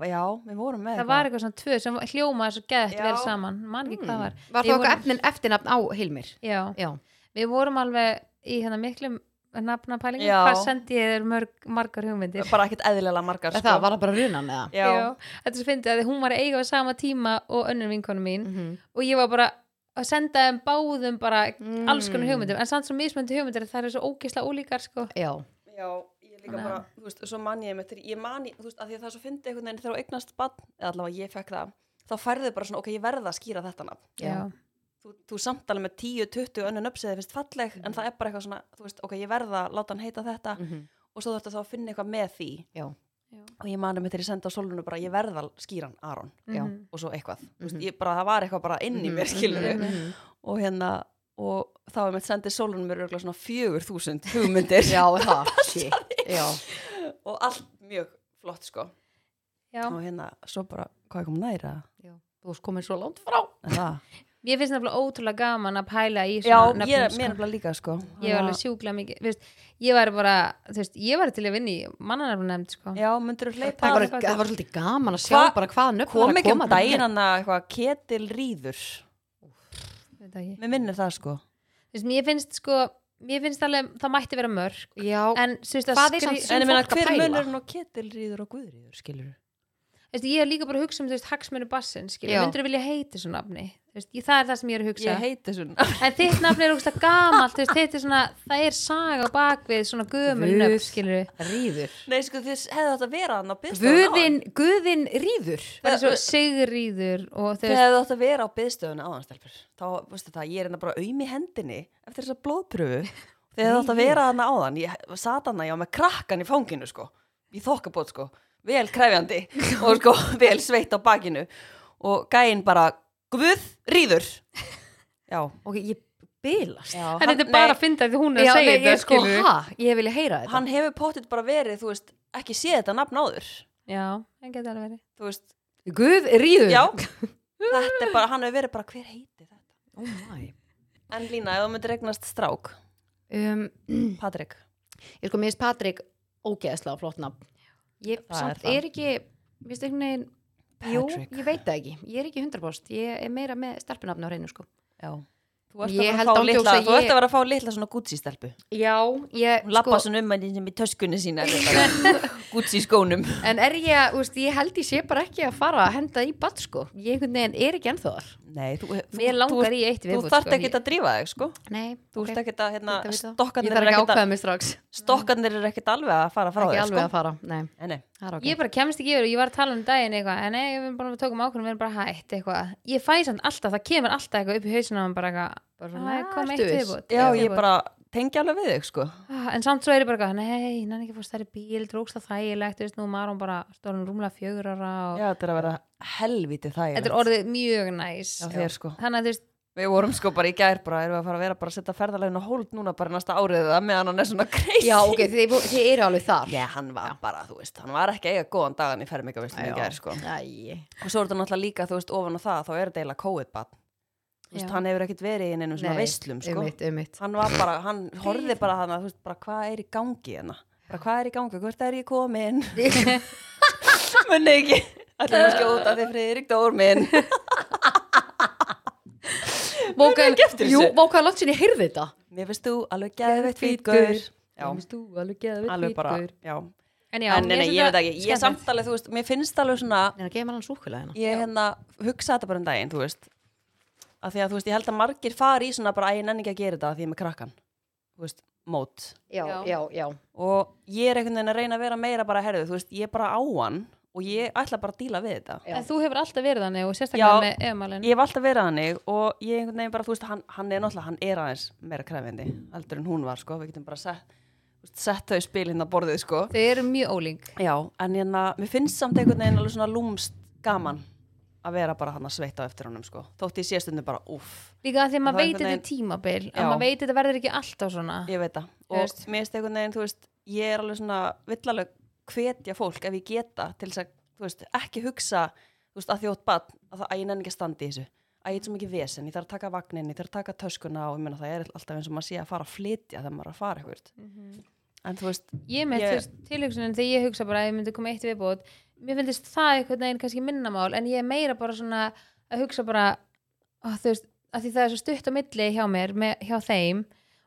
Speaker 1: Já, við vorum með
Speaker 2: það var eitthvað svona tvö sem hljómaði svo geðt
Speaker 1: Já.
Speaker 2: vel saman, man ekki
Speaker 1: Mm.
Speaker 2: hvað var
Speaker 3: Var
Speaker 2: Við
Speaker 3: það okkar
Speaker 2: vorum-
Speaker 3: efnin eftirnafn á Hilmir?
Speaker 2: já,
Speaker 3: Mm. Já.
Speaker 2: við vorum alveg í hérna miklum nafnapælingum,
Speaker 1: Já.
Speaker 2: hvað sendi ég þér mörg, margar hugmyndir
Speaker 1: Bara ekkert eðlilega margar,
Speaker 3: Það var það bara runan eða?
Speaker 1: Sko. Já.
Speaker 2: þetta er svo fyndið að hún var að eiga á sama tíma og önnur vinkonu mín
Speaker 3: Mhm.
Speaker 2: og ég var bara að senda þeim báðum bara
Speaker 3: Mm.
Speaker 2: alls konar hugmyndir en samt svo mismöndi hugmyndir það er svo ógisla ólíkar sko
Speaker 3: Já.
Speaker 1: Já, ég líka
Speaker 2: Þannig að-
Speaker 1: bara, þú veist, svo man ég með ég man, í- þú veist, að því að það er svo fyndið einhvern veginn þegar þú eignast bann, eða allavega ég fekk það, þá færðu bara svona, ok, ég verða að skýra þetta nafn.
Speaker 3: Já.
Speaker 1: Þú, þú samt alveg með 10-20 önnun uppsið, finnst falleg, en það er bara eitthvað svona, þú veist, ok, ég verða að láta hann heita þetta
Speaker 3: Mhm.
Speaker 1: og svo þarftu þá að finna eitthvað með því.
Speaker 3: Já.
Speaker 2: Já.
Speaker 1: Og ég mani með þegar ég senda á solunum bara, ég verða að skýra hann Aron
Speaker 3: Já.
Speaker 2: Mhm.
Speaker 1: og svo eitthvað. Þú veist,
Speaker 3: Mhm.
Speaker 1: ég bara, það var eitthvað bara inn í mér, skilur
Speaker 2: mhm.
Speaker 1: Og hérna, og þá er með sendið solunum mér örgulega svona 4000 hugmyndir
Speaker 3: Já, það, shit. Já.
Speaker 1: og allt mjög flott, sko.
Speaker 2: Já.
Speaker 1: og hérna, svo bara, hvað er kom næra?
Speaker 3: Já. Þú varst komin svo langt frá.
Speaker 1: En það?
Speaker 2: ég finnst nefnilega ótrúlega gaman að pæla í
Speaker 1: Já,
Speaker 2: svona
Speaker 1: ég,
Speaker 2: sko.
Speaker 1: mér er bara líka, sko.
Speaker 2: ég var alveg sjúkla mikið þú veist, ég var bara, þú veist, ég var til að vinna í mannarnarfum nefnd sko.
Speaker 1: Já, myndur þú hleypa?
Speaker 3: Það var,
Speaker 2: er gott.
Speaker 3: það var svolítið gaman að sjá
Speaker 1: Hva-
Speaker 3: bara hvaða nöfn
Speaker 1: kom ekki um
Speaker 3: þarna.
Speaker 1: daginn hann að eitthvað ketilrýður.
Speaker 2: Ég veit það ekki.
Speaker 1: Mér minnir það, sko.
Speaker 2: Þú veist, mér finnst sko mér finnst alveg, það mætti vera mörg
Speaker 3: Já,
Speaker 2: en þú veist, að
Speaker 3: Hvað er
Speaker 2: skri-
Speaker 3: samt-
Speaker 1: En ég meina,
Speaker 3: fólk að
Speaker 1: hver
Speaker 3: pæla.
Speaker 1: munur nú ketilrýður og guðrýður, skilur þú?
Speaker 2: Þú veist, ég er líka bara að hugsa um þú veist, hagsmennu bassin, skilur,
Speaker 3: Já.
Speaker 2: myndur vilja heiti svo nafni Þú veist, ég, það er það sem ég er að hugsa
Speaker 1: Ég heiti svona.
Speaker 2: en þitt nafni er ógst að gamalt þú veist, þetta er svona, það er saga á bakvið svona gömul
Speaker 3: Guð.
Speaker 2: nöfn, skilur
Speaker 3: ríður.
Speaker 1: Nei, sko, þið hefðu þetta vera hann á byggstofunni
Speaker 3: Guðin, guðin ríður.
Speaker 2: bara svo sigriður og þú
Speaker 1: Þið
Speaker 2: veist,
Speaker 1: hefðu þetta vera á byggstofunni áðan, stelpur. Þá, veistu það, ég er hérna bara auðm í hendinni eftir þessa blóðpröfu. Þið hefðu þetta vera hann áðan. Ég sat hann að ég var með krakkan í fanginu, sko. Í þokkabót, sko. Vel krefjandi og sko, vel sveitt á bakinu. Og gæinn bara, guð, rýður. Já.
Speaker 3: Ok, ég bylast.
Speaker 1: Já,
Speaker 2: en þetta er bara að finna því hún er að segja
Speaker 3: nei, ég,
Speaker 2: þetta,
Speaker 3: sko,
Speaker 2: skilur
Speaker 3: ha, ég vilja heyra þetta.
Speaker 1: Hann hefur pottit bara verið, þú veist, ekki séð þetta nafn áður.
Speaker 2: já, en geta alveg verið
Speaker 1: Þú veist,
Speaker 3: Guð ríður.
Speaker 1: já. þetta er bara, hann hefur verið bara, hver heiti þetta?
Speaker 3: Oh my.
Speaker 1: En Lína, ef þú myndir regnast strák,
Speaker 3: Um,
Speaker 1: Patrik.
Speaker 3: ég sko, mér finnst Patrik ógeðslega flott nafn. Ég
Speaker 1: Það er
Speaker 3: samt
Speaker 1: það.
Speaker 3: er, ekki, mér finnst einhvern veginn, jú,
Speaker 1: Patrick.
Speaker 3: ég veit það ekki. Ég er ekki 100%, ég er meira með stelpunafni á reynu, sko.
Speaker 1: Já. Þú ert,
Speaker 3: Ég
Speaker 1: að,
Speaker 3: held
Speaker 1: fara að, fá
Speaker 3: án djóks
Speaker 1: litla,
Speaker 3: að
Speaker 1: þú
Speaker 3: ég-
Speaker 1: ert að vera að fá litla svona Gucci-stelpu.
Speaker 3: Já, ég, sko,
Speaker 1: Hún lappa svona um að sem í töskunni sína. Gucci-skónum.
Speaker 3: En er ég, að, þú veist, ég held ég sé bara ekki að fara að henda í bad, sko. Ég einhvern veginn er ekki ennþá þar.
Speaker 1: Nei, þú,
Speaker 2: mér langar í eitt
Speaker 1: Þú,
Speaker 2: viðbútt
Speaker 1: þú þarft ekki að drífa þig, sko.
Speaker 3: Nei,
Speaker 1: Þú ert ekki að, hérna,
Speaker 3: Þetta veit það. Ég
Speaker 1: stokkarnir
Speaker 3: þarf
Speaker 1: eru
Speaker 3: ekki að
Speaker 1: ekkert
Speaker 3: ákveða
Speaker 1: að,
Speaker 3: mig strax.
Speaker 1: stokkarnir eru ekkert alveg að fara frá
Speaker 3: Ekki
Speaker 1: þér,
Speaker 3: alveg
Speaker 1: sko.
Speaker 3: að fara, nei.
Speaker 1: Nei, nei.
Speaker 3: Það er ok.
Speaker 2: Ég bara kemst ekki yfir og ég var að tala um daginn eitthvað en nei, við erum bara að tókum ákvörðum, við erum bara hætt eitthvað Ég fæ samt alltaf, það kemur alltaf eitthvað upp í hausinu og hann bara eitthvað,
Speaker 3: Bara svona,
Speaker 2: "Æ, kom
Speaker 3: ertu
Speaker 2: eitt
Speaker 3: viss?"
Speaker 2: viðbútt
Speaker 1: Já, ég bara tengi alveg við þig, sko.
Speaker 2: Ah, En samt svo er ég bara eitthvað, nei, nann ekki fórst stærri bíl, drókst það þægilegt, þú veist, nú maður hún bara stórnum rúmlega fjögur ára og
Speaker 1: Já, þetta er að vera helviti þægilegt.
Speaker 2: Þetta er orðið mjög næs
Speaker 1: Já, þér, sko.
Speaker 2: Þannig að þú veist,
Speaker 1: Við vorum sko bara í gær bara, erum við að fara að vera bara að setja ferðalegin á hold núna bara næsta árið eða meðan hann er svona kreis.
Speaker 3: Já, ok, þið, þið eru alveg þar
Speaker 1: Já, hann var bara, þú veist, hann var ekki að eiga góðan dagan í fermingavislinni í gær, sko.
Speaker 3: Æ,
Speaker 1: Og svo er þetta náttúrulega líka, þú veist, ofan á það, þá er þetta eiginlega COVID-bann. Þú veist,
Speaker 2: Já.
Speaker 1: hann hefur ekkit verið í neinum svona
Speaker 3: Nei,
Speaker 1: veislum, sko.
Speaker 3: ummitt, ummitt
Speaker 1: Hann var bara, hann horfði bara þannig að, þú veist, bara hvað er í gangi hérna? Bara hvað er í gangi, hvert er ég komin? Munni ekki, allir að skjóta þig friðrik dór minn.
Speaker 3: Vókaði
Speaker 1: ekki eftir
Speaker 3: Jú,
Speaker 1: þessu.
Speaker 3: vókaði langt sinni, heyrði þetta
Speaker 1: Mér finnst þú alveg geðveitt fítgur. Já,
Speaker 3: Þú, alveg geða
Speaker 1: alveg bara, já.
Speaker 2: En já,
Speaker 1: En
Speaker 2: mér
Speaker 1: nei, nei,
Speaker 2: finnst
Speaker 1: ég veit
Speaker 2: þetta
Speaker 1: ekki, ég
Speaker 2: skemmtilegt.
Speaker 1: samt alveg, þú veist, mér finnst alveg svona,
Speaker 3: En að gefa mér hann súkulega hérna
Speaker 1: ég hérna hugsa þetta bara um daginn, þú veist að því að þú veist, ég held að margir fari í svona bara að ég nenni ekki að gera þetta af því ég er með krakkan þú veist, mót
Speaker 3: Já,
Speaker 2: Já.
Speaker 3: já, já
Speaker 1: og ég er einhvern veginn að reyna að vera meira bara herðu, þú veist, ég er bara á hann og ég ætla bara að díla við þetta
Speaker 3: Já.
Speaker 2: En þú hefur alltaf verið þannig og sérstaklega
Speaker 1: Já.
Speaker 2: með eðmalinn
Speaker 1: ég hef alltaf verið þannig og ég einhvern veginn bara, þú veist, hann, hann er náttúrulega, hann er aðeins meira krefjandi, heldur en hún var, sko við getum bara sett, þú veist, sett þau spil hérna á borðið, sko
Speaker 2: Þau eru mjög ólík
Speaker 1: já, en hérna, mér finnst samt einhvern veginn alveg svona lúmst gaman að vera bara hann að sveita eftir honum, sko þótt ég sé stundum bara, uff,
Speaker 2: Líka að því
Speaker 1: Það
Speaker 2: að maður
Speaker 1: er
Speaker 2: veit þetta
Speaker 1: einhvern
Speaker 2: er tímabil
Speaker 1: Já.
Speaker 2: að maður veit þetta verður ekki alltaf svona
Speaker 1: ég veit það
Speaker 2: Þú
Speaker 1: og
Speaker 2: veist.
Speaker 1: mér finnst einhvern veginn, þú veist ég er alveg svona, vill alveg hvetja fólk ef ég geta til þess að, þú veist, ekki hugsa þú veist, að þjótt bann, að, það, að ég nenni ekki að standa í þessu að ég er svo mikið vesen, ég þarf að taka vagnin ég þarf að taka töskuna og ég meina það er alltaf eins og maður sé að fara að flytja þegar maður er að fara eitthvað
Speaker 2: Mhm.
Speaker 1: en þú veist,
Speaker 2: Ég með
Speaker 1: Ég-
Speaker 2: yeah. tilhugsunin þegar ég hugsa bara að ég myndi koma eitt viðbót Mér finnst það einhvern veginn kannski minnamál en ég er meira bara svona að hugsa bara að, veist, að því það er svo stutt á milli hjá mér með, hjá þeim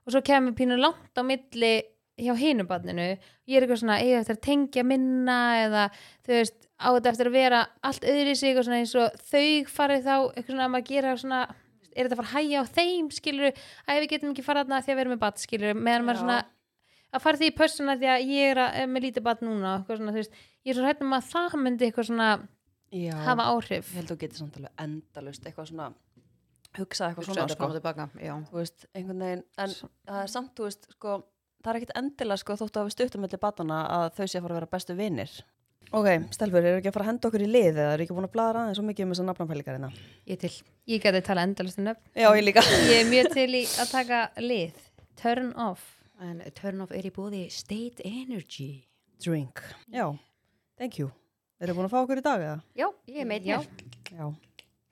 Speaker 2: og svo kemur pínu langt á milli hjá hinu barninu ég er eitthvað svona, eiga eftir að tengja minna eða þú veist, á þetta eftir að vera allt öðru sig og svona eins og þau farið þá, eitthvað svona að maður gera svona er þetta að fara að hægja á þeim skilur að við getum ekki farað þarna því að við erum með bat skilur meðan
Speaker 1: Já.
Speaker 2: maður svona að fara því í pössuna því að ég er að, er með lítið bat núna og eitthvað svona, þú veist, ég er svo hrættum að það myndi eitthvað svona
Speaker 1: já,
Speaker 2: hafa áhrif
Speaker 1: ég held að þú getur samt alveg endalust eitthvað svona, hugsa eitthvað
Speaker 3: Hugsaði
Speaker 1: svona
Speaker 3: þetta
Speaker 1: sko.
Speaker 3: fram og tilbaka Já,
Speaker 1: þú veist, einhvern veginn en það er samt, þú veist, sko það er ekkit endilega, sko, þóttu að við stuttum mellir batana að þau sé að fara að vera bestu vinnir Ok, Stelfur, eru ekki að fara að henda okkur í lið eða eru ekki búin að blara aðeins svo mikið um þessar nafnanfælingarina?
Speaker 3: ég til
Speaker 2: Ég gæti að tala endalist um nöfn.
Speaker 1: Já, ég líka
Speaker 2: Ég er mjög til í að taka lið. Turn off.
Speaker 3: En turn off er í bóði State Energy
Speaker 1: Drink, já, thank you Eru búin að fá okkur í dag eða?
Speaker 3: Já, ég er meitt
Speaker 2: Já.
Speaker 3: mér
Speaker 1: Já,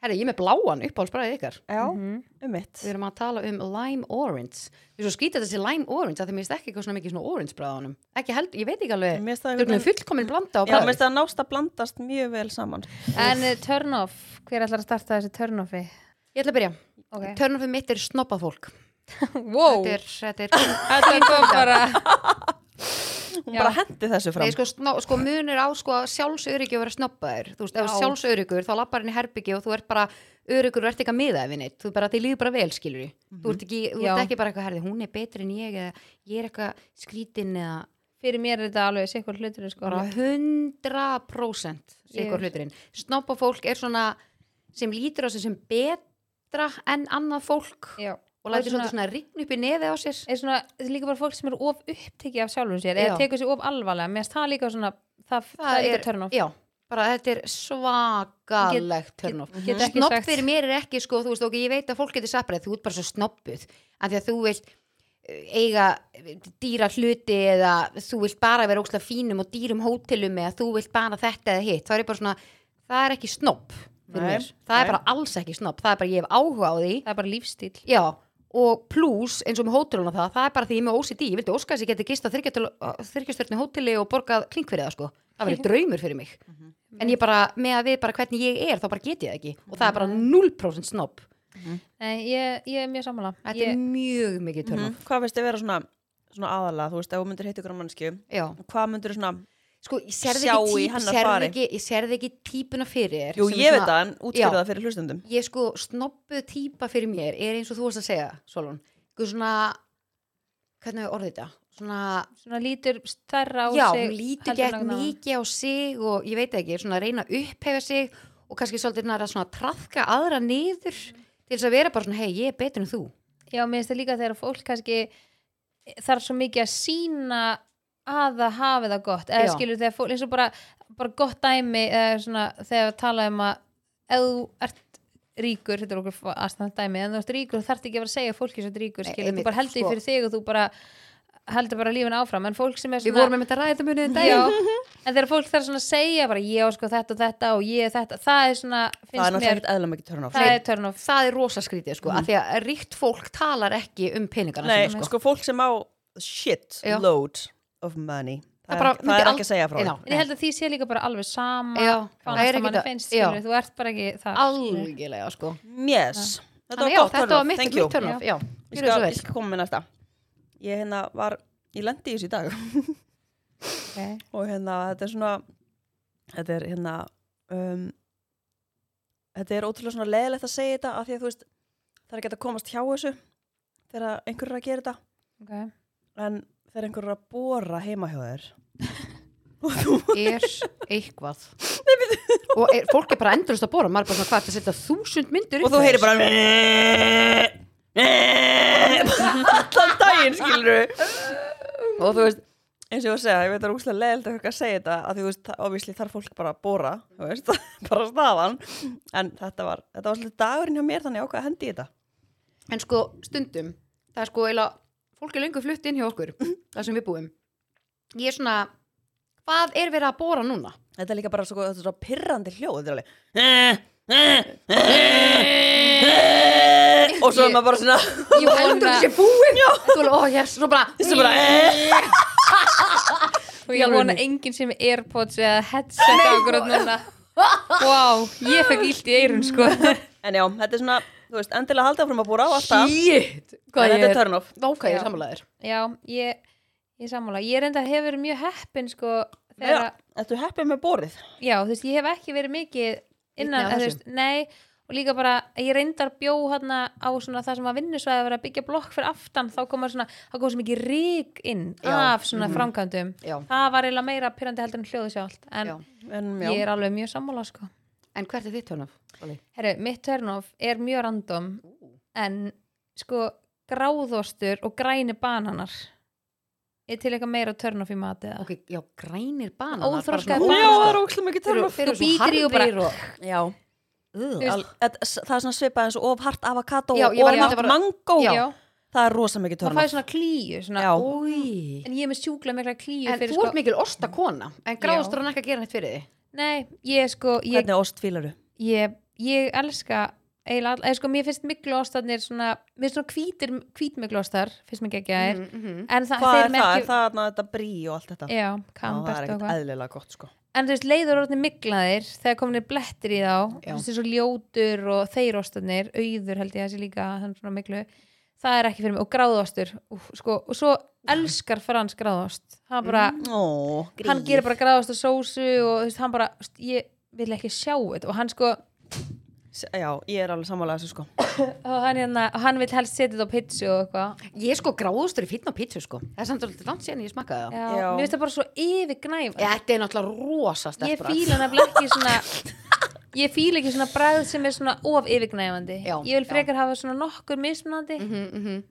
Speaker 3: Herri, ég er með bláan uppáhaldsbræðið ykkar
Speaker 1: já,
Speaker 2: Mhm.
Speaker 1: um mitt
Speaker 3: Við erum að tala um lime orange Við erum svo skrítið þessi lime orange að því mér finnst ekki eitthvað svona mikið svona orange bræðanum Ekki held, ég veit ekki alveg
Speaker 1: Mér finnst það
Speaker 3: Þú erum
Speaker 1: einhvern veginn
Speaker 3: fullkomin blanda á
Speaker 1: Já, mér finnst
Speaker 3: bræðið
Speaker 1: það nást að blandast mjög vel saman
Speaker 2: En eh, turn off. Hver ætlar að starta þessi turn offi?
Speaker 3: Ég ætla að byrja
Speaker 2: Ok.
Speaker 3: Turn offið mitt er snobbað fólk
Speaker 2: Wow.
Speaker 3: Þetta er, þetta er
Speaker 2: Þetta kom bara.
Speaker 1: Hún
Speaker 2: Já.
Speaker 1: bara hendi þessu fram
Speaker 3: Nei, sko, sná, sko munur á sko sjálfsöryggi að vera snobbaður, þú veist, ef
Speaker 1: Já.
Speaker 3: þú sjálfsöryggur þá lappar henni herbyggi og þú ert bara öryggur og ert ekki að miða ef neitt, þú bara, þið líður bara vel skilur þú ert ekki, þú ert
Speaker 2: Já.
Speaker 3: ekki bara eitthvað herði, hún er betri en ég eða ég er eitthvað skrítin eða
Speaker 2: Fyrir mér er þetta alveg sikkur hlutur sko.
Speaker 3: bara 100% sigur
Speaker 2: Ég-
Speaker 3: hluturinn, snobba fólk er svona sem lítur á sig sem betra en annað fólk
Speaker 2: Já.
Speaker 3: og lætur
Speaker 2: svona-
Speaker 3: svona, svona rign upp í nefi á sér
Speaker 2: Er svona, þetta er líka bara fólk sem er of upptekið af sjálfum sér.
Speaker 3: Já.
Speaker 2: Eða tekur sér of alvarlega. Mér finnst það líka svona, það, það, er líka turn off.
Speaker 3: já, bara þetta er svakalegt turn off
Speaker 2: get- get ekki
Speaker 3: snobb
Speaker 2: sagt-
Speaker 3: fyrir mér er ekki sko, þú veist ok, ég veit að fólk getur sapparið, þú ert bara svo snobbuð af því að þú vilt eh, eiga eh, dýra hluti eða þú vilt bara vera ókslega fínum og dýrum hótelum eða þú vilt bara þetta eða hitt, þá er ég bara svona það er ekki snobb fyrir
Speaker 1: Nei,
Speaker 3: mér það
Speaker 1: nei.
Speaker 3: er bara alls ekki snobb, það er bara ég hef áhuga á því
Speaker 2: Það er bara lífstíl.
Speaker 3: já og pluss eins og með hótelun og það, það er bara því ég er með OCD, ég vildi óska þess að ég geti gist á þyrkjastörni hóteli og borgað klinkverið það sko, það verið draumur fyrir mig
Speaker 1: Mhm.
Speaker 3: en ég bara, með að við bara hvernig ég er þá bara get ég það ekki og það er bara
Speaker 1: Mhm.
Speaker 3: 0% snobb,
Speaker 2: Nei, ég, ég er mjög sammála.
Speaker 3: þetta
Speaker 2: Ég,
Speaker 3: er mjög mikið törnum,
Speaker 1: Mhm. Hvað finnst þið vera svona, svona aðalega, þú veist, ef þú myndir heitt ykkur á mannskju
Speaker 3: já
Speaker 1: Hvað myndir svona,
Speaker 3: sko, ég serði
Speaker 1: Sjá
Speaker 3: ekki,
Speaker 1: í
Speaker 3: típ,
Speaker 1: hennar
Speaker 3: serði
Speaker 1: fari.
Speaker 3: ekki, ég serði ekki típuna fyrir þér
Speaker 1: jú
Speaker 3: sem er
Speaker 1: ég veit
Speaker 3: svona-
Speaker 1: það en útskýrðu
Speaker 3: Já.
Speaker 1: það fyrir hlustundum
Speaker 3: ég sko snobbuð típa fyrir mér er eins og þú varst að segja, Solon Einhver svona, hvernig er orðið þetta svona
Speaker 2: svona lítur stærra á
Speaker 3: já,
Speaker 2: sig.
Speaker 3: hún lítur
Speaker 2: heldur en
Speaker 3: gett
Speaker 2: annað.
Speaker 3: mikið á sig og ég veit ekki, svona að reyna að upphefa sig og kannski svolítið næra svona að trafka aðra niður til þess að vera bara svona, hei, ég er betur en þú
Speaker 2: Já, mér finnst það líka þegar fólk kannski þarf svo mikið að sína að það hafi það gott eða
Speaker 3: Já.
Speaker 2: skilur þegar fólk, eins og bara, bara gott dæmi eða svona þegar við tala um að ef þú ert ríkur, þetta er okkur aðstæðan dæmi en þú ert ríkur og þarft ekki að vera að segja fólki sem þú ert ríkur
Speaker 3: Nei,
Speaker 2: skilur, þú
Speaker 3: einmitt,
Speaker 2: bara heldur því
Speaker 3: sko.
Speaker 2: fyrir þig og þú bara heldur bara lífin áfram, en fólk sem er
Speaker 3: Við vorum með Mhm. þetta ræðið munið um en
Speaker 2: Já, en þegar fólk þarf svona að segja bara ég á sko þetta og þetta og ég er þetta það er svona,
Speaker 1: það er
Speaker 2: finnst
Speaker 1: náttúrulega
Speaker 2: mér
Speaker 1: ekkert eðla mikið törn á
Speaker 2: það er törn of
Speaker 3: Það er rosa skrítið sko, af því að ríkt fólk talar ekki um peningana
Speaker 1: Nei,
Speaker 3: sína,
Speaker 1: sko.
Speaker 3: sko.
Speaker 1: fólk sem á shit
Speaker 3: Já.
Speaker 1: load of money
Speaker 3: Það
Speaker 1: það,
Speaker 3: bara
Speaker 1: er,
Speaker 3: myndi
Speaker 1: það er
Speaker 3: ald-
Speaker 1: ekki að segja frá
Speaker 3: Nei,
Speaker 1: því.
Speaker 3: ná,
Speaker 2: en ég held að því sé líka bara alveg sama
Speaker 3: Já,
Speaker 2: hvað
Speaker 3: það er
Speaker 2: það
Speaker 3: ekki
Speaker 2: mann
Speaker 3: það-
Speaker 2: finnst
Speaker 3: já.
Speaker 2: skilur, þú ert bara ekki það
Speaker 3: Algjörlega sko
Speaker 1: yes. þetta
Speaker 3: Þannig
Speaker 1: var
Speaker 3: já,
Speaker 1: gott
Speaker 3: þetta var
Speaker 1: törn
Speaker 3: mitt,
Speaker 1: thank you
Speaker 3: mitt törnof Já,
Speaker 1: ég
Speaker 3: gjörðu
Speaker 1: skal,
Speaker 3: svo
Speaker 1: ég
Speaker 3: vel
Speaker 1: skal koma með næsta ég hérna var, ég lendi í þessu í dag
Speaker 2: okay.
Speaker 1: og hérna þetta er svona þetta er hérna um, þetta er ótrúlega svona leðilegt að segja þetta af því að þú veist það er ekki hægt að komast hjá þessu þegar einhver er að gera þetta
Speaker 2: Okay.
Speaker 1: en þegar einhver er að bóra heima hjá þér
Speaker 3: Er eitthvað Og er, fólk er bara endurist að bóra Maður er bara svona hvað, þetta setja þúsund myndir
Speaker 1: og þú heyrir bara allan daginn skilur og þú veist eins og ég var að segja, ég veit að það er úslega leðilt að eitthvað segja þetta að því þú veist, ofísli þarf fólk bara að bóra þú veist, bara staðan en þetta var, þetta var svolítið dagurinn hjá mér þannig ég ákvað að hendi í þetta
Speaker 3: En sko stundum, það er sko eila, fólk er löngu flutt inn hjá okkur, það sem við búum. Ég er svona, hvað er verið að bóra núna?
Speaker 1: Þetta er líka bara svo, þetta er svo pirrandi hljóð Þetta er alveg Og svo er maður bara svona
Speaker 3: Ég heldur
Speaker 2: vona-
Speaker 3: þessi búin, já. Þú er, ó, yes, svo bara,
Speaker 1: Svo bara eh,
Speaker 2: og ég vona enginn sem er airpods eða headset á okkur núna wow, ég fekk illt í eirun sko
Speaker 1: En já, þetta er svona, þú veist, endilega halda frum að búra á alltaf
Speaker 3: shit,
Speaker 1: En
Speaker 3: hvað
Speaker 1: þetta
Speaker 3: ég
Speaker 1: er
Speaker 3: er,
Speaker 1: turn off
Speaker 3: ok, ég
Speaker 2: Já.
Speaker 3: er sammálaðir.
Speaker 2: já, ég, ég sammála ég reynda hefur verið mjög heppin sko þegar að
Speaker 1: Já, Þetta er heppið með bórið
Speaker 2: já, þú veist, ég hef ekki verið mikið innan,
Speaker 3: Vitni að
Speaker 2: þú veist, nei og líka bara, ég reyndar bjó hérna á svona það sem að vinnusvæði að vera að byggja blokk fyrir aftan, þá koma svona, þá koma svo mikið rík inn
Speaker 3: Já, Mhm.
Speaker 2: af svona framkvæmdum
Speaker 3: Já.
Speaker 2: það var eiginlega meira pyrrandi heldur en hljóðu sjálft en
Speaker 3: Já.
Speaker 1: En já,
Speaker 2: ég er alveg mjög sammála sko
Speaker 3: En hvert er þitt hörnaf?
Speaker 2: Herru, mitt turnoff er mjög random en sko gráðostur og græni bananar er til eitthvað meira turnoff í mati eða
Speaker 3: Ok, já, grænir bananar.
Speaker 1: já
Speaker 2: Óþroskaðir Ah. bananar.
Speaker 1: það er ókslega mikið
Speaker 3: Þeir
Speaker 1: turn
Speaker 3: eru,
Speaker 1: off
Speaker 3: þeir eru
Speaker 2: Þú
Speaker 3: svo
Speaker 2: bítur í og bara-
Speaker 3: harðir og,
Speaker 1: Já
Speaker 3: Ugh.
Speaker 1: al- þetta- Það er svona svipað eins og of hart avokado
Speaker 3: Já,
Speaker 1: og
Speaker 3: ég var-
Speaker 1: of
Speaker 3: já.
Speaker 1: hart mango
Speaker 3: Já.
Speaker 1: Það er rosa mikið
Speaker 2: það
Speaker 1: turn
Speaker 2: fæði
Speaker 1: off
Speaker 2: svona klíu svona,
Speaker 1: Já.
Speaker 3: Új.
Speaker 2: en ég er með sjúkla mikla klíu
Speaker 3: En
Speaker 2: fyrir
Speaker 3: þú ert
Speaker 2: sko,
Speaker 3: mikil ostakona, en gráðastur hann ekki að gera neitt fyrir þið.
Speaker 2: nei, ég sko ég,
Speaker 1: Hvernig ost fílaru?
Speaker 2: ég, ég elska eiginlega all- eða sko, mér finnst miklóstarnir svona, mér finnst svona hvítir hvítmiklóstar, finnst mér ekki að er
Speaker 3: -hmm.
Speaker 2: en
Speaker 1: Mhm.
Speaker 2: það,
Speaker 1: Hvað er það?
Speaker 2: þeir
Speaker 1: Er
Speaker 2: merkju-
Speaker 1: það þarna þetta brí og allt þetta? Já, það
Speaker 2: já,
Speaker 1: er
Speaker 2: kambert og
Speaker 1: ekkert
Speaker 2: eitthvað
Speaker 1: eðlilega gott sko
Speaker 2: en þú veist, leiður orðin miklaðir þegar kominir blettir í þá
Speaker 3: Já.
Speaker 2: þú veist, svo ljótur og þeirostarnir auður held ég að sé líka þannig svona miklu það er ekki fyrir mig, og gráðostur úf, sko, og svo elskar Frans gráðost hann bara,
Speaker 3: Mm,
Speaker 1: Ó,
Speaker 2: hann gerir bara gráðost og sósu og þú veist, hann bara, þú veist, ég vil ekki sjá þetta og hann sko,
Speaker 1: S- Já, ég er alveg sammála þessu sko
Speaker 2: og hann, hérna, hann vil helst setja þetta á pizzu og eitthvað
Speaker 3: Ég er sko gráðastur í fínn á pítsu sko. Það er samt alveg langt síðan ég smakkaði það.
Speaker 2: Já,
Speaker 1: Já.
Speaker 2: mér finnst það bara svo yfirgnæm
Speaker 3: Já, Þetta er náttúrulega rosa
Speaker 2: ég
Speaker 3: stelpur
Speaker 2: fíla nefnilega ekki svona ég fíla ekki svona bræð sem er svona of yfirgnæfandi
Speaker 3: Já,
Speaker 2: ég vil
Speaker 3: já.
Speaker 2: frekar hafa svona nokkur mismunandi
Speaker 3: Mhm.
Speaker 1: Mm.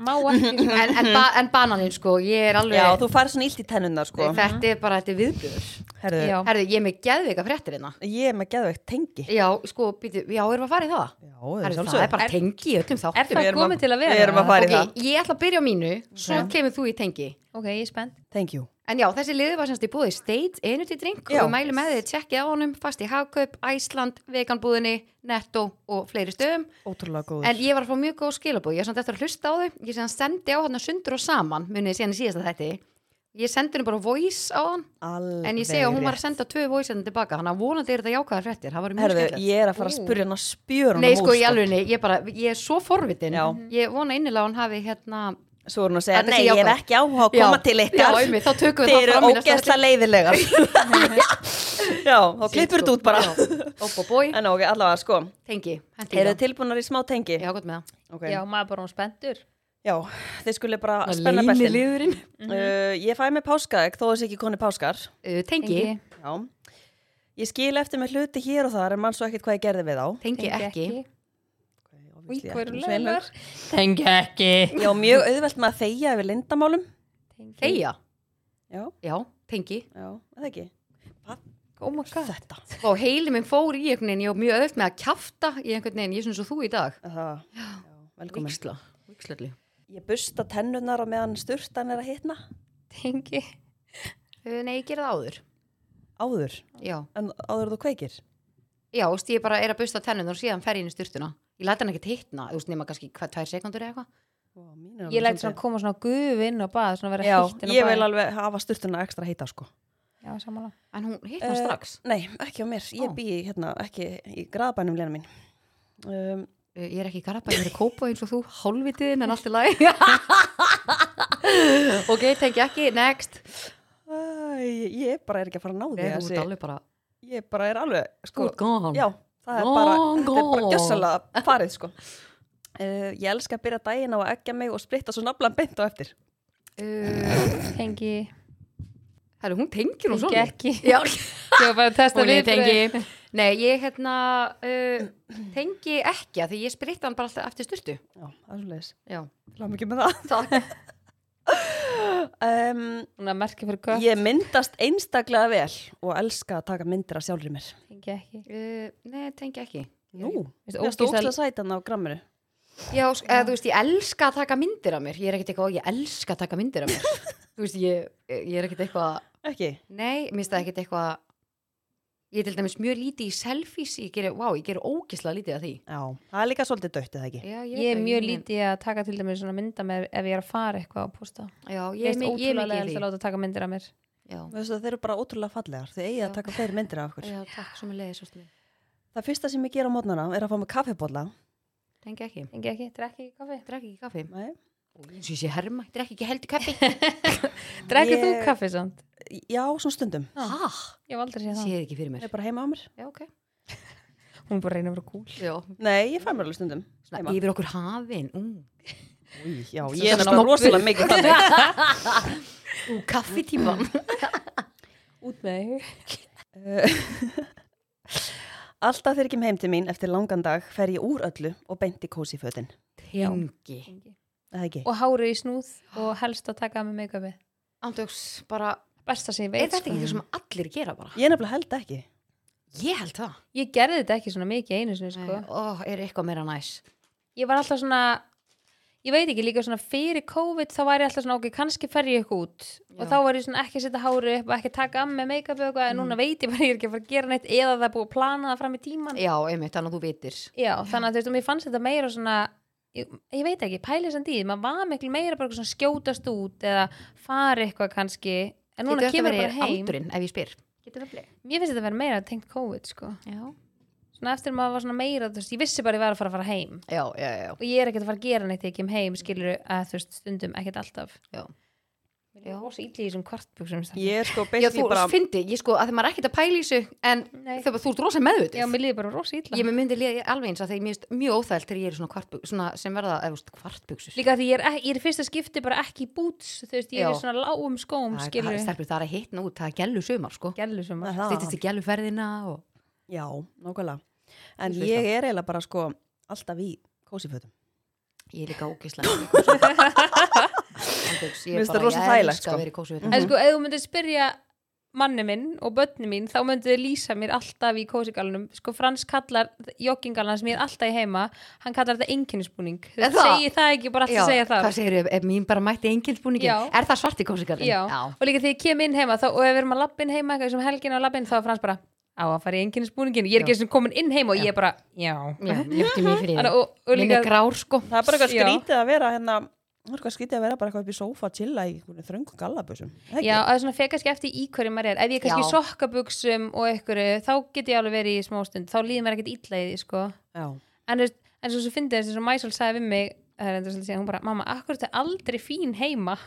Speaker 2: má ekki svona
Speaker 3: en, en, ba en bananinn sko, ég er alveg
Speaker 1: Já, þú fær svona illt í tennunar sko
Speaker 3: Þetta er bara, þetta er viðbjör
Speaker 1: Herðu,
Speaker 2: já,
Speaker 3: Herðu, ég er með geðveika fréttir hérna
Speaker 1: ég er með geðveikt tengi Já,
Speaker 3: Já, sko, býtu, já, erum við að fara í það?
Speaker 1: það er
Speaker 3: Herðu, það
Speaker 1: sjálfsög
Speaker 3: er bara tengi í öllum
Speaker 2: er
Speaker 3: þáttum
Speaker 1: við
Speaker 2: það
Speaker 1: erum að-
Speaker 2: komið til að vera
Speaker 1: við erum að fara í-
Speaker 3: Ok, ég ætla að byrja á mínu Svo kemur þú í tengi
Speaker 2: ok, ég er spennt
Speaker 1: Thank you
Speaker 3: En já, þessi liði var semst í búði State Energy Drink
Speaker 1: Já.
Speaker 3: og mælu með því að tjekkið á honum fast í Hagkaup, Æsland, Veganbúðinni Netto og fleiri stöðum
Speaker 1: Ótrúlega góður
Speaker 3: En ég var að fá mjög góð skilabóð, ég er samt eftir að hlusta á þau, ég síðan sendi á hann sundur og saman, munið síðan í síðasta þætti. Ég sendi henni bara voice á hann,
Speaker 1: Alveg
Speaker 3: en ég segi að hún var
Speaker 1: rétt.
Speaker 3: að senda tvö voice henni tilbaka, þannig að vonandi er þetta jákvæðar fréttir, það var mjög
Speaker 1: Herðu,
Speaker 3: skemmtilegt.
Speaker 1: ég er að fara að spurja hann að spjöra
Speaker 3: Nei, sko, í alvegni, ég bara, ég er svo forvitin, Mhm.
Speaker 1: Já.
Speaker 3: ég vona innilega að hann hafi hérna...
Speaker 1: Svo er hún að segja,
Speaker 3: Þetta sé
Speaker 1: nei, ég er
Speaker 3: jákvætt.
Speaker 1: ekki áhuga að koma
Speaker 3: Já,
Speaker 1: til
Speaker 3: Já,
Speaker 1: ykkar
Speaker 3: einmitt, þá tökum við
Speaker 1: Þeir
Speaker 3: það
Speaker 1: eru
Speaker 3: fram í næsta
Speaker 1: ógeðslega
Speaker 3: þætti.
Speaker 1: leiðilegar Já, þá klippur
Speaker 3: Shit, sko.
Speaker 1: þetta út bara
Speaker 3: Já, Opp og bói,
Speaker 1: En ok, allavega sko
Speaker 3: tengi, hendi
Speaker 1: Eru þið tilbúnar í smá tengi?
Speaker 3: Já, gott með það.
Speaker 1: Ok.
Speaker 2: já, maður bara hún spenntur
Speaker 1: Já, þið skulle bara spenna bestin
Speaker 3: liðurinn.
Speaker 1: uh, Ég fæ mig páskaegg þó þessi ekki koni páskar
Speaker 3: Uh, tengi,
Speaker 2: Tengi.
Speaker 1: Já Ég skil eftir með hluti hér og þar en mann svo ekkert hvað ég gerði við á
Speaker 3: tengi ekki.
Speaker 2: Í
Speaker 1: Obviously
Speaker 2: hverju
Speaker 1: ekki eins og
Speaker 2: leiðar?
Speaker 1: einlægur.
Speaker 2: Tengi ekki
Speaker 1: Já, mjög auðvelt með að þegja yfir lindamálum
Speaker 2: Tengi.
Speaker 3: Þeia,
Speaker 1: Já,
Speaker 3: já, tengi.
Speaker 1: já, er það ekki
Speaker 2: Góð oh my god
Speaker 1: þetta
Speaker 3: og heili minn fór í einhvern veginn, ég var mjög öðvöld með að kjafta í einhvern veginn, ég er svona svo þú í dag
Speaker 1: Það- já, velkomin
Speaker 3: Víksla, víkslalli
Speaker 1: ég busta tennunar á meðan sturtan er að hitna
Speaker 2: tengi
Speaker 3: Nei, ég gera það áður
Speaker 1: áður,
Speaker 3: Já,
Speaker 1: en áður þú kveikir
Speaker 3: já, þú veist, ég bara er að busta tennun og síðan fer ég inn í styrtuna Ég læt hann ekkert hittna, þú veist, nema kannski hvað, tvær sekundur eða eitthvað
Speaker 1: Ó, mín er alveg
Speaker 2: ég læt
Speaker 1: svolítið-
Speaker 2: svona koma svona gufi inn á bað svona vera
Speaker 1: já,
Speaker 2: heitt inn á
Speaker 1: ég
Speaker 2: bað
Speaker 1: vil alveg hafa sturtuna ekstra heita sko
Speaker 2: já, samanlega
Speaker 3: En hún hittna
Speaker 1: Eh,
Speaker 3: strax
Speaker 1: nei, ekki á mér, ég
Speaker 3: Ó.
Speaker 1: bý hérna ekki í graðbænum lena mín um,
Speaker 3: Uh, Ég er ekki í garabæ, ég er að kópa eins og þú Hálfitiðin en allt í lagi Ok, tengi ekki, next
Speaker 1: Æ, ég bara er ekki að fara að ná því
Speaker 3: Nei, þú ert
Speaker 1: þessi-
Speaker 3: alveg bara
Speaker 1: ég bara er alveg sko,
Speaker 3: Good gone
Speaker 1: já, það er
Speaker 3: Long
Speaker 1: bara, þetta er bara
Speaker 3: gone.
Speaker 1: gjössalega farið sko uh, ég elska að byrja daginn á að eggja mig og splitta svo naflan beint á eftir
Speaker 3: Uh,
Speaker 2: tengi
Speaker 3: Herru, hún tengir hún
Speaker 2: tengi
Speaker 3: svona
Speaker 2: ekki
Speaker 3: Já,
Speaker 2: ég var bara að testa
Speaker 3: hún
Speaker 2: viðbrögð.
Speaker 3: er tengi Nei, ég hérna uh, tengi ekki af því ég spritta hann bara alltaf eftir styrtu
Speaker 1: já, það er svolítið
Speaker 3: Já,
Speaker 1: Láum ekki með það.
Speaker 3: takk
Speaker 1: Um,
Speaker 2: hún er merkið fyrir kött
Speaker 1: ég myndast einstaklega vel og elska að taka myndir af sjálfur mér.
Speaker 2: tengi ekki
Speaker 3: uh, Nei, tengi ekki
Speaker 1: Nú,
Speaker 2: Veist,
Speaker 1: það stóð
Speaker 2: ógeðslega-
Speaker 1: óslega sætan á gramminu.
Speaker 3: Já, sk- eða, þú veist, ég elska að taka myndir af mér Ég er ekkert eitthvað, "Ó, ég elska að taka myndir af mér Þú veist, ég, ég er ekkert eitthvað
Speaker 1: Ekki?
Speaker 3: Nei, mér finnst það ekkert eitthvað Ég er til dæmis mjög lítið í selfies Ég gerir, vá, ég gerir ógislega lítið af því
Speaker 1: Já. Það er líka svolítið dött, eða ekki?
Speaker 3: Já,
Speaker 2: ég er
Speaker 3: veit það,
Speaker 2: mjög
Speaker 3: meina-
Speaker 2: lítið í að taka til dæmis svona mynda með ef ég er að fara eitthvað og posta
Speaker 3: Já, ég
Speaker 2: ég
Speaker 3: er
Speaker 2: er
Speaker 3: mi- ég er
Speaker 2: ótrúlega
Speaker 3: mikið
Speaker 2: leðilegt að
Speaker 3: í því
Speaker 2: láta taka myndir af mér
Speaker 3: Já,
Speaker 1: Veistu, þeir eru bara ótrúlega fallegar. Þau eigi
Speaker 3: Já.
Speaker 1: að taka fleiri myndir af okkur.
Speaker 3: já takk, svo mér leiðis
Speaker 1: Það fyrsta sem ég ger á mótnana er að fá mig kaffibólla.
Speaker 3: Tengi ekki
Speaker 2: tengi ekki, drekki ekki kaffi
Speaker 3: Drekki ekki kaffi
Speaker 1: Nei.
Speaker 3: Svo ég sé herma, ég drekki ekki heldur kaffi
Speaker 2: drekki þú
Speaker 1: Ég-
Speaker 2: kaffi samt
Speaker 1: Já, svona stundum.
Speaker 3: Hæ?
Speaker 2: ég hef aldrei séð það
Speaker 3: Sér ekki fyrir mér
Speaker 1: Það er bara heima á mér.
Speaker 3: Já, ok
Speaker 2: hún er bara að reyna að vera cool
Speaker 3: Já
Speaker 1: Nei, ég fæ mér alveg stundum.
Speaker 3: Svona yfir okkur hafin Ú,
Speaker 1: Í, já,
Speaker 3: Svona
Speaker 1: ég er
Speaker 3: snobbuð.
Speaker 1: náttúrulega rosalega mikið þannig.
Speaker 3: Ú kaffitíman
Speaker 2: út með þig
Speaker 1: Alltaf þegar ég kem heim til mín eftir langan dag fer ég úr öllu og beint í kósi fötin.
Speaker 3: Tengi
Speaker 1: Það ekki?
Speaker 2: og hárið í snúð og helst að taka með make-upi
Speaker 3: Andjóks, bara
Speaker 2: besta sem ég
Speaker 3: Er
Speaker 2: veit
Speaker 3: þetta ekki
Speaker 2: sko.
Speaker 3: það sem allir gera bara?
Speaker 1: Ég nefnilega held ekki.
Speaker 3: Ég held það
Speaker 2: ég gerði þetta ekki svona mikið einu sinni sko.
Speaker 3: Ó, er eitthvað meira næs
Speaker 2: ég var alltaf svona ég veit ekki líka svona fyrir COVID þá var ég alltaf svona ok, kannski fer ég eitthvað út og
Speaker 3: Já.
Speaker 2: þá var ég svona ekki að setja hárið upp og ekki að taka am með make-up og eitthvað en
Speaker 3: Mm.
Speaker 2: núna veit ég bara að ég er ekki að fara að gera neitt eða það er búið að plana það fram í tíman
Speaker 3: Já, einmitt, þannig að þú vitir
Speaker 2: Já, þannig að þú veist, og mér fannst þetta meira svona ég, ég veit ekki, pælið samt í því maður var miklu meira bara eitthvað svona skjótast út eða fara eitthvað kannski en núna
Speaker 3: Getur þetta
Speaker 2: kemur bara
Speaker 3: verið
Speaker 2: heim
Speaker 3: aldurinn ef ég spyr
Speaker 2: Mér finnst þetta að vera meira tengt COVID sko.
Speaker 3: Já,
Speaker 2: svona eftir maður var svona meira þú veist, ég vissi bara að ég var að fara að fara heim
Speaker 3: já, já, já,
Speaker 2: og ég er ekkert að fara að gera neitt þegar ég kem heim skilur að þú veist stundum ekkert alltaf
Speaker 3: já.
Speaker 2: Ég er rosa ítli í þessum kvartbuksum
Speaker 1: Ég er sko
Speaker 3: Já,
Speaker 1: basically
Speaker 3: þú
Speaker 1: bara...
Speaker 3: fyndi, ég sko, að því maður er ekkert að pæla í þessu en
Speaker 2: Nei.
Speaker 3: þú, þú ert rosa meðvitið
Speaker 2: Já, mér líður bara rosa ítla
Speaker 3: Ég mér myndi liða alveg eins að því mér finnst mjög óþælt þegar ég er svona, kvartbug, svona sem verða eða, þú veist, kvartbugsur.
Speaker 2: Líka því ég er, ek- ég er í fyrsta skipti bara ekki í boots þú veist, ég er
Speaker 3: Já.
Speaker 2: í svona lágum skóm
Speaker 3: Það
Speaker 2: skilur
Speaker 3: er stelpur, það er að hitna út, það er gælu sumar sko.
Speaker 2: Gælu sem
Speaker 1: Það er
Speaker 2: að
Speaker 1: það.
Speaker 3: Stýttist í gæluferðina og...
Speaker 1: Já, nákvæmlega. En
Speaker 3: Ég sé
Speaker 1: ég er eiginlega bara sko alltaf í kósifötum.
Speaker 3: Ég er líka ógislega. í kósí. Andjóks, ég
Speaker 1: Mér
Speaker 3: er
Speaker 1: finnst það
Speaker 3: bara,
Speaker 1: rosa
Speaker 3: ég
Speaker 1: þægilegt,
Speaker 3: elska
Speaker 1: sko.
Speaker 3: að vera í kósi
Speaker 2: En sko, ef þú myndir spyrja manni minn og börni mín þá myndir þau lýsa mér alltaf í kósigalunum sko Frans kallar joggingalana sem ég er alltaf í heima hann kallar þetta einkennisbúning
Speaker 3: Er
Speaker 2: þú
Speaker 3: það?
Speaker 2: segi það ekki, bara alltaf segja það
Speaker 3: Hvað segir ég, ef mín bara mætti enginn
Speaker 2: Já.
Speaker 3: spúningin? Er það svart í kósikallin?
Speaker 2: Já. og líka þegar ég kem inn heima þá, og ef við erum að labba inn heima eitthvað sem helgin á labbin þá er Frans bara á að fara í einkennisbúningin ég er ekki eins og komin inn heima og ég er bara já,
Speaker 3: Já, ljöfti mér fyrir
Speaker 2: Þannig,
Speaker 3: því.
Speaker 2: Mhm. og, og
Speaker 3: Minn
Speaker 2: líka
Speaker 3: er grár sko.
Speaker 1: Það er bara eitthvað
Speaker 2: Já.
Speaker 1: skrítið að vera hérna, það er eitthvað skrítið að vera bara eitthvað upp í sófa að chilla í einhvern þröngu gallabössum.
Speaker 2: Já, að svona fekast ekki eftir í hverju maður er ef ég er kannski
Speaker 3: Já.
Speaker 2: í sokkabuxum og einhverju þá get ég alveg verið í smástund þá líður mér ekkert illa í því sko
Speaker 1: Já.
Speaker 2: en, þú veist, en svo sem fyndið þess að Mæsól sagði við mig það er endur svolítið síðan, hún bara, mamma, akkur þetta aldrei fín heima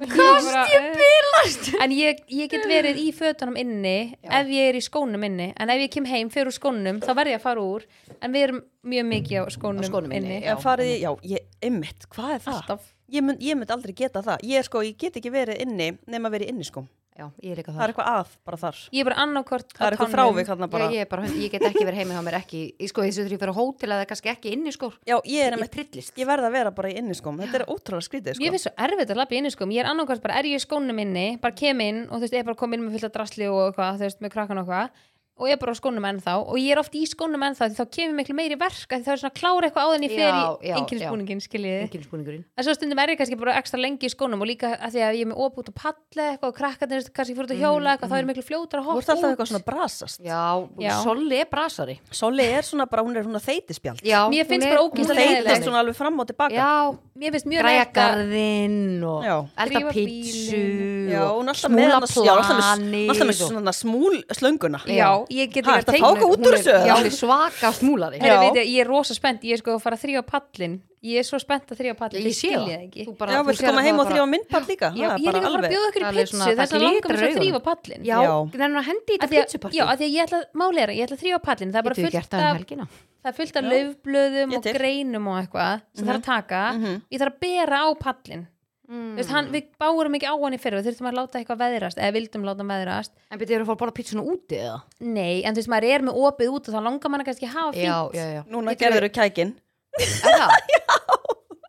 Speaker 2: Kast ég bílast En ég, ég get verið í fötunum inni
Speaker 3: Já.
Speaker 2: ef ég er í skónum inni en ef ég kem heim fyrir úr skónum, þá verð ég að fara úr en við erum mjög mikið á skónum,
Speaker 3: Á skónum inni,
Speaker 2: inni
Speaker 3: já.
Speaker 1: En farið, í- já, ég, ymmit, hvað er það?
Speaker 2: Alltaf
Speaker 1: Ég mynd, ég mynd aldrei geta það. Ég er sko, ég get ekki verið inni nema verið inni sko.
Speaker 3: já, ég er líka
Speaker 1: það er
Speaker 3: þar
Speaker 1: eitthvað að bara þar
Speaker 2: Ég er bara annarkort
Speaker 1: það er eitthvað
Speaker 2: um-
Speaker 1: frávik þarna bara
Speaker 3: Já, ég, er bara, ég get ekki verið heima hjá mér ekki, í sko þessu þegar ég fyrir hótel eða kannski ekki inni sko,
Speaker 1: já, ég er
Speaker 3: ég
Speaker 1: einmitt
Speaker 3: trillist
Speaker 1: ég verð að vera bara í inniskóm þetta er ótrúlega skrítið sko.
Speaker 2: Ég finnst svo erfitt að lappa inn í skóm, ég er annarkvæmt bara er ég í skónum inni, bara kem inn og þú veist, ég er bara komin inn með fullt af drasli og eitthvað, þú veist, með krakkan og eitthvað og ég er bara á skónum ennþá og ég er oft í skónum ennþá því þá kemur miklu meiri verk að þá er svona að klára eitthvað áðan ég fer
Speaker 3: Já,
Speaker 2: í
Speaker 3: já,
Speaker 2: einkennisbúningin, skiljiði.
Speaker 3: enginn skúningurinn
Speaker 2: En svo stundum er ég kannski bara ekstra lengi í skónum og líka að því að ég er með opút og palle eitthvað og krakkarnir þú veist, kannski fyrir út að hjóla eitthvað, þá er ég miklu fljótar
Speaker 1: Mm,
Speaker 2: að
Speaker 1: þú
Speaker 2: hoppa
Speaker 1: ert alltaf
Speaker 2: út.
Speaker 1: eitthvað svona brasast
Speaker 3: já, já.
Speaker 2: Já.
Speaker 3: Solli er brasari
Speaker 1: Solli er svona bara, hún er svona þeytispjald
Speaker 3: já,
Speaker 2: Mér
Speaker 3: hún
Speaker 2: finnst
Speaker 3: er-
Speaker 2: bara
Speaker 3: hún er
Speaker 2: ógeðslega
Speaker 3: leiðinleg.
Speaker 1: þeytist svona alveg fram og tilbaka
Speaker 3: já,
Speaker 2: Mér finnst mjög
Speaker 3: græja
Speaker 2: leitt að-
Speaker 3: garðinn og
Speaker 1: Já.
Speaker 3: elda
Speaker 2: Drífa
Speaker 3: pítsu
Speaker 2: bílinn.
Speaker 1: Já, hún er
Speaker 3: og
Speaker 1: alltaf með
Speaker 3: smúla
Speaker 1: hana- já, alltaf með- alltaf með
Speaker 3: planið og-
Speaker 1: svona smúl slönguna
Speaker 2: Já, ég get
Speaker 1: Ha, ertu
Speaker 2: líka
Speaker 1: að
Speaker 2: teiknað
Speaker 1: fá eitthvað út úr
Speaker 3: Hún
Speaker 1: þessu?
Speaker 3: er- já,
Speaker 1: eða?
Speaker 3: hún er svaka smúlari
Speaker 2: Herri,
Speaker 1: Já.
Speaker 2: veit ég, ég er rosa spennt, ég er sko að fara að þrýja pallin Ég er svo spennt að þrýja pallin,
Speaker 3: ég sé
Speaker 2: skilja ekki
Speaker 3: það
Speaker 1: Já, viltu koma heim og þrjá myndpall líka?
Speaker 2: Já,
Speaker 1: Það
Speaker 2: ég er líka bara að bjóða ykkur í
Speaker 3: Það er alveg
Speaker 2: pitsu
Speaker 3: svona-
Speaker 2: þess
Speaker 3: það
Speaker 2: að langar
Speaker 3: glitrar
Speaker 2: mér svo að
Speaker 3: augunum.
Speaker 2: þrýfa pallin
Speaker 3: já,
Speaker 1: Já.
Speaker 3: þannig að hendi í
Speaker 2: Af
Speaker 3: þetta
Speaker 2: því að-
Speaker 3: pítsuparti
Speaker 2: Já, af því að ég ætla að máleira, ég ætla að þrýfa pallin Það er bara
Speaker 3: Getum við gert
Speaker 2: fullt
Speaker 3: það um
Speaker 2: af,
Speaker 3: helgina?
Speaker 2: það er fullt af
Speaker 1: Já.
Speaker 2: laufblöðum
Speaker 1: Ég
Speaker 2: og
Speaker 1: til.
Speaker 2: greinum og eitthvað sem þarf að taka
Speaker 1: Mhm.
Speaker 2: Ég þarf að bera á pallin
Speaker 3: Mm.
Speaker 2: Þú veist, hann, Við bárum ekki á hann í fyrir, við þurftum að láta eitthvað veðrast eða vildum láta hann veðrast
Speaker 3: En byrjuðu að fór að borða pítsuna úti eða?
Speaker 2: Nei, en þú veist, maður er með opið út og þá langar manna kannski að hafa fínt
Speaker 3: Já, já, já.
Speaker 1: Núna
Speaker 3: Getum
Speaker 1: gerður við kækin
Speaker 3: Er það? já.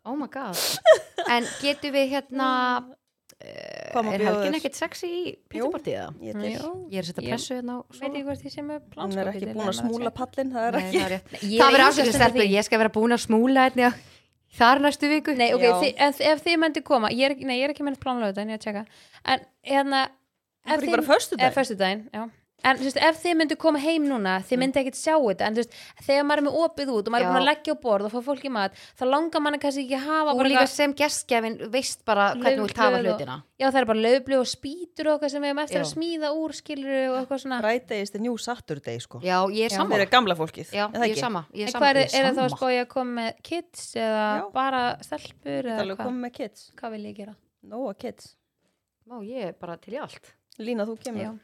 Speaker 3: Oh my god. En getum við hérna, eh,
Speaker 1: Hvað má
Speaker 3: er
Speaker 1: bjóða
Speaker 3: helgin
Speaker 1: þér?
Speaker 3: ekkert sexy í pítsupartið eða?
Speaker 1: Ég til.
Speaker 2: Já.
Speaker 3: Ég er að setja
Speaker 2: Ég-
Speaker 3: pressu hérna á
Speaker 2: Veit
Speaker 3: svona.
Speaker 2: ekki hvort ég sé
Speaker 1: Hún er
Speaker 2: með plánskapið
Speaker 1: ekki
Speaker 2: til
Speaker 1: búin að
Speaker 2: annars,
Speaker 1: smúla
Speaker 2: ég-
Speaker 1: pallin Það er
Speaker 3: Nei,
Speaker 1: ekki
Speaker 3: það er rétt.
Speaker 2: Ég
Speaker 3: Það
Speaker 2: enga
Speaker 3: verður afsökun
Speaker 2: stund að
Speaker 3: stelpur,
Speaker 2: því.
Speaker 3: ég skal vera búin að smúla hérna þar næstu viku.
Speaker 2: Nei, ok,
Speaker 1: Já.
Speaker 2: þi, ef, ef þið myndu koma ég er, ekki- Nei, ég er ekki með planlega þetta en ég að tjekka En hérna
Speaker 1: Það er ekki bara
Speaker 2: Eða
Speaker 1: föstudaginn
Speaker 2: föstudaginn, já En þú veist, ef þið myndu koma heim núna, þið
Speaker 1: Mm.
Speaker 2: myndu ekkert sjá þetta En þú veist, þegar maður er með opið út og maður
Speaker 3: Já.
Speaker 2: er búin að leggja á borð og fá fólk í mat þá langar manna kannski ekki að hafa
Speaker 3: Þú
Speaker 2: bara
Speaker 3: líka
Speaker 2: eitthvað-
Speaker 3: sem gestgjafin veist bara hvernig þú vilt hafa
Speaker 2: Laufblöð og-
Speaker 3: hlutina.
Speaker 2: Já, það er bara löflu og spýtur og eitthvað sem við erum eftir
Speaker 3: Já.
Speaker 2: að smíða úr skilur og eitthvað svona
Speaker 1: Friday is the new Saturday sko
Speaker 3: Já, ég
Speaker 2: Já.
Speaker 3: er
Speaker 1: Það
Speaker 3: sammála.
Speaker 1: eru gamla fólkið
Speaker 3: Já,
Speaker 1: er það
Speaker 3: ég er
Speaker 1: ekki?
Speaker 3: sama. Ég
Speaker 2: En
Speaker 3: er
Speaker 2: hvað
Speaker 3: sammála.
Speaker 2: er,
Speaker 3: Ég
Speaker 2: er það þá að
Speaker 3: sammála.
Speaker 2: spója að koma með kids eða
Speaker 1: Já.
Speaker 2: bara stelpur
Speaker 1: Það er
Speaker 2: eða
Speaker 1: alveg
Speaker 2: hvað?
Speaker 1: komið með kids
Speaker 2: Hvað vil ég gera?
Speaker 1: Nóa kids
Speaker 3: Má, ég er bara til í allt.
Speaker 1: Lína, þú
Speaker 2: Já.
Speaker 1: kemur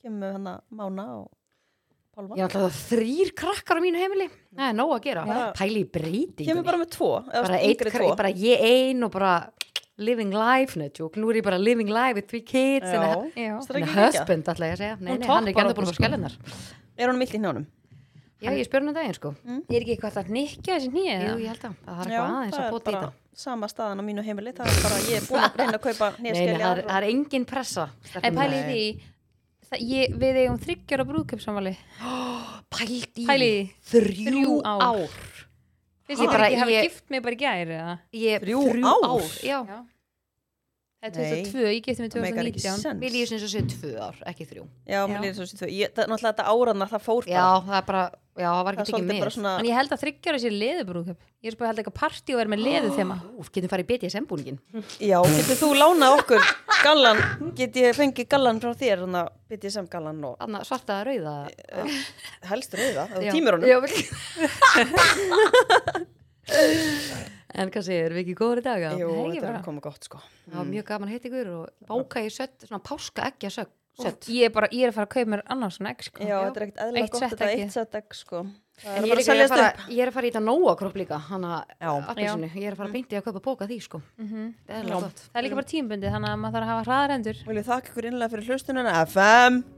Speaker 1: Kemur með hana Mána og
Speaker 3: Ég
Speaker 1: Pálma
Speaker 3: er alltaf þrýr krakkar á mínu heimili. Það er nóg að gera.
Speaker 1: Já.
Speaker 3: Pæli í breytingunni.
Speaker 1: Kemur bara með tvo eða
Speaker 3: bara eitt
Speaker 1: yngri
Speaker 3: kra- ég bara ég ein og bara living life, netjók, nú er ég bara living life with three kids and a,
Speaker 1: Já Finnst
Speaker 2: Já.
Speaker 1: þér
Speaker 3: and a
Speaker 1: ekki geggjað?
Speaker 3: husband ætla ég að segja, nei,
Speaker 2: Hún
Speaker 3: nei, hann er ekki
Speaker 2: toppar
Speaker 3: enda búin
Speaker 2: okkur,
Speaker 3: að skellunar
Speaker 1: Er hún milt í hnjánum?
Speaker 3: já, ég spyr hann um daginn sko
Speaker 2: Er ekki eitthvað að nikja þessi nýja?
Speaker 3: jú, ég held að, það er eitthvað aðeins að bóta í
Speaker 1: bara
Speaker 3: það
Speaker 1: sama staðan á mínu heimili Það er bara, ég er búin að reyna að kaupa
Speaker 3: nei, nei, það
Speaker 1: nýjaskiljar
Speaker 3: er- það er engin pressa
Speaker 2: En
Speaker 3: stelpurnar.
Speaker 2: pælið því það, ég, Við eigum þryggjara brúðköpsamvali
Speaker 3: pælt í,
Speaker 2: Pælið í
Speaker 3: þrjú
Speaker 2: þrjú ár.
Speaker 3: ár
Speaker 2: Finnst ég
Speaker 3: Ha.
Speaker 2: bara
Speaker 3: Bara
Speaker 2: ekki hafa
Speaker 3: ég-
Speaker 2: gift mig bara í gæri eða?
Speaker 3: Ég-
Speaker 1: Þrjú ár?
Speaker 3: já,
Speaker 2: Já Það er
Speaker 1: Nei.
Speaker 2: 2002, ég gifti mig
Speaker 1: Það meikar ekki
Speaker 2: 2019
Speaker 1: sens
Speaker 3: mér líður sem svo séu tvö ár ekki þrjú,
Speaker 1: Já, mér
Speaker 2: Já.
Speaker 1: líður svo sér tvö Ég- það- Náttúrulega þetta áraðnar, það fór
Speaker 3: já,
Speaker 1: bara
Speaker 3: það er bara já, það
Speaker 1: Það er
Speaker 3: var ekki tekið
Speaker 1: svolítið
Speaker 3: með
Speaker 1: bara svona
Speaker 2: En ég held að þryggjara sé leðubrúðköp Ég er spöð að held eitthvað partí og vera með leðu þema
Speaker 3: Úf, getum farið í BDSM búningin
Speaker 1: Já, getur þú lánað okkur gallan, get ég fengið gallan frá þér, þannig að bit ég sem gallan og
Speaker 3: Anna, svarta að rauða
Speaker 1: helst rauða, það
Speaker 3: Já.
Speaker 1: tímir honum.
Speaker 3: Já, vel- En hvað segir, erum við ekki góður í dag? eða?
Speaker 1: Jú,
Speaker 2: Það er ekki
Speaker 1: þetta er
Speaker 2: bara.
Speaker 1: að koma gott sko.
Speaker 3: Það var mjög gaman að heita ykkur og báka í sött, svona páska ekki að sött. sött.
Speaker 2: Ég er bara, ég er að fara að kaupa mér annars svona egg
Speaker 1: Já,
Speaker 2: sko
Speaker 1: þetta er ekkert eðlilega
Speaker 2: Eitt
Speaker 1: gott,
Speaker 2: sett
Speaker 1: þetta er
Speaker 2: ekki.
Speaker 1: eitt sett ekki sko. Það
Speaker 3: En
Speaker 1: er
Speaker 3: ég er,
Speaker 1: bara að
Speaker 3: líka að
Speaker 1: seljast
Speaker 3: fara,
Speaker 1: upp.
Speaker 3: ég er að fara í þetta nóa kropp líka, hana
Speaker 1: Já.
Speaker 3: appisinu. Ég er að fara að beinti að kaupa bóka því, sko.
Speaker 2: Mhm.
Speaker 3: Það er alveg gott.
Speaker 2: Það er líka bara tímbundið, þannig að maður þarf að hafa hraðar endur
Speaker 1: Vil ég þakka ykkur innlega fyrir hlustununa, FM.